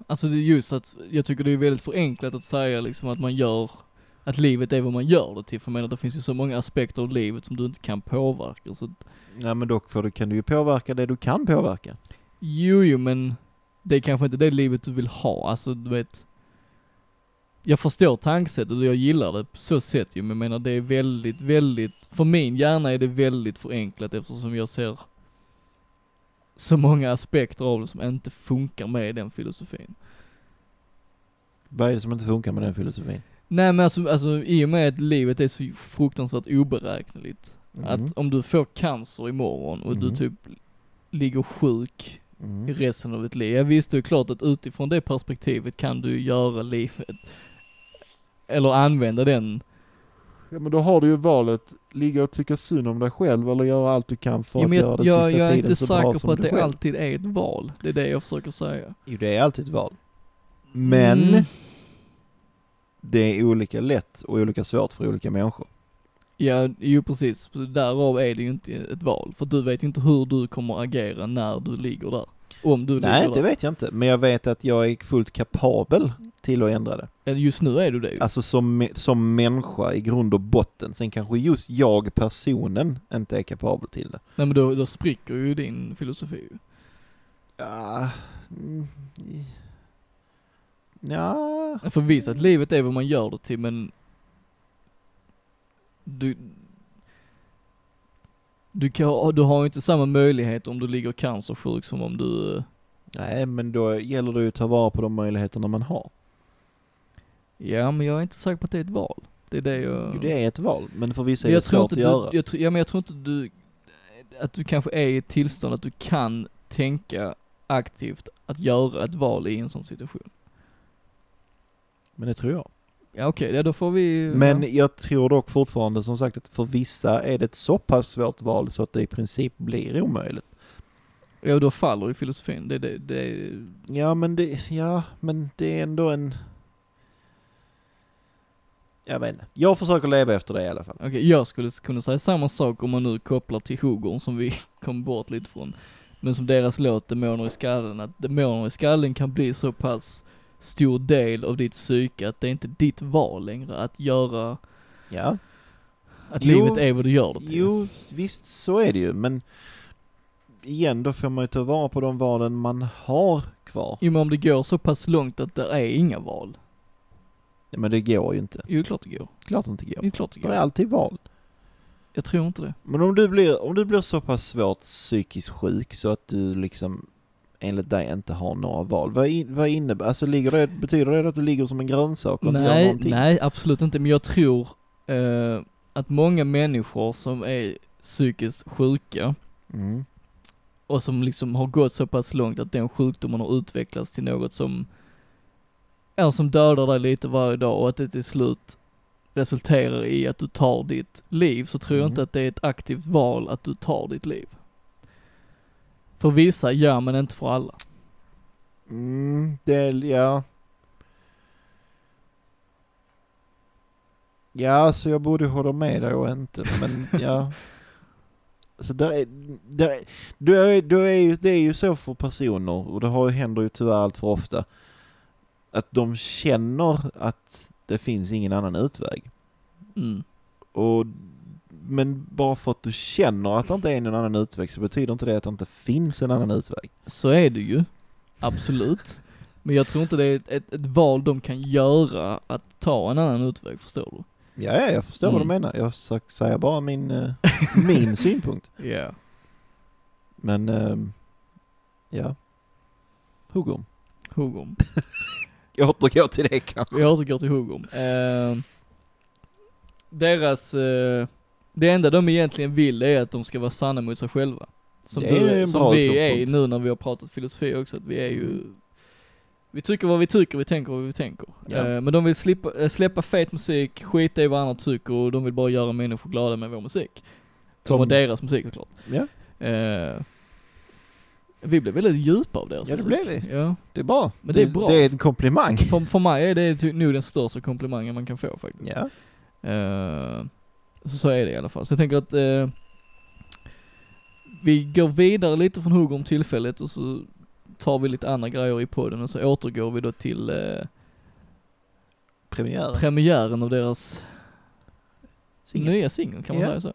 alltså det är just att jag tycker det är väldigt förenklat att säga liksom att man gör, att livet är vad man gör det till. För jag menar det finns ju så många aspekter av livet som du inte kan påverka. Så att,
Nej men dock, för då kan du ju påverka det du kan påverka.
jo, jo men det är kanske inte det livet du vill ha. Alltså du vet, jag förstår tankesättet och jag gillar det på så sätt ju. Men jag menar det är väldigt, väldigt, för min hjärna är det väldigt förenklat eftersom jag ser så många aspekter av det som inte funkar med den filosofin.
Vad är det som inte funkar med den filosofin?
Nej men alltså, alltså i och med att livet är så fruktansvärt oberäkneligt.
Mhm.
Att om du får cancer imorgon och du
Mhm.
typ ligger sjuk
Mm.
i resten av ditt liv. Ja visst, det är klart att utifrån det perspektivet kan du göra livet, eller använda den.
Ja, men då har du ju valet, ligga och tycka synd om dig själv eller göra allt du kan för
Ja,
att
men
göra
jag,
den
jag,
sista
jag är
tiden
inte
så bra
säker
som
på att
du
det
själv.
alltid är ett val. Det är det jag försöker säga.
Jo, det är alltid ett val. Men
Mm,
det är olika lätt och olika svårt för olika människor.
ja, ju precis. Därav är det ju inte ett val. För du vet ju inte hur du kommer agera när du ligger där. Om du
Nej,
ligger
det
där.
vet jag inte. Men jag vet att jag är fullt kapabel till att ändra det.
Ja, Just nu är du det ju.
Alltså som, som människa i grund och botten. Sen kanske just jag, personen, inte är kapabel till det.
Nej men då, då spricker ju din filosofi ju.
Ja, mm, ja,
För Alltså, visst att livet är vad man gör det till men du du, kan, du har ju inte samma möjlighet om du ligger cancersjuk som om du, eh,
nej, men då gäller det ju att ta vara på de möjligheterna man har.
ja men jag är inte säker på att det är ett val. Det är det jag...
Jo, det är ett val, men för vissa är
Men jag
det
tror
svårt
inte
att
du,
göra.
jag, tror- ja, men jag tror inte du, att du kanske är i ett tillstånd att du kan tänka aktivt att göra ett val i en sån situation.
Men det tror jag.
Ja okej, ja, då får vi... ja.
Men jag tror dock fortfarande som sagt att för vissa är det ett så pass svårt val så att det i princip blir omöjligt.
ja då faller ju filosofin. Det, det, det,
Ja, men det, ja, men det är ändå en... Jag vet inte. Jag försöker leva efter det i alla fall.
Okej, jag skulle kunna säga samma sak om man nu kopplar till huggorn som vi kom bort lite från. Men som deras låt Demoner i skallen, att demoner i skallen kan bli så pass stor del av ditt psyke att det är inte ditt val längre att göra,
Ja,
att
Jo,
livet är vad du gör det till.
jo, visst så är det ju, men igen, då får man ju ta vara på de valen man har kvar.
Jo men om det går så pass långt att det är inga val.
Ja, men det går ju inte.
Jo, det är klart det går.
Klart det inte går.
Det är klart det
Det är
går.
alltid val.
Jag tror inte det.
Men om du blir, om du blir så pass svårt psykiskt sjuk så att du liksom enligt dig inte har några val. Vad, in, vad innebär, alltså ligger det, betyder det att du ligger som en grönsak och inte gör
Nej,
någonting?
nej absolut inte. Men jag tror eh, att många människor som är psykiskt sjuka,
Mm.
och som liksom har gått så pass långt att den sjukdomen har utvecklats till något som, ja som dödar dig lite varje dag och att det till slut resulterar i att du tar ditt liv så tror jag
Mm.
inte att det är ett aktivt val att du tar ditt liv. För vissa gör men inte för alla.
Mm, det, är- ja. Ja, så jag borde hålla med dig och inte, men ja. Så där är, där är, då är, då är ju, det är ju så för personer, och det har, ju- händer ju tyvärr allt för ofta, att de känner att det finns ingen annan utväg.
Mm.
Och, men bara för att du känner att det inte är någon annan utväg så betyder inte det att det inte finns en annan utväg.
Så är det ju, absolut. Men jag tror inte det är ett, ett, ett val de kan göra att ta en annan utväg, förstår du?
Ja, ja jag förstår vad du
Mm.
menar. Jag försöker säga bara min, eh, min synpunkt.
Ja.
Men, ehm, ja. Huggorm.
Huggorm.
Jag återgår till det kanske.
Vi återgår till Huggorm. Eh, deras, eh, det enda de egentligen vill är att de ska vara sanna mot sig själva. Som,
Det
du,
är en
som
bra
vi är
utgångspunkt.
nu när vi har pratat filosofi också, att vi är ju vi tycker vad vi tycker, vi tänker vad vi tänker.
Ja.
Eh, men de vill slippa, eh, släppa fet musik, skita i vad andra tycker och de vill bara göra människor glada med vår musik. Som
Som-
och deras musik såklart.
Ja,
Eh, vi blev väldigt djupa av deras
Ja, det
musik.
blev vi.
Ja.
det är bra.
Men det är bra.
Det är en komplimang.
För, för mig är det ty- nog den största komplimangen man kan få faktiskt.
Ja.
Eh, så, så är det i alla fall. Så jag tänker att eh, vi går vidare lite från hugg om tillfället och så tar vi lite andra grejer i podden och så återgår vi då till eh,
Premiären.
premiären av deras
Singel.
nya singel, kan man
Ja.
säga så?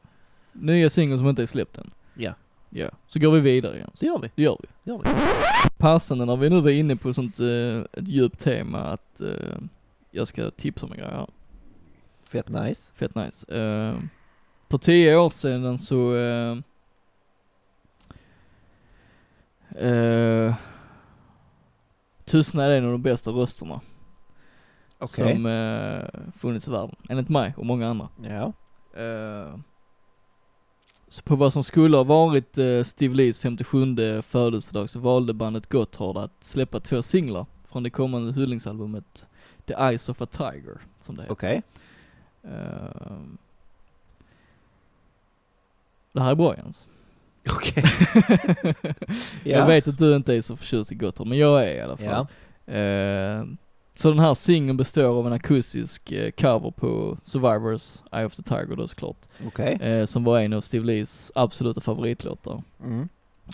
Nya singeln som inte är släppt än.
Ja.
Ja, så går vi vidare igen.
Det gör vi.
Det gör vi.
Det gör vi.
Passande när vi nu var inne på sånt, eh, ett djupt tema att eh, jag ska tipsa om en grej här.
Fett nice.
Fett nice. Eh, på tio år sedan så... eh, eh, Tystnad är en av de bästa rösterna
Okej.
som eh, funnits i världen, enligt mig och många andra.
Ja.
Eh, så på vad som skulle ha varit eh, Steve Lees 57 födelsedag så valde bandet Gotthard att släppa två singlar från det kommande hyllningsalbumet The Eyes of a Tiger, som det heter.
Okej.
Ehm. Det här är bra Jens.
Okej.
Jag
Ja.
vet att du inte är så förtjust i Gotthard, men jag är i alla fall.
Ja.
Ehm, så den här singeln består av en akustisk eh, cover på Survivors Eye of the Tiger då såklart.
Okej.
Eh, som var en av Steve Lees absoluta favoritlåtar.
Mm.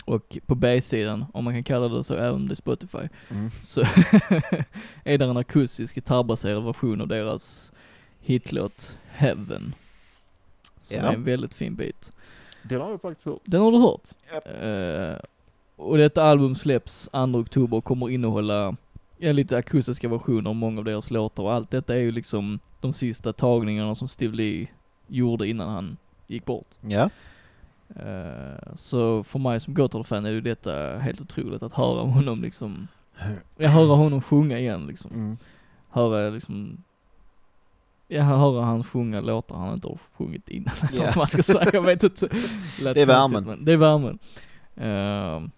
Och på B-sidan, om man kan kalla det så, även om det är Spotify,
Mm.
så är där en akustisk gitarrbaserad version av deras hitlåt Heaven. Som
Ja.
är en väldigt fin bit.
Den har jag faktiskt hört.
Den har du hört?
Japp.
Eh, och detta album släpps 2 oktober och kommer innehålla ja, lite akustiska versioner av många av deras låtar och allt detta är ju liksom de sista tagningarna som Steve Lee gjorde innan han gick bort.
Ja.
Eh, Så för mig som Gotthard-fan är ju detta helt otroligt att höra honom liksom, jag höra honom sjunga igen liksom.
Mm.
Höra liksom, jag höra han sjunga låtar han inte har sjungit innan, eller
Ja.
vad man ska säga, jag vet inte. Lät
Det är värmen.
konstigt, men Det är värmen. Ehm,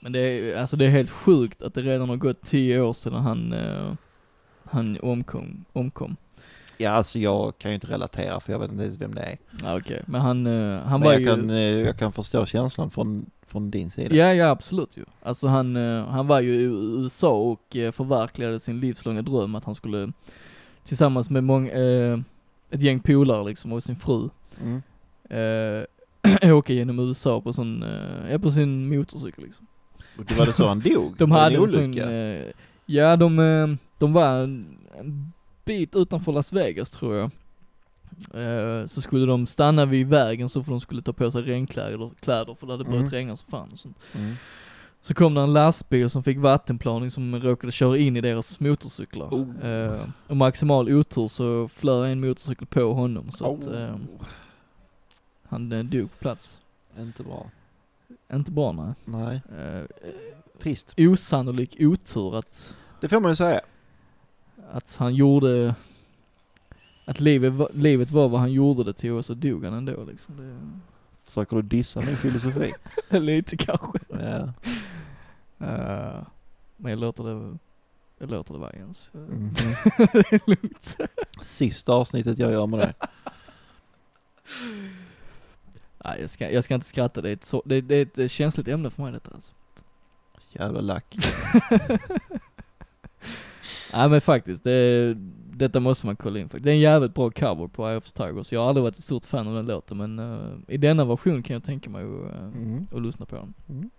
men det är, alltså det är helt sjukt att det redan har gått tio år sedan han, eh, han omkom, omkom.
Ja, alltså jag kan ju inte relatera för jag vet inte ens vem det är.
Ja, okej, men han, eh, han
Men
var
jag,
ju...
kan, eh, jag kan förstå känslan från, från din sida.
Ja, ja absolut ju. Alltså han, eh, han var ju i USA och eh, förverkligade sin livslånga dröm att han skulle tillsammans med många, eh, ett gäng polare liksom och sin fru
Mm.
eh, åka genom USA på sån, eh, ja, på sin motorcykel liksom.
Och Det var det så han dog?
De
Var det
hade
en
en sån,
olycka?
eh, ja de, eh, de var en, en bit utanför Las Vegas tror jag. Eh, så skulle de stanna vid vägen så för de skulle ta på sig regnkläder, kläder, för det hade börjat
Mm.
regna som fan och sånt.
Mm.
Så kom det en lastbil som fick vattenplaning som råkade köra in i deras motorcyklar.
Oh.
Eh, och maximal otur så flög en motorcykel på honom så att
Oh.
eh, han eh, dog på plats.
Inte bra.
Inte bra nej.
Nej,
Eh,
trist.
osannolik otur att,
Det får man ju säga.
att han gjorde, att livet, var- livet var vad han gjorde det till och så dog han ändå liksom.
Försöker du dissa min filosofi?
Det, lite kanske.
ja.
Eh, men jag låter det, jag Jag låter det vara Jens.
Mhm.
det är lugnt.
Sista avsnittet jag gör med det.
Nej, jag ska, jag ska inte skratta. Det är, ett så, det, det är ett känsligt ämne för mig detta alltså.
Jävla lack.
Nej men faktiskt, det, detta måste man kolla in faktiskt. Det är en jävligt bra cover på Eye of the Tiger, så jag har aldrig varit ett stort fan av den låten men eh, i denna version kan jag tänka mig att eh,
Mm.
att lyssna på den.
Mm.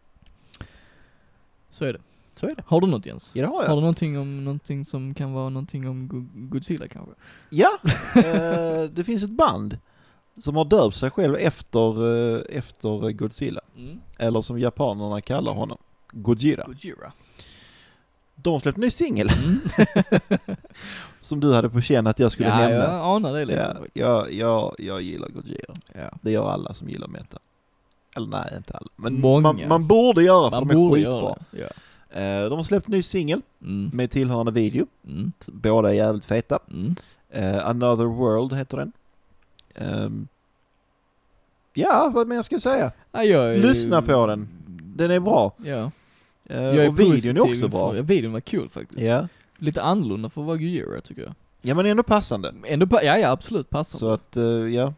Så är det.
Så är det.
Har du något Jens?
Ja, det har jag.
Har du någonting om någonting som kan vara någonting om Go- Godzilla kanske?
Ja, eh, det finns ett band som har döpt sig själv efter, eh, efter Godzilla.
Mm.
Eller som japanerna kallar honom, Gojira.
Gojira.
De släppte en ny singel. som du hade på känn att jag skulle
Mm. ja,
nämna.
jag anar det lite
Ja,
faktiskt.
jag, jag, jag gillar Gojira.
Ja.
Det gör alla som gillar metal. Eller nej, inte alla. Men
Många.
man, man borde göra för
Man
de är
borde
skitbra.
göra det. Ja.
Eh, de har släppt en ny singel
Mm.
med tillhörande video.
Mm.
Båda är jävligt feta.
Mm.
Eh, Another World heter den. Ehm, ja, vad mer ska jag säga?
Ja, jag är-
Lyssna på den. Den är bra.
Ja.
Eh,
Jag är
och videon är
positiv
också bra.
inför- Ja, videon var kul faktiskt.
Ja.
Lite annorlunda för att vara Gojira tycker jag.
ja, men ändå passande.
Ändå, pa- ja ja absolut, passar.
Så att, eh, ja.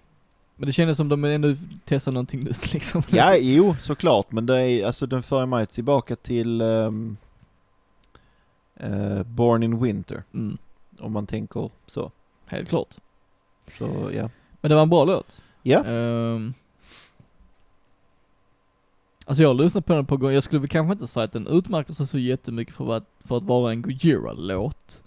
Men det kändes som de ändå testade någonting nytt liksom.
Ja, jo, såklart. Men det är, alltså den för mig tillbaka till ehm, eh, Born in Winter.
Mm,
Om man tänker så.
helt klart.
Så ja.
Men det var en bra låt.
Ja.
Ehm. alltså jag har lyssnat på den på gång. Jag skulle väl kanske inte säga att den utmärker sig så jättemycket för att, för att vara en Gojira-låt.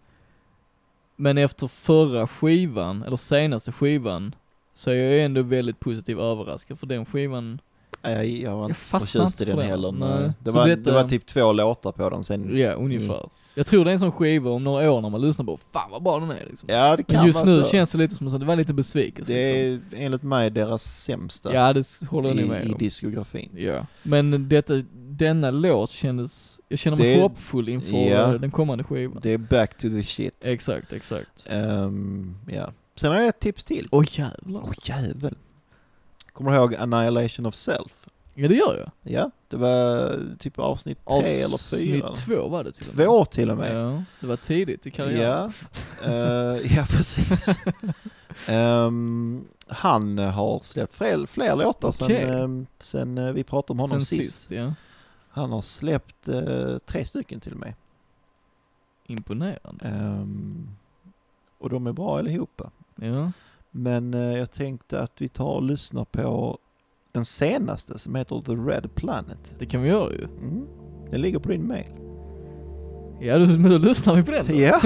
Men efter förra skivan, eller senaste skivan, så är jag ändå väldigt positivt överraskad för den skivan,
Nej, jag var
Jag
inte
fastnar
förtjust
inte
i den
för den,
heller.
alltså, nej.
Nej. Det,
Så
var,
vet
det var
jag-
typ två låtar på den sen. Mm.
ja ungefär. Jag tror det är en sån skiva om några år när man lyssnar på, fan vad bra den är liksom.
Ja, det kan
Men just
vara
nu
så.
känns det lite som att det var lite besvikelse
Det
liksom.
är enligt mig deras sämsta
Ja det håller jag nog med
i, i
om.
diskografin.
Ja, men detta, denna låt kändes, jag känner mig
Det-
hoppfull inför
ja.
eh, den kommande skivan.
Det är back to the shit.
Exakt, exakt.
Ehm, ja. Sen har jag ett tips till.
Åh jävlar.
Åh jävel. Kommer du ihåg Annihilation of Self?
Ja det gör jag.
Ja, det var typ avsnitt tre eller fyra.
Avsnitt två var det till och med.
Två till och med.
Ja, det var tidigt i
Ja,
karriären.
Eh, ja precis. Ehm, han har släppt fler, fler låtar
Okej.
sen, ehm, sen eh, vi pratade om honom
Sen
sist.
sist ja.
Han har släppt eh, tre stycken till och med.
Imponerande.
Ehm, och de är bra allihopa.
Ja.
Men eh, jag tänkte att vi tar och lyssnar på den senaste som heter The Red Planet.
Det kan vi göra ju.
Mm. Den ligger på din mail.
Ja, du, men då lyssnar vi på den då.
Ja.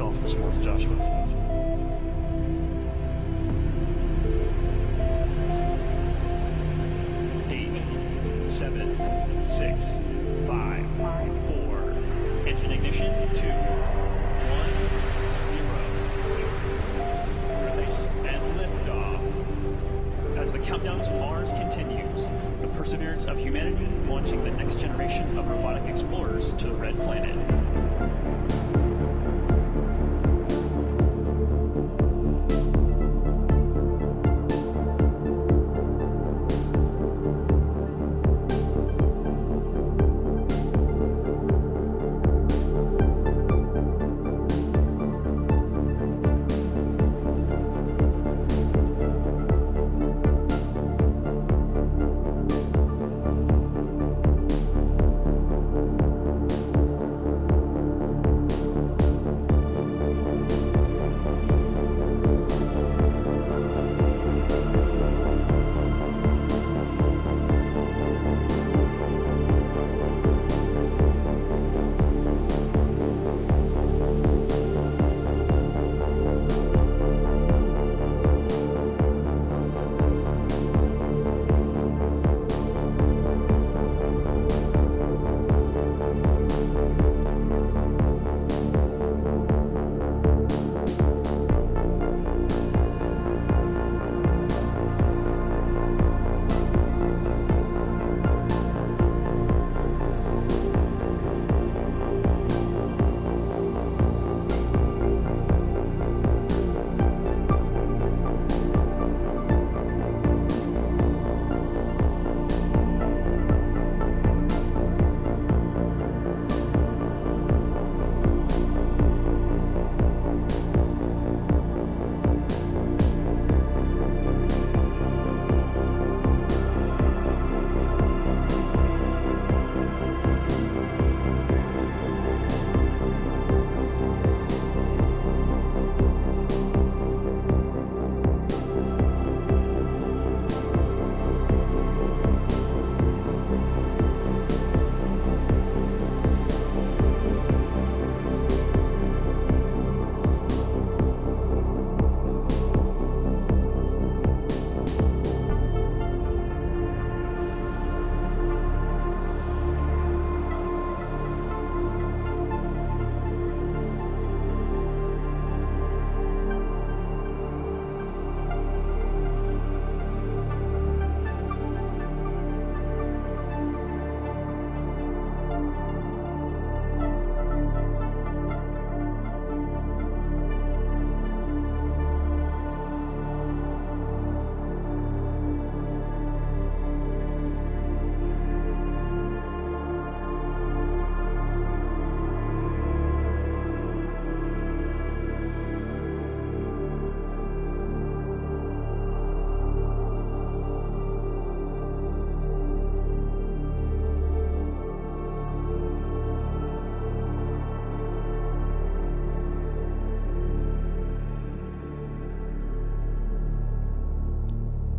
off this morning, Joshua. Eight, seven, six, five, four. Engine ignition, two, one, zero. Relay and liftoff. As the countdown to Mars continues, the perseverance of humanity launching the next generation of robotic explorers to the Red Planet.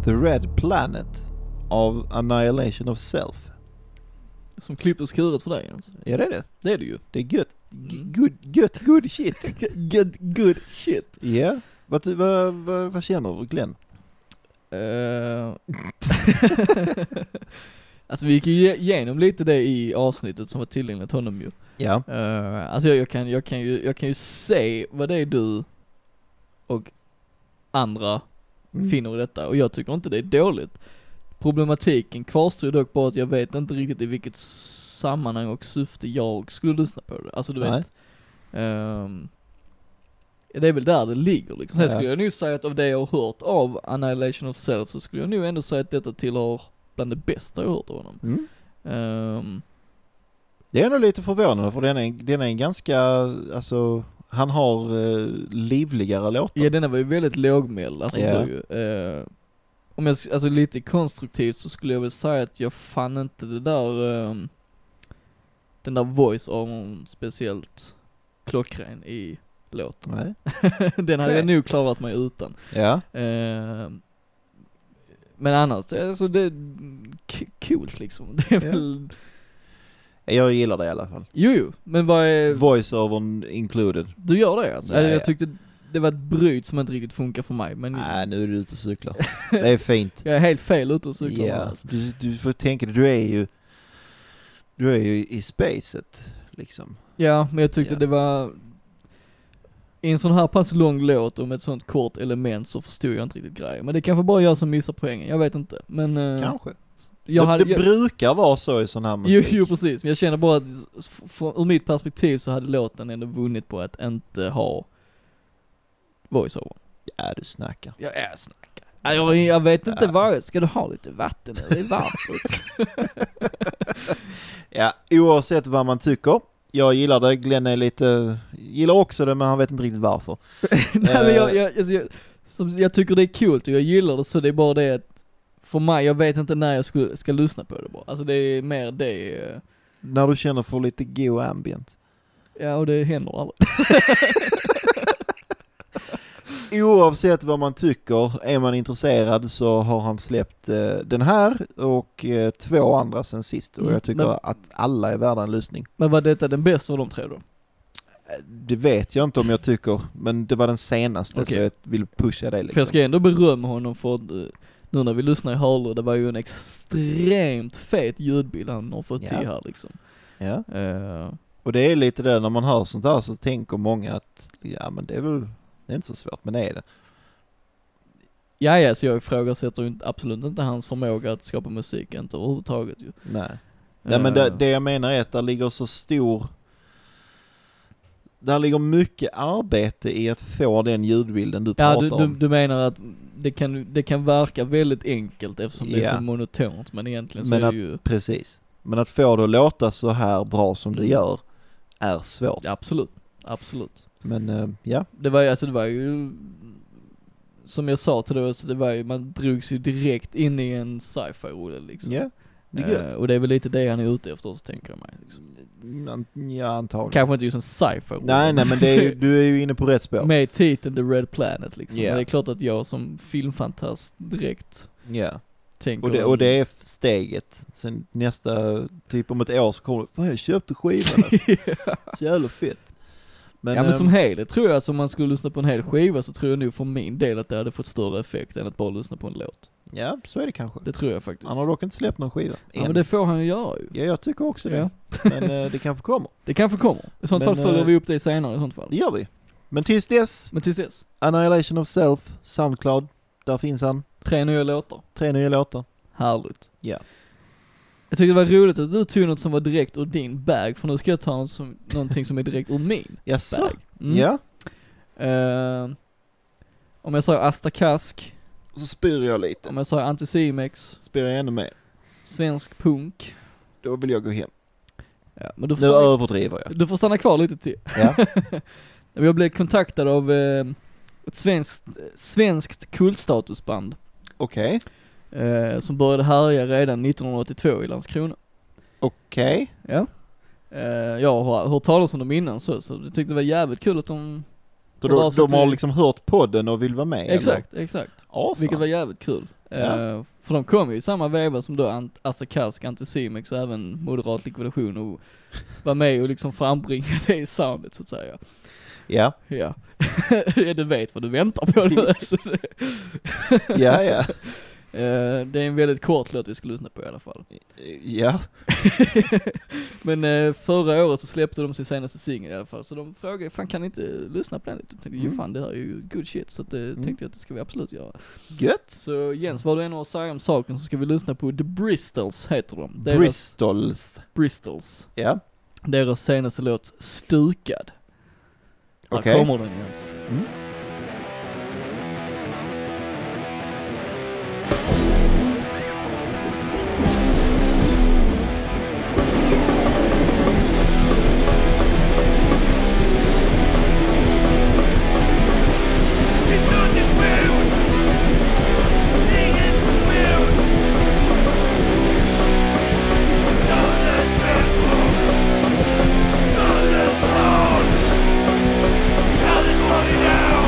The Red Planet av Annihilation of Self.
Som klippt och skuret för dig alltså.
Ja det är det.
Det är det ju.
Det är gött. G-
Mm.
Good, gött, good shit.
Good, good shit.
Ja. Vad, vad, vad, vad känner du Glenn?
Eh. alltså vi gick ju ge- igenom lite det i avsnittet som var tillägnat honom ju.
Ja.
Eh, alltså jag, jag, kan, jag, kan ju, jag kan ju se vad det är du och andra
Mm.
finner i detta och jag tycker inte det är dåligt. Problematiken kvarstår ju dock bara att jag vet inte riktigt i vilket sammanhang och syfte jag skulle lyssna på det. Alltså du
Nej.
vet. ehm, ja, det är väl där det ligger liksom. Sen
Ja.
skulle jag nog säga att av det jag har hört av Annihilation of Self så skulle jag nog ändå säga att detta tillhör bland det bästa jag hört av honom.
Mm.
Ehm,
Det är nog lite förvånande för den är, den är en ganska, alltså, han har eh, livligare låtar.
Ja denna var ju väldigt lågmäld, alltså
Ja.
så ju. Eh, om jag, s- alltså lite konstruktivt så skulle jag väl säga att jag fann inte det där, ehm, den där voice armon speciellt klockren i låten.
Nej.
den hade jag
Okej.
nog klarat mig utan.
Ja.
Eh, men annars, alltså det, är k- coolt liksom. Det är
Ja.
väl,
Jag gillar det i alla fall.
Jo, jo, men vad är,
Voice-overn included.
du gör det alltså? Eller
Nej.
jag tyckte det var ett bryt som inte riktigt funkar för mig, men
Nej, nu är du ute och cyklar. Det är fint.
Mm. jag är helt fel ute och
Ja,
cyklar yeah. alltså.
du, du får tänka dig, du är ju, du är ju i spacet liksom.
Ja, men jag tyckte
Ja.
det var, i en sån här pass lång låt om ett sånt kort element så förstod jag inte riktigt grejen. Men det kanske bara jag som missar poängen, jag vet inte. Men, eh,
Kanske.
jag
det
hade,
det
jag,
brukar vara så i sån här
jo,
musik.
jo precis, men jag känner bara att f- från, ur mitt perspektiv så hade låten ändå vunnit på att inte ha voiceover.
Ja, du snackar.
Jag är snackar. Ja, Jag, jag vet inte
Ja.
vad, ska du ha lite vatten eller varmt?
Ja, oavsett vad man tycker. Jag gillar det, Glenn är lite, gillar också det men han vet inte riktigt varför.
Nej men jag, jag, alltså, jag, som, jag tycker det är kul och jag gillar det så det är bara det att för mig, jag vet inte när jag skulle, ska lyssna på det bara. Alltså det är mer det, eh,
När du känner för lite go ambient.
ja och det händer aldrig.
Oavsett vad man tycker, är man intresserad så har han släppt eh, den här och eh, två andra sen sist och
Mm,
jag tycker
men-
att alla är värda en lyssning.
Men var detta den bästa av de tre då?
Eh, Det vet jag inte om jag tycker, men det var den senaste
Okej.
så jag vill pusha dig
För
liksom.
jag ska ändå berömma honom för att, eh, nu när vi lyssnar i hörlurar, det var ju en extremt fet ljudbild han har fått
Ja.
till här liksom.
Ja.
Eh,
Och det är lite det, när man hör sånt här så tänker många att ja men det är väl, det är inte så svårt, men det är det.
ja, ja, så jag ifrågasätter ju inte- absolut inte hans förmåga att skapa musik, inte överhuvudtaget ju.
Nej. Nej men
Eh.
det, det jag menar är att där ligger så stor, där ligger mycket arbete i att få den ljudbilden du
Ja,
pratar
du, du,
om.
du menar att det kan, det kan verka väldigt enkelt eftersom det är
Ja.
så monotont, men egentligen
Men
så är
att-
det ju,
Precis. Men att få det att låta så här bra som det gör är svårt.
ja, absolut, absolut.
Men eh, ja,
Det var ju, alltså det var ju, som jag sa till dig, alltså det var ju, man drogs ju direkt in i en sci-fi-rulle liksom.
ja, det är gött.
Eh, och det är väl lite det han är ute efter, så tänker jag mig. Liksom.
An- Ja, antagligen.
Kanske inte just en sci-fi
Nej, nej men det är ju, du är ju inne på rätt spår.
Med titeln The Red Planet liksom.
Ja.
Men det är klart att jag som filmfantast direkt
Ja.
tänker...
Och det, och det är steget. Sen nästa, typ om ett år så kommer det, fan jag köpte skivan alltså. Så jävla fett. Men,
ja men
ehm,
som helhet tror jag, alltså om man skulle lyssna på en hel skiva så tror jag nog för min del att det hade fått större effekt än att bara lyssna på en låt.
ja, så är det kanske.
Det tror jag faktiskt.
Han har dock inte släppt någon skiva.
Ja
än.
men det får han ju göra ju.
Ja, jag tycker också det.
Ja.
Men eh, det kanske kommer.
Det kanske kommer. I sånt
Men,
fall följer
eh,
vi upp det senare i sånt fall.
Det gör vi. Men tills dess,
Men tills dess,
Annihilation of Self, Soundcloud, där finns han.
tre nya låtar.
Tre nya låtar.
Härligt.
Ja.
Jag tyckte det var roligt att du tog något som var direkt ur din bag, för nu ska jag ta en som, någonting som är direkt ur min
Jaså?
bag. Mm.
Ja,
Eh, om jag säger Asta Kask,
så spyr jag lite.
om jag säger Anticimex,
Spyr jag ännu mer,
svensk punk.
då vill jag gå hem.
Ja, men du får,
Nu överdriver jag.
du får stanna kvar lite till.
Ja.
Jag blev kontaktad av eh, ett svenskt, svenskt kultstatusband
Okej,
eh, som började härja redan 1982 i Landskrona.
okej.
Ja. Eh, jag har hört talas om dem innan så, så jag tyckte det var jävligt kul att de...
Så
Det var
då-
för att
De har
du-
liksom hört podden och vill vara med? eller?
Exakt, exakt.
Ja,
Vilket
fan.
var jävligt kul. Eh,
Ja.
För de kom ju i samma veva som då Ant- Assa Kask, Anticimex och även Moderat Likvidation och var med och liksom frambringade det i soundet så att säga.
Ja,
Ja. ja du vet vad du väntar på nu alltså.
ja, ja.
Eh, det är en väldigt kort låt vi ska lyssna på i alla fall.
Ja,
Men eh, förra året så släppte de sin senaste singel i alla fall, så de frågade, fan kan ni inte lyssna på den lite? Jag tänkte, jo
Mm.
fan det här är ju good shit, så att det tänkte jag att det ska vi absolut göra.
gött.
Så Jens, vad du än har att säga om saken så ska vi lyssna på The Bristols heter de. Deras,
Bristols.
Bristols.
Ja,
Deras senaste låt, Stukad. Där
Okej.
kommer den Jens.
Down!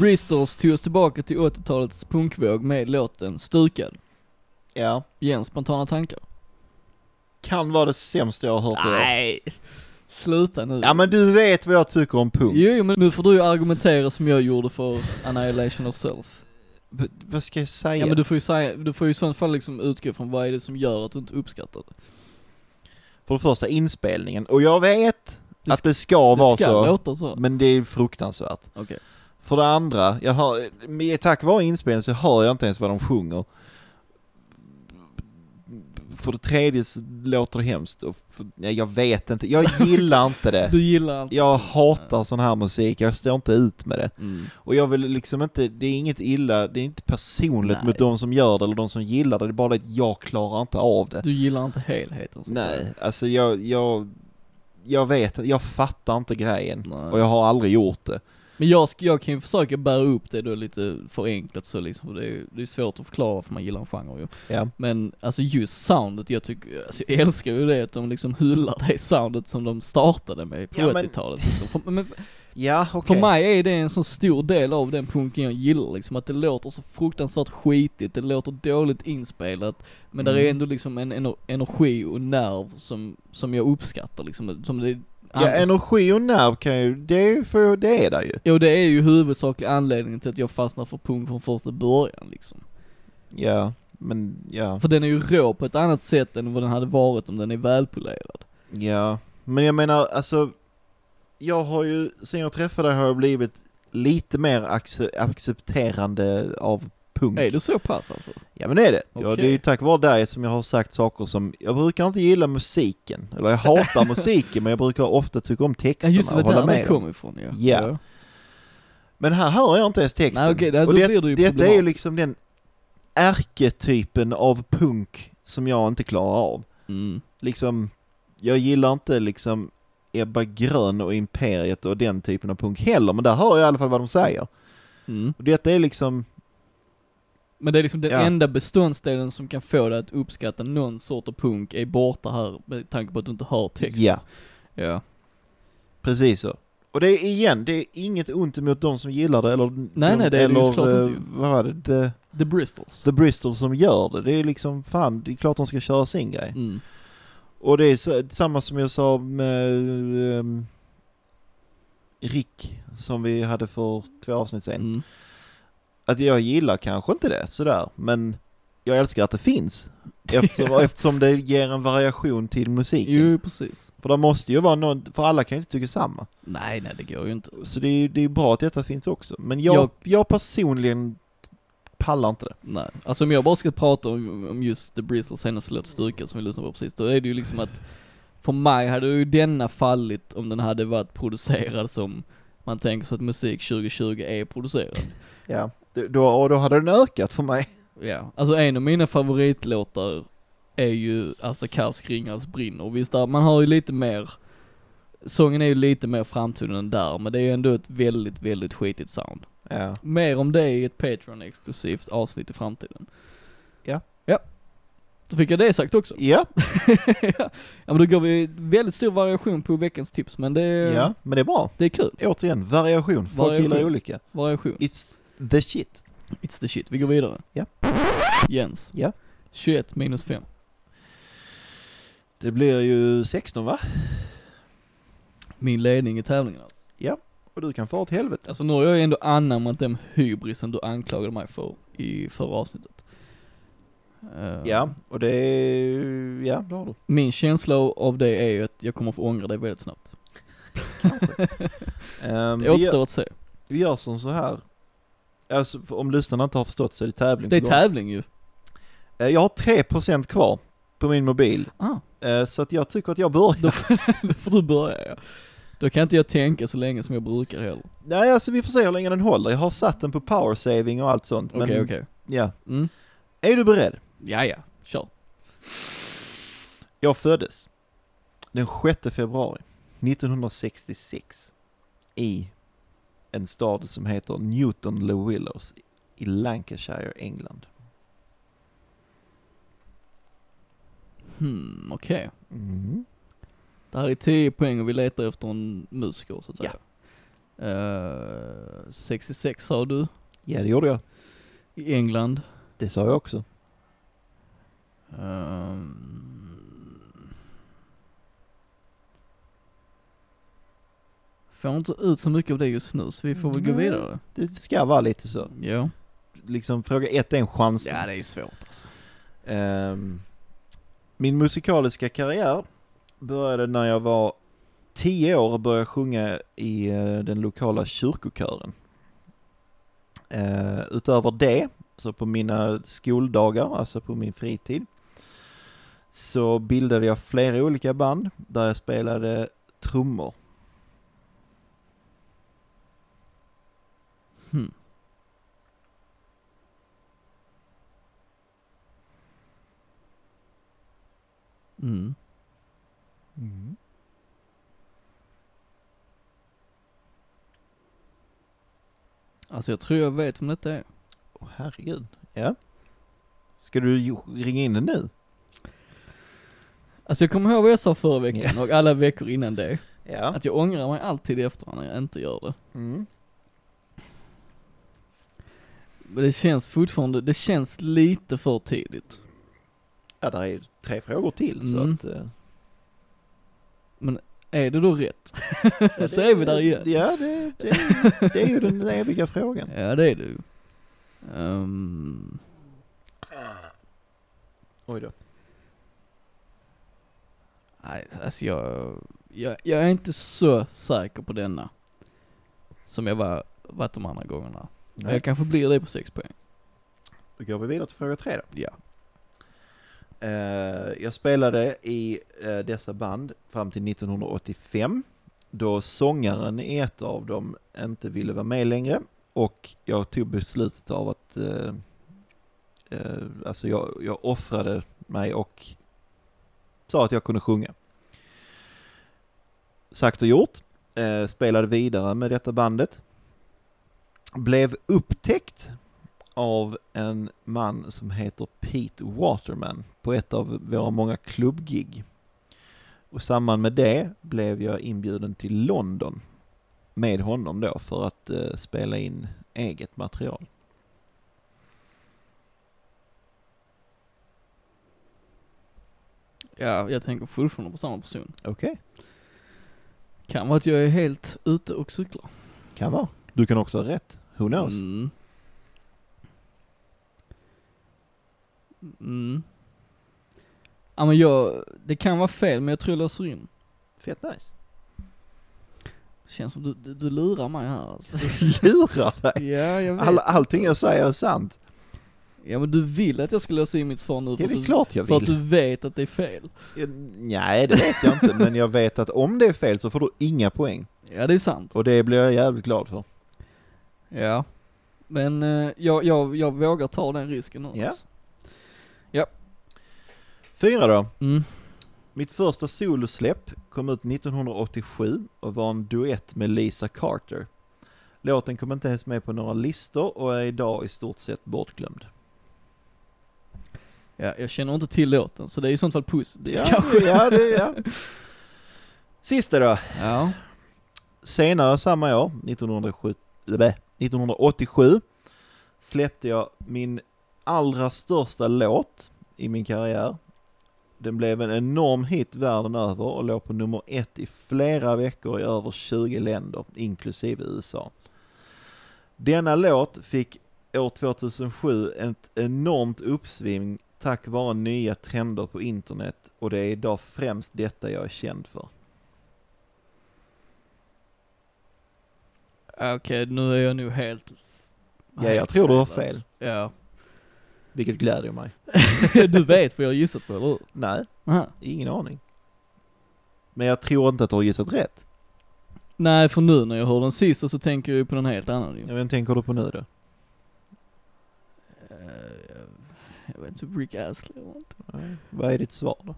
Sisters tog oss tillbaka till 80-talets punkvåg med låten Stukad.
Ja.
Igen, spontana tankar?
Kan vara det sämsta jag har hört i år.
Nej! Sluta nu.
Ja men du vet vad jag tycker om punk.
Jo, jo, men nu får du ju argumentera som jag gjorde för Annihilation of Self.
V- vad ska jag säga?
Ja men du får ju säga, du får ju i sådant fall liksom utgå från vad är det som gör att du inte uppskattar det.
För det första inspelningen, och jag vet
Det
att det ska vara
Det ska
så,
låta så. Okej.
men det är fruktansvärt. För det andra, jag hör, med- tack vare inspelningen så hör jag inte ens vad de sjunger. För det tredje så låter det hemskt. Och för, nej, jag vet inte, jag gillar inte det.
Du gillar inte...
Jag hatar sån här musik, jag står inte ut med det.
Mm.
Och jag vill liksom inte, det är inget illa, det är inte personligt
Nej.
mot de som gör det eller de som gillar det, det är bara det att jag klarar inte av det.
Du gillar inte helheten. så att säga.
Nej, alltså jag, jag, jag vet inte, jag fattar inte grejen.
Nej.
Och jag har aldrig gjort det.
Men jag, sk- jag kan ju försöka bära upp det då lite förenklat så liksom, för det är, ju- det är svårt att förklara för man gillar en genre ju.
Ja.
Men alltså just soundet, jag tycker, alltså, jag älskar ju det att de liksom hyllar det soundet som de startade med på
Ja, men-
80-talet liksom. för, men för
Ja, okej.
för mig är det en så stor del av den punken jag gillar liksom, att det låter så fruktansvärt skitigt, det låter dåligt inspelat, men där är
Mm.
ändå liksom en ener- energi och nerv som, som jag uppskattar liksom, som det
Ja, energi och nerv kan ju, det är ju för det är där ju.
Jo det är ju huvudsaklig anledningen till att jag fastnar för punk från första början liksom.
Ja, men ja,
För den är ju rå på ett annat sätt än vad den hade varit om den är välpolerad.
ja. Men jag menar alltså, jag har ju, sen jag träffade dig har jag blivit lite mer acce- accepterande av punk.
Är det så pass alltså?
Ja men det är det. Ja,
Okej.
det är ju tack vare dig som jag har sagt saker som, jag brukar inte gilla musiken, eller jag hatar musiken men jag brukar ofta tycka om
Ja
texterna
just det,
och
det var
hålla
där
med.
den kom ifrån ja.
Ja.
Ja.
Men här hör jag inte ens texten.
Nej okej, där-
och
då
det,
blir det ju
detta är ju
problematiskt.
liksom den ärketypen av punk som jag inte klarar av.
Mm.
liksom, jag gillar inte liksom Ebba Grön och Imperiet och den typen av punk heller, men där hör jag i alla fall vad de säger.
Mm.
Och detta är liksom,
Men det är liksom den
Ja.
enda beståndsdelen som kan få dig att uppskatta någon sort av punk är borta här med tanke på att du inte hör texten.
ja,
Ja.
precis så. Och det är igen, det är inget ont emot de som gillar det eller... de,
nej, det är det ju
eller,
såklart inte
eh,
ju.
Vad var det? The,
The Bristols.
The Bristol som gör det. Det är liksom, fan, det är klart de ska köra sin grej.
Mm.
Och det är så, samma som jag sa med ehm, Rick, som vi hade för två avsnitt sedan.
Mm.
att jag gillar kanske inte det sådär, men jag älskar att det finns. Eftersom, eftersom det ger en variation till musiken.
Jo precis.
För det måste ju vara någon, för alla kan ju inte tycka samma.
Nej nej det går ju inte.
Så det är ju det är bra att detta finns också. Men jag, jag...
Jag-
personligen pallar inte det.
Nej, alltså om jag bara ska prata om, om just The Bristles senaste låt Styrka som vi lyssnade på precis, då är det ju liksom att för mig hade ju denna fallit om den hade varit producerad som man tänker sig att musik 2020 är producerad.
Ja. Det- Då, och då hade den ökat för mig.
Ja, alltså en av mina favoritlåtar är ju Assa Karsk Ringars brinner. Visst, där, man har ju lite mer, sången är ju lite mer framtonen där, men det är ju ändå ett väldigt, väldigt skitigt sound.
Ja.
Mer om det i ett Patreon-exklusivt avsnitt i framtiden.
Ja.
Ja. Så fick jag det sagt också.
Ja,
ja men då gav vi väldigt stor variation på veckans tips, men det,
ja, men det är bra.
det är kul.
Återigen, variation. Folk
Variation.
gillar olika.
Variation.
It's the shit.
It's the shit. Vi går vidare.
Ja.
Jens.
Ja.
21 minus 5.
Det blir ju 16 va?
Min ledning i tävlingen alltså.
Och du kan få åt helvete.
Alltså nu har jag ju ändå anammat den hybrisen du anklagade mig för i förra avsnittet. Eh,
Ja, och det är... Ja, det har du.
Min känsla av det är ju att jag kommer få ångra det väldigt snabbt.
Ehm,
Det
vi gör-
återstår att se.
Vi gör som så här. Alltså, för- om lyssnarna inte har förstått så är det tävling.
Det är
på gång.
tävling ju.
Eh, Jag har 3% kvar på min mobil.
Ah.
eh, Så att jag tycker att jag börjar.
Då får, då får du börja ja. Då kan inte jag tänka så länge som jag brukar heller.
Nej, alltså vi får se hur länge den håller. Jag har satt den på power saving och allt sånt.
Okej,
men
okej.
ja.
Mm.
Är du beredd?
Ja, ja. Kör.
Jag föddes den 6 februari 1966 i en stad som heter Newton Le Willows i Lancashire, England.
Hmm, okej.
Mm.
Det här är 10 poäng och vi letar efter en musiker så att säga. Ja. 66 sa Eh, du.
Ja, det gjorde jag.
i England.
Det sa jag också.
Ehm. Får inte ut så mycket av det just nu, så vi får väl gå
Nej.
vidare.
Det ska vara lite så.
Ja.
Liksom fråga ett är en chans.
Ja, det är svårt alltså.
Ehm, min musikaliska karriär började när jag var tio år och började sjunga i eh, den lokala kyrkokören. Eh, utöver det, så på mina skoldagar, alltså på min fritid, så bildade jag flera olika band där jag spelade trummor.
Hmm. Mm. Alltså jag tror jag vet vem detta är.
Åh, herregud, ja. Ska du ju- ringa in den nu?
Alltså jag kommer ihåg vad jag sa förra veckan och alla veckor innan det.
Ja.
Att jag ångrar mig alltid i efterhand när jag inte gör det.
Mm.
Men det känns fortfarande, det känns lite för tidigt.
Ja, där är tre frågor till så
Mm.
att... eh,
Är det då rätt?
Ja,
Så är vi där igen.
Ja, det, det, det är ju den eviga frågan.
Ja det är det ju. Ehm,
Oj då.
nej, alltså jag, jag, jag är inte så säker på denna. Som jag var, varit de andra gångerna. Men
Nej,
jag kanske blir det på 6 poäng.
då går vi vidare till fråga tre då.
Ja.
Eh, jag spelade i eh, dessa band fram till 1985 då sångaren i ett av dem inte ville vara med längre och jag tog beslutet av att eh, eh, alltså jag, jag offrade mig och sa att jag kunde sjunga. Sagt och gjort. Eh, spelade vidare med detta bandet. Blev upptäckt av en man som heter Pete Waterman på ett av våra många klubbgig. Och i samband med det blev jag inbjuden till London med honom då för att eh, spela in eget material.
Ja, jag tänker fortfarande på samma person.
Okej,
Kan vara att jag är helt ute och cyklar.
kan vara. Du kan också ha rätt. Who knows?
Mm. Mm. Ja men jag, det kan vara fel men jag tror jag löser in.
Fett nice.
Känns som du, du, du lurar mig här alltså.
Lurar dig!
ja jag vet.
All, allting jag säger är sant.
Ja men du vill att jag ska lösa in mitt svar nu
Ja,
för, att
det är
du,
klart jag
för att
vill.
du vet att det är fel.
Ja, Nej, det vet jag inte, men jag vet att om det är fel så får du inga poäng.
Ja det är sant.
Och det blir jag jävligt glad för.
Ja. Men eh, jag, jag, jag vågar ta den risken nu
Ja.
alltså.
Fyra då.
Mm.
Mitt första solosläpp kom ut 1987 och var en duett med Lisa Carter. Låten kom inte ens med på några listor och är idag i stort sett bortglömd.
Ja, jag känner inte till låten så det är i sånt fall positivt
Ja,
kanske.
ja, det, ja. Sista då.
Ja.
Senare samma år, 1907, blä, 1987, släppte jag min allra största låt i min karriär. Den blev en enorm hit världen över och låg på nummer ett i flera veckor i över 20 länder, inklusive USA. Denna låt fick år 2007 ett enormt uppsving tack vare nya trender på internet och det är idag främst detta jag är känd för.
Okej, nu är jag nog helt...
Ja, jag tror du har
alltså.
fel.
Ja.
Vilket gläder mig.
du vet vad jag har gissat på, eller hur?
Nej,
Aha.
ingen aning. Men jag tror inte att du har gissat rätt.
Nej, för nu när jag hör den sista så tänker jag ju på någon helt annan. ju.
Ja, Vem tänker du på nu då?
Eh, Jag vet inte, Rick Astley eller något.
Nej. Vad är ditt svar då?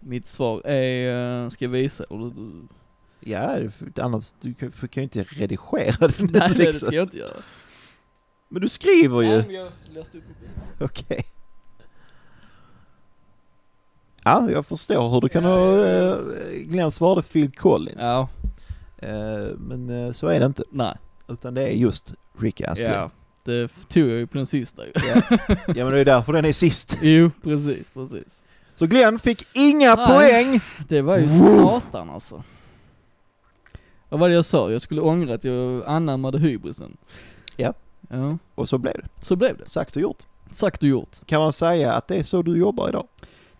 Mitt svar är, eh, ska jag visa eller du- du?
Ja, det är för- annars du kan för kan ju inte redigera den
Nej,
nu,
det
liksom.
ska jag inte göra.
Men du skriver ju.
Nej, men jag läste upp
Okej. Ja, jag förstår hur du kan
Ja,
ha...
ja, ja.
eh, Glenn svarade Phil Collins.
Ja,
Eh, men eh, så är det inte.
nej.
Utan Alltså, det är just Rick Astley.
Ja. det f- tog jag ju på den sista ju.
Ja. ja, men det är därför den är sist.
Jo, precis, precis.
Så Glenn fick inga
Nej.
poäng!
Det var ju satan alltså. Vad var det jag sa? Jag skulle ångra att jag anammade hybrisen.
Ja.
Ja,
Och så blev det.
så blev det.
Sagt och gjort.
Sagt och gjort.
Kan man säga att det är så du jobbar idag?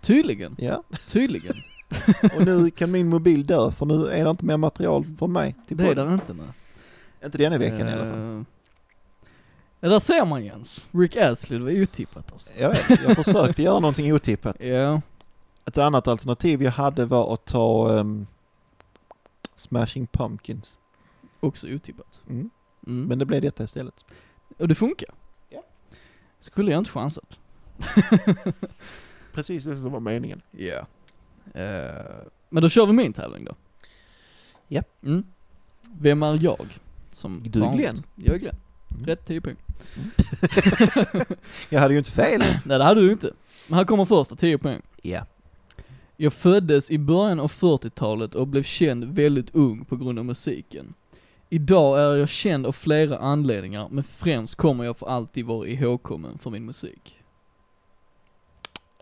Tydligen,
Ja.
tydligen.
Och nu kan min mobil dö, för nu är det inte mer material från mig till
Det är
podden.
den inte med.
Inte denna veckan i alla fall.
Ja, där ser man Jens. Rick Astley, det var otippat alltså.
Jag, vet, jag försökte göra någonting otippat.
Ja,
Ett annat alternativ jag hade var att ta ehm, Smashing Pumpkins.
också otippat.
Mm.
Mm.
Men det blev detta istället.
Och det funkar.
Ja.
Skulle jag inte chansat.
Precis det som var meningen.
Ja. men då kör vi min tävling då.
Ja.
Mm. Vem är jag? Som
Du är
vanligt?
Glenn.
Jag är Glenn.
Mm.
Rätt 10 poäng.
Jag hade ju inte fel.
Nej det hade du inte. Men här kommer första 10 poäng.
Ja.
Jag föddes i början av 40-talet och blev känd väldigt ung på grund av musiken. Idag är jag känd av flera anledningar, men främst kommer jag för alltid vara ihågkommen för min musik.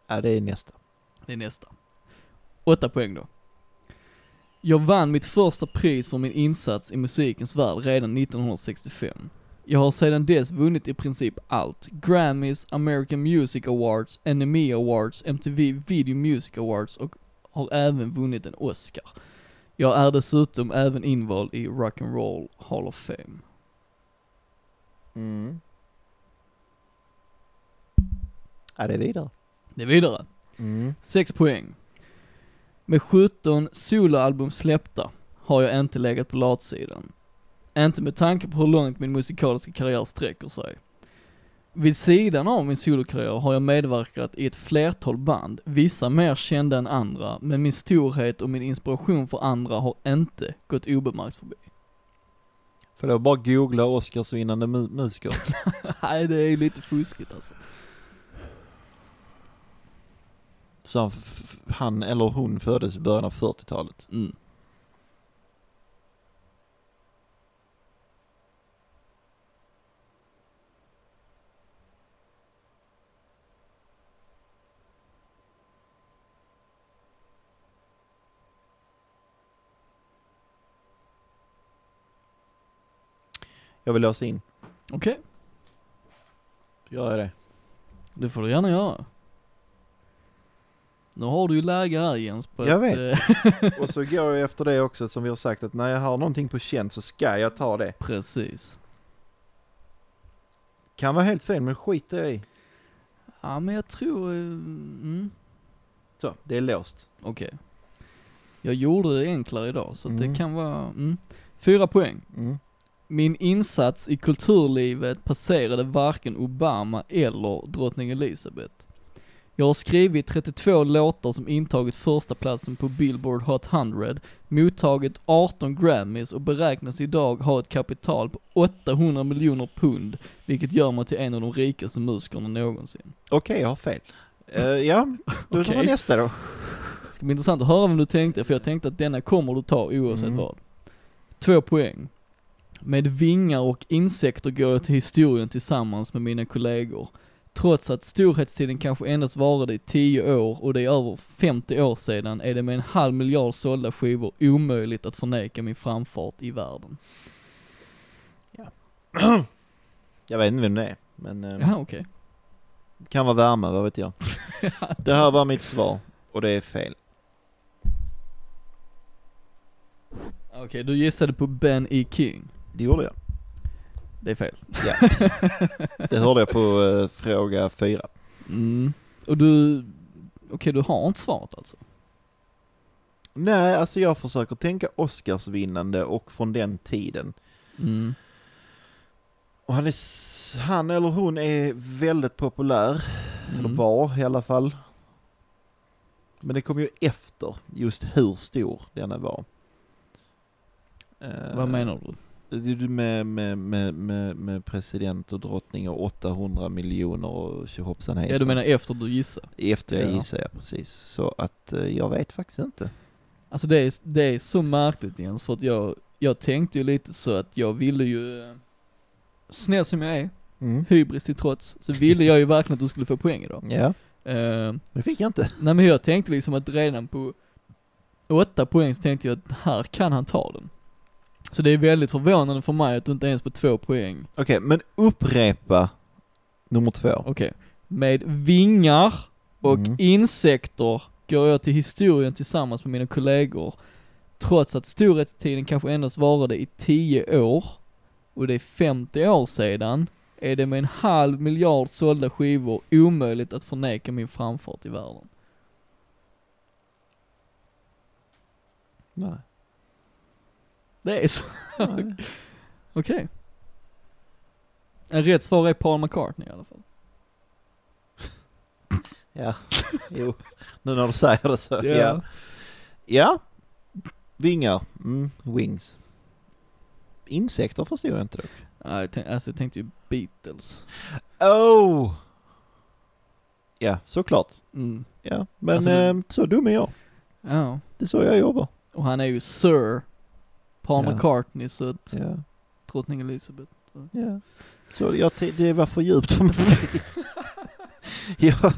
ja, det är nästa.
Det är nästa. Åtta poäng då. Jag vann mitt första pris för min insats i musikens värld redan 1965. Jag har sedan dess vunnit i princip allt. Grammys, American Music Awards, NME Awards, MTV Video Music Awards och har även vunnit en Oscar. Jag är dessutom även invald i Rock'n'Roll Hall of Fame.
Mm. Ja, det är vidare.
Det är vidare.
Mm.
6 poäng. Med 17 soloalbum släppta har jag inte legat på latsidan. Inte med tanke på hur långt min musikaliska karriär sträcker sig. Vid sidan av min solokarriär har jag medverkat i ett flertal band, vissa mer kända än andra, men min storhet och min inspiration för andra har inte gått obemärkt förbi.
För då bara googla Oscarsvinnande mu- musiker.
Nej, det är lite fuskigt alltså.
Så han, f- f- han eller hon föddes i början av 40-talet.
Mm.
Jag vill låsa in.
Okej,
Gör jag det?
det får du gärna göra. Nu har du ju läge här Jens på
Jag
ett,
vet.
eh,
Och så går jag efter det också som vi har sagt att när jag har någonting på känn så ska jag ta det.
Precis.
Kan vara helt fel men skit är i.
Ja men jag tror, eh, mm,
Så, det är låst.
okej. Jag gjorde det enklare idag så att
Mm.
det kan vara, mm. Fyra poäng.
Mm.
Min insats i kulturlivet passerade varken Obama eller drottning Elizabeth. Jag har skrivit 32 låtar som intagit första platsen på Billboard Hot 100, mottagit 18 Grammys och beräknas idag ha ett kapital på 800 miljoner pund, vilket gör mig till en av de rikaste musikerna någonsin.
Okej, jag har fel. Eh, ja, då tar vi
Okej.
nästa då.
Det ska bli intressant att höra vem du tänkte, för jag tänkte att denna kommer du ta oavsett
Mm.
vad. Två poäng. Med vingar och insekter går jag till historien tillsammans med mina kollegor. Trots att storhetstiden kanske endast varade i 10 år och det är över 50 år sedan är det med en halv miljard sålda skivor omöjligt att förneka min framfart i världen.
Jag vet inte vem det är, men eh,
Jaha okej.
kan vara värme, vad vet jag. Det här var mitt svar och det är fel.
Okej, du gissade på Ben E. King.
Det gjorde jag.
Det är fel.
Ja. Det hörde jag på eh, fråga fyra.
Mm. Och du, okej du har inte svaret alltså?
Nej, alltså jag försöker tänka Oscarsvinnande och från den tiden.
Mm.
Och han, är, s- han eller hon är väldigt populär, eller
Mm.
var i alla fall. Men det kom ju efter just hur stor denna var. Eh,
Vad menar du?
det är ju Med, med, med, med, med president och drottning och 800 miljoner och tjohoppsan hejsan.
Ja du menar efter du gissar?
Efter jag
Ja.
gissar jag precis. Så att eh, jag vet faktiskt inte.
Alltså det är, det är så märkligt Jens, för att jag, jag tänkte ju lite så att jag ville ju, eh, snäll som jag är,
Mm.
hybris till trots, så ville jag ju verkligen att du skulle få poäng idag.
Ja,
Eh,
det fick jag inte.
nej men jag tänkte liksom att redan på åtta poäng så tänkte jag att här kan han ta den. Så det är väldigt förvånande för mig att du inte ens på två poäng,
Okej, men upprepa nummer två.
okej. Med vingar och
Mm.
insekter går jag till historien tillsammans med mina kollegor. Trots att storhetstiden kanske endast varade i 10 år och det är 50 år sedan är det med en halv miljard sålda skivor omöjligt att förneka min framfart i världen.
Nej.
Det är så.
Nej.
Okej. En rätt svar är Paul McCartney i alla fall.
Ja, jo. Nu när du säger det så. Ja. ja. Vingar. Mm. Wings. Insekter förstår jag inte. Då.
Nej, jag tänk, alltså jag tänkte ju Beatles.
Oh! Ja, såklart.
Mm.
Ja, men
Alltså,
eh, så dum är jag.
Ja.
Det är så jag jobbar.
Och han är ju Sir Paul
Ja.
McCartney, så att
Ja,
drottning Elizabeth.
ja. Så jag, t- det var för djupt för mig. ja,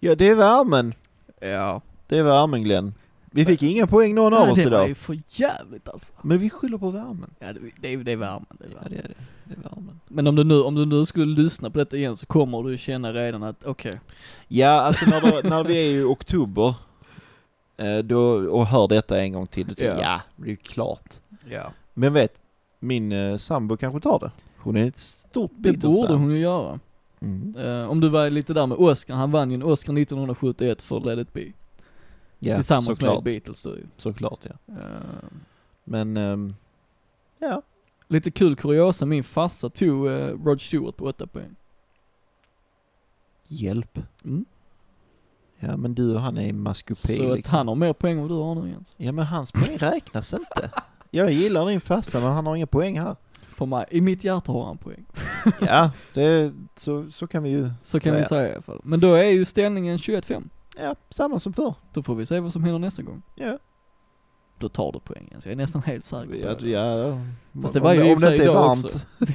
ja, det är värmen.
Ja.
Det är värmen Glenn. Vi fick inga poäng någon av
Nej,
oss
det var
idag.
ju för jävligt alltså.
Men vi skyller på värmen.
Ja, det, det, är- det är värmen. Det är
Ja,
värmen.
det är det. Det är värmen.
Men om du, nu, om du nu skulle lyssna på detta igen så kommer du känna redan att okej,
Ja, alltså när, det, när vi är i oktober eh, då, och hör detta en gång till, då tänker jag,
Ja.
ja, det är ju klart.
ja.
Men vet, min eh, sambo kanske tar det. Hon är ett stort
det borde
Beatles-fan.
hon ju göra.
Mm.
Eh, om du var lite där med Oscar, han vann ju en Oscar 1971 för Let it be.
Ja,
Tillsammans
såklart.
med Beatles då ju.
Såklart, ja.
Eh,
Men, ehm, ja.
Lite kul kuriosa, min farsa tog eh, Rod Stewart på 8 poäng.
Hjälp.
Mm.
Ja, men du och han är i maskopi
så att
liksom.
han har mer poäng än vad du har nu Jens.
Ja, men hans poäng räknas inte. Jag gillar din farsa, men han har inga poäng här.
För mig, i mitt hjärta har han poäng.
Ja, det, så, så kan vi ju...
Så kan
Ja,
vi
ja.
säga i alla fall. Men då är ju ställningen 21-5.
Ja, samma som förr.
Då får vi se vad som händer nästa gång.
Ja.
Då tar du poäng Jens, jag är nästan helt säker på
Ja,
det.
ja.
Fast det var ju i och
om
för
det inte
sig
är
idag
varmt.
också.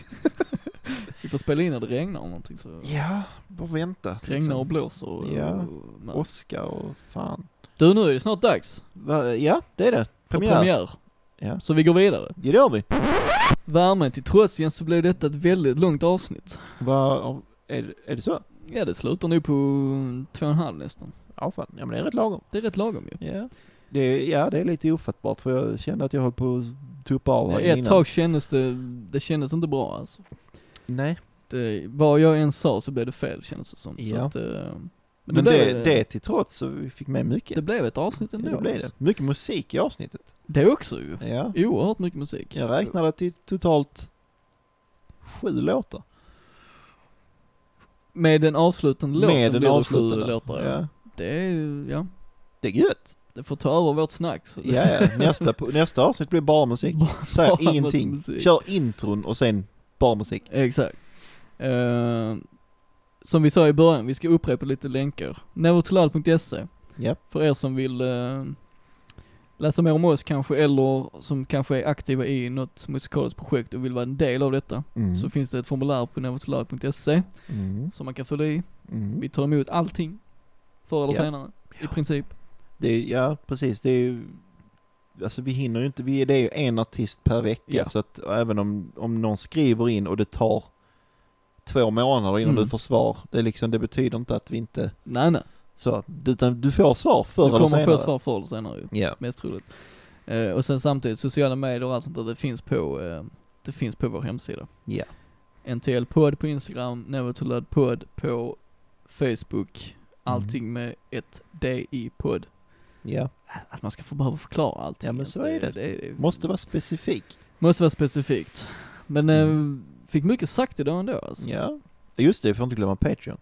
Vi får spela in när det regnar eller någonting så.
Ja, bara vänta.
Regnar och blåser och...
Ja.
och- men-
Oskar och fan.
Du nu är det snart dags
Va, ja, det är det.
för
Premiär.
premiär.
Ja.
Så vi går vidare.
Ja, det gör vi.
Värmen till trots Jens så blev detta ett väldigt långt avsnitt.
Va, är, är det så?
Ja det slutar nu på två och en halv nästan.
Ja, fan. Ja, men det är rätt lagom.
Det är rätt lagom ju.
Ja. Det, är- ja, det är lite ofattbart för jag kände att jag höll på att tuppa av här
Ett
innan.
tag kändes det, det kändes inte bra alltså.
Nej,
Det, eh, vad jag än sa så blev det fel kändes det som. Så
Ja.
att, eh, men
men,
det,
det,
blev,
det till trots så vi fick med mycket.
det blev ett avsnitt
Ja,
ändå.
det blev
alltså.
det. Mycket musik i avsnittet.
det också ju.
Ja.
Oerhört mycket musik.
Jag räknade till totalt sju låtar.
Med den avslutande låten
med den
blir det
avslutande.
sju låtar. Ja.
ja.
Det är ju, ja.
Det är gött.
Det får ta över vårt snack. Så det,
Ja, ja. Nästa, po- nästa avsnitt blir bara musik.
Bara-
Säg
bara
ingenting.
musik.
Kör intron och sen bara musik.
Exakt. Eh, som vi sa i början, vi ska upprepa lite länkar. Nevertolal.se
Ja.
för er som vill eh, läsa mer om oss kanske, eller som kanske är aktiva i något musikaliskt projekt och vill vara en del av detta.
Mm.
Så finns det ett formulär på nevertolal.se
Mm.
som man kan fylla i.
Mm.
Vi tar emot allting, förr eller
Ja.
senare, i princip.
Det är, ja, precis. Det är ju... Alltså vi hinner ju inte, vi, det är ju en artist per vecka
Ja.
så att även om, om någon skriver in och det tar två månader innan
Mm.
du får svar, det, är liksom, det betyder inte att vi inte
Nej nej,
så, utan du får svar förr
du
eller senare.
kommer få svar förr eller senare ju.
Ja,
mest troligt. Eh, och sen samtidigt sociala medier och allt sånt där, det finns på, eh, det finns på vår hemsida.
Ja.
NTL-podd på Instagram, Nevertolad-podd på Facebook,
Mm.
allting med ett D i podd.
ja.
Att man ska få behöva förklara Alltså, allting.
Ja, men
ens,
så är det. Måste vara specifik.
måste vara specifikt. Men
Mm.
eh, fick mycket sagt idag ändå alltså.
Ja. Just det, får inte glömma Patreon.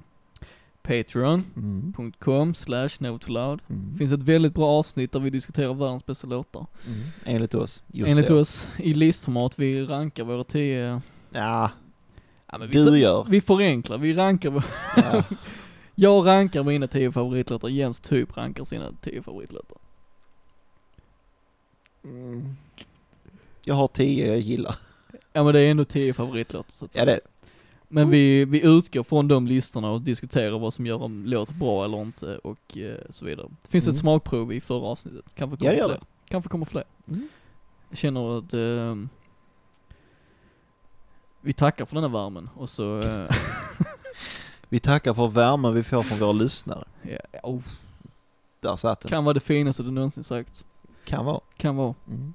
Patreon.com
Mm.
slash Nevertolad.
Mm.
Det finns ett väldigt bra avsnitt där vi diskuterar världens bästa låtar.
Mm. Enligt oss. Just
Enligt
det.
oss i listformat, vi rankar våra tio
Ja,
Ja, men vi,
du gör.
vi förenklar, vi rankar, vår-
Ja.
jag rankar mina 10 favoritlåtar, Jens typ rankar sina 10 favoritlåtar.
Mm. Jag har tio jag gillar.
Ja men det är ändå 10 favoritlåtar så att
Ja, det är det.
Men vi, vi utgår från de listorna och diskuterar vad som gör en låt bra eller inte och eh, så vidare. Det finns
Mm.
ett smakprov i förra avsnittet. Kanske
Ja,
kommer
det gör
fler. Kanske kommer fler.
Mm.
Jag känner att eh, vi tackar för den här värmen och så, eh,
Vi tackar för värmen vi får från våra lyssnare.
ja, oh,
Där satt den. Kan,
kan vara det finaste du någonsin sagt.
vara.
Kan vara.
Mm.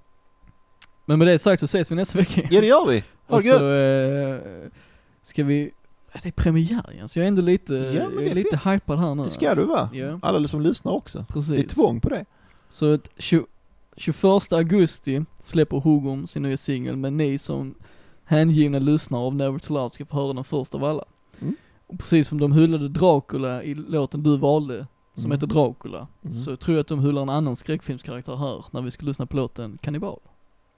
Men med det sagt så ses vi nästa vecka.
Ja det gör vi! Ha
Och
det
så
gött!
eh, ska vi, det är premiär igen, så jag är ändå lite,
men det är
jag är lite hypad här nu. alltså.
Det ska du va?
Ja.
Alla som lyssnar också.
Precis.
Det är tvång på det.
Så att tjo- 21 augusti släpper Hugom sin nya singel, men ni som hängivna lyssnare av Never Too Loud ska få höra den först av alla.
Mm.
Och precis som de hyllade Dracula i låten du valde, som
Mm.
heter Dracula,
Mm.
så tror jag att de hyllar en annan skräckfilmskaraktär här, när vi ska lyssna på låten Kannibal.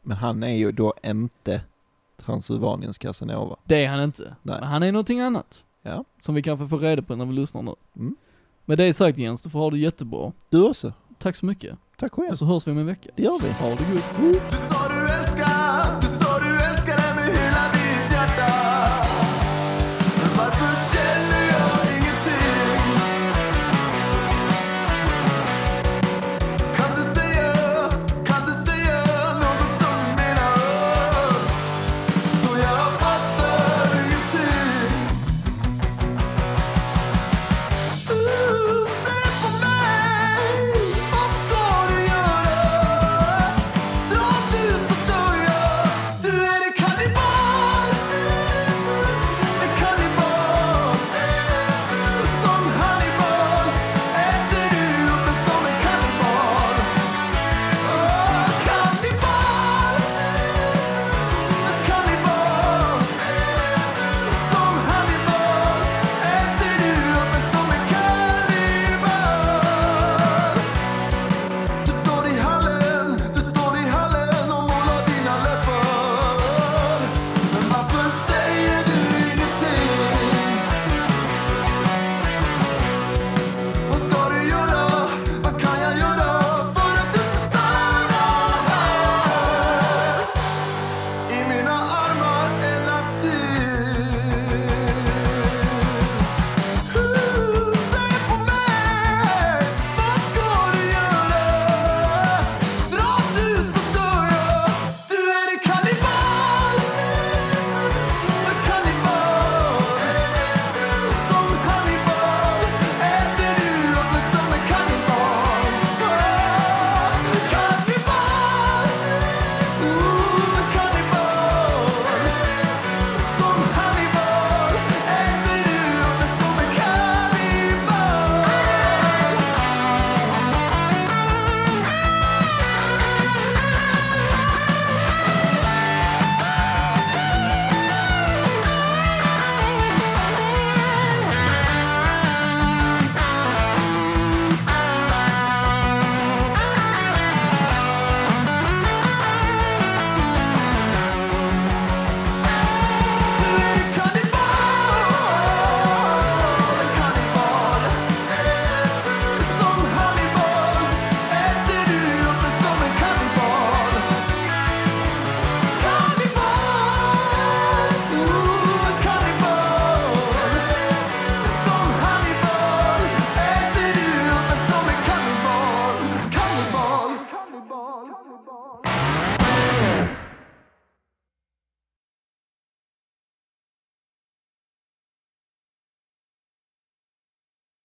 Men han är ju då inte Transylvaniens Casanova.
Det är han inte.
Nej.
Men han är någonting annat.
Ja.
Som vi kanske får reda på när vi lyssnar nu.
Mm.
Men det är sagt Jens, du får ha det jättebra.
Du också.
Tack så mycket.
Tack själv.
Och så hörs vi om en vecka.
Det gör vi. Mm.
Ha det gott.
Du sa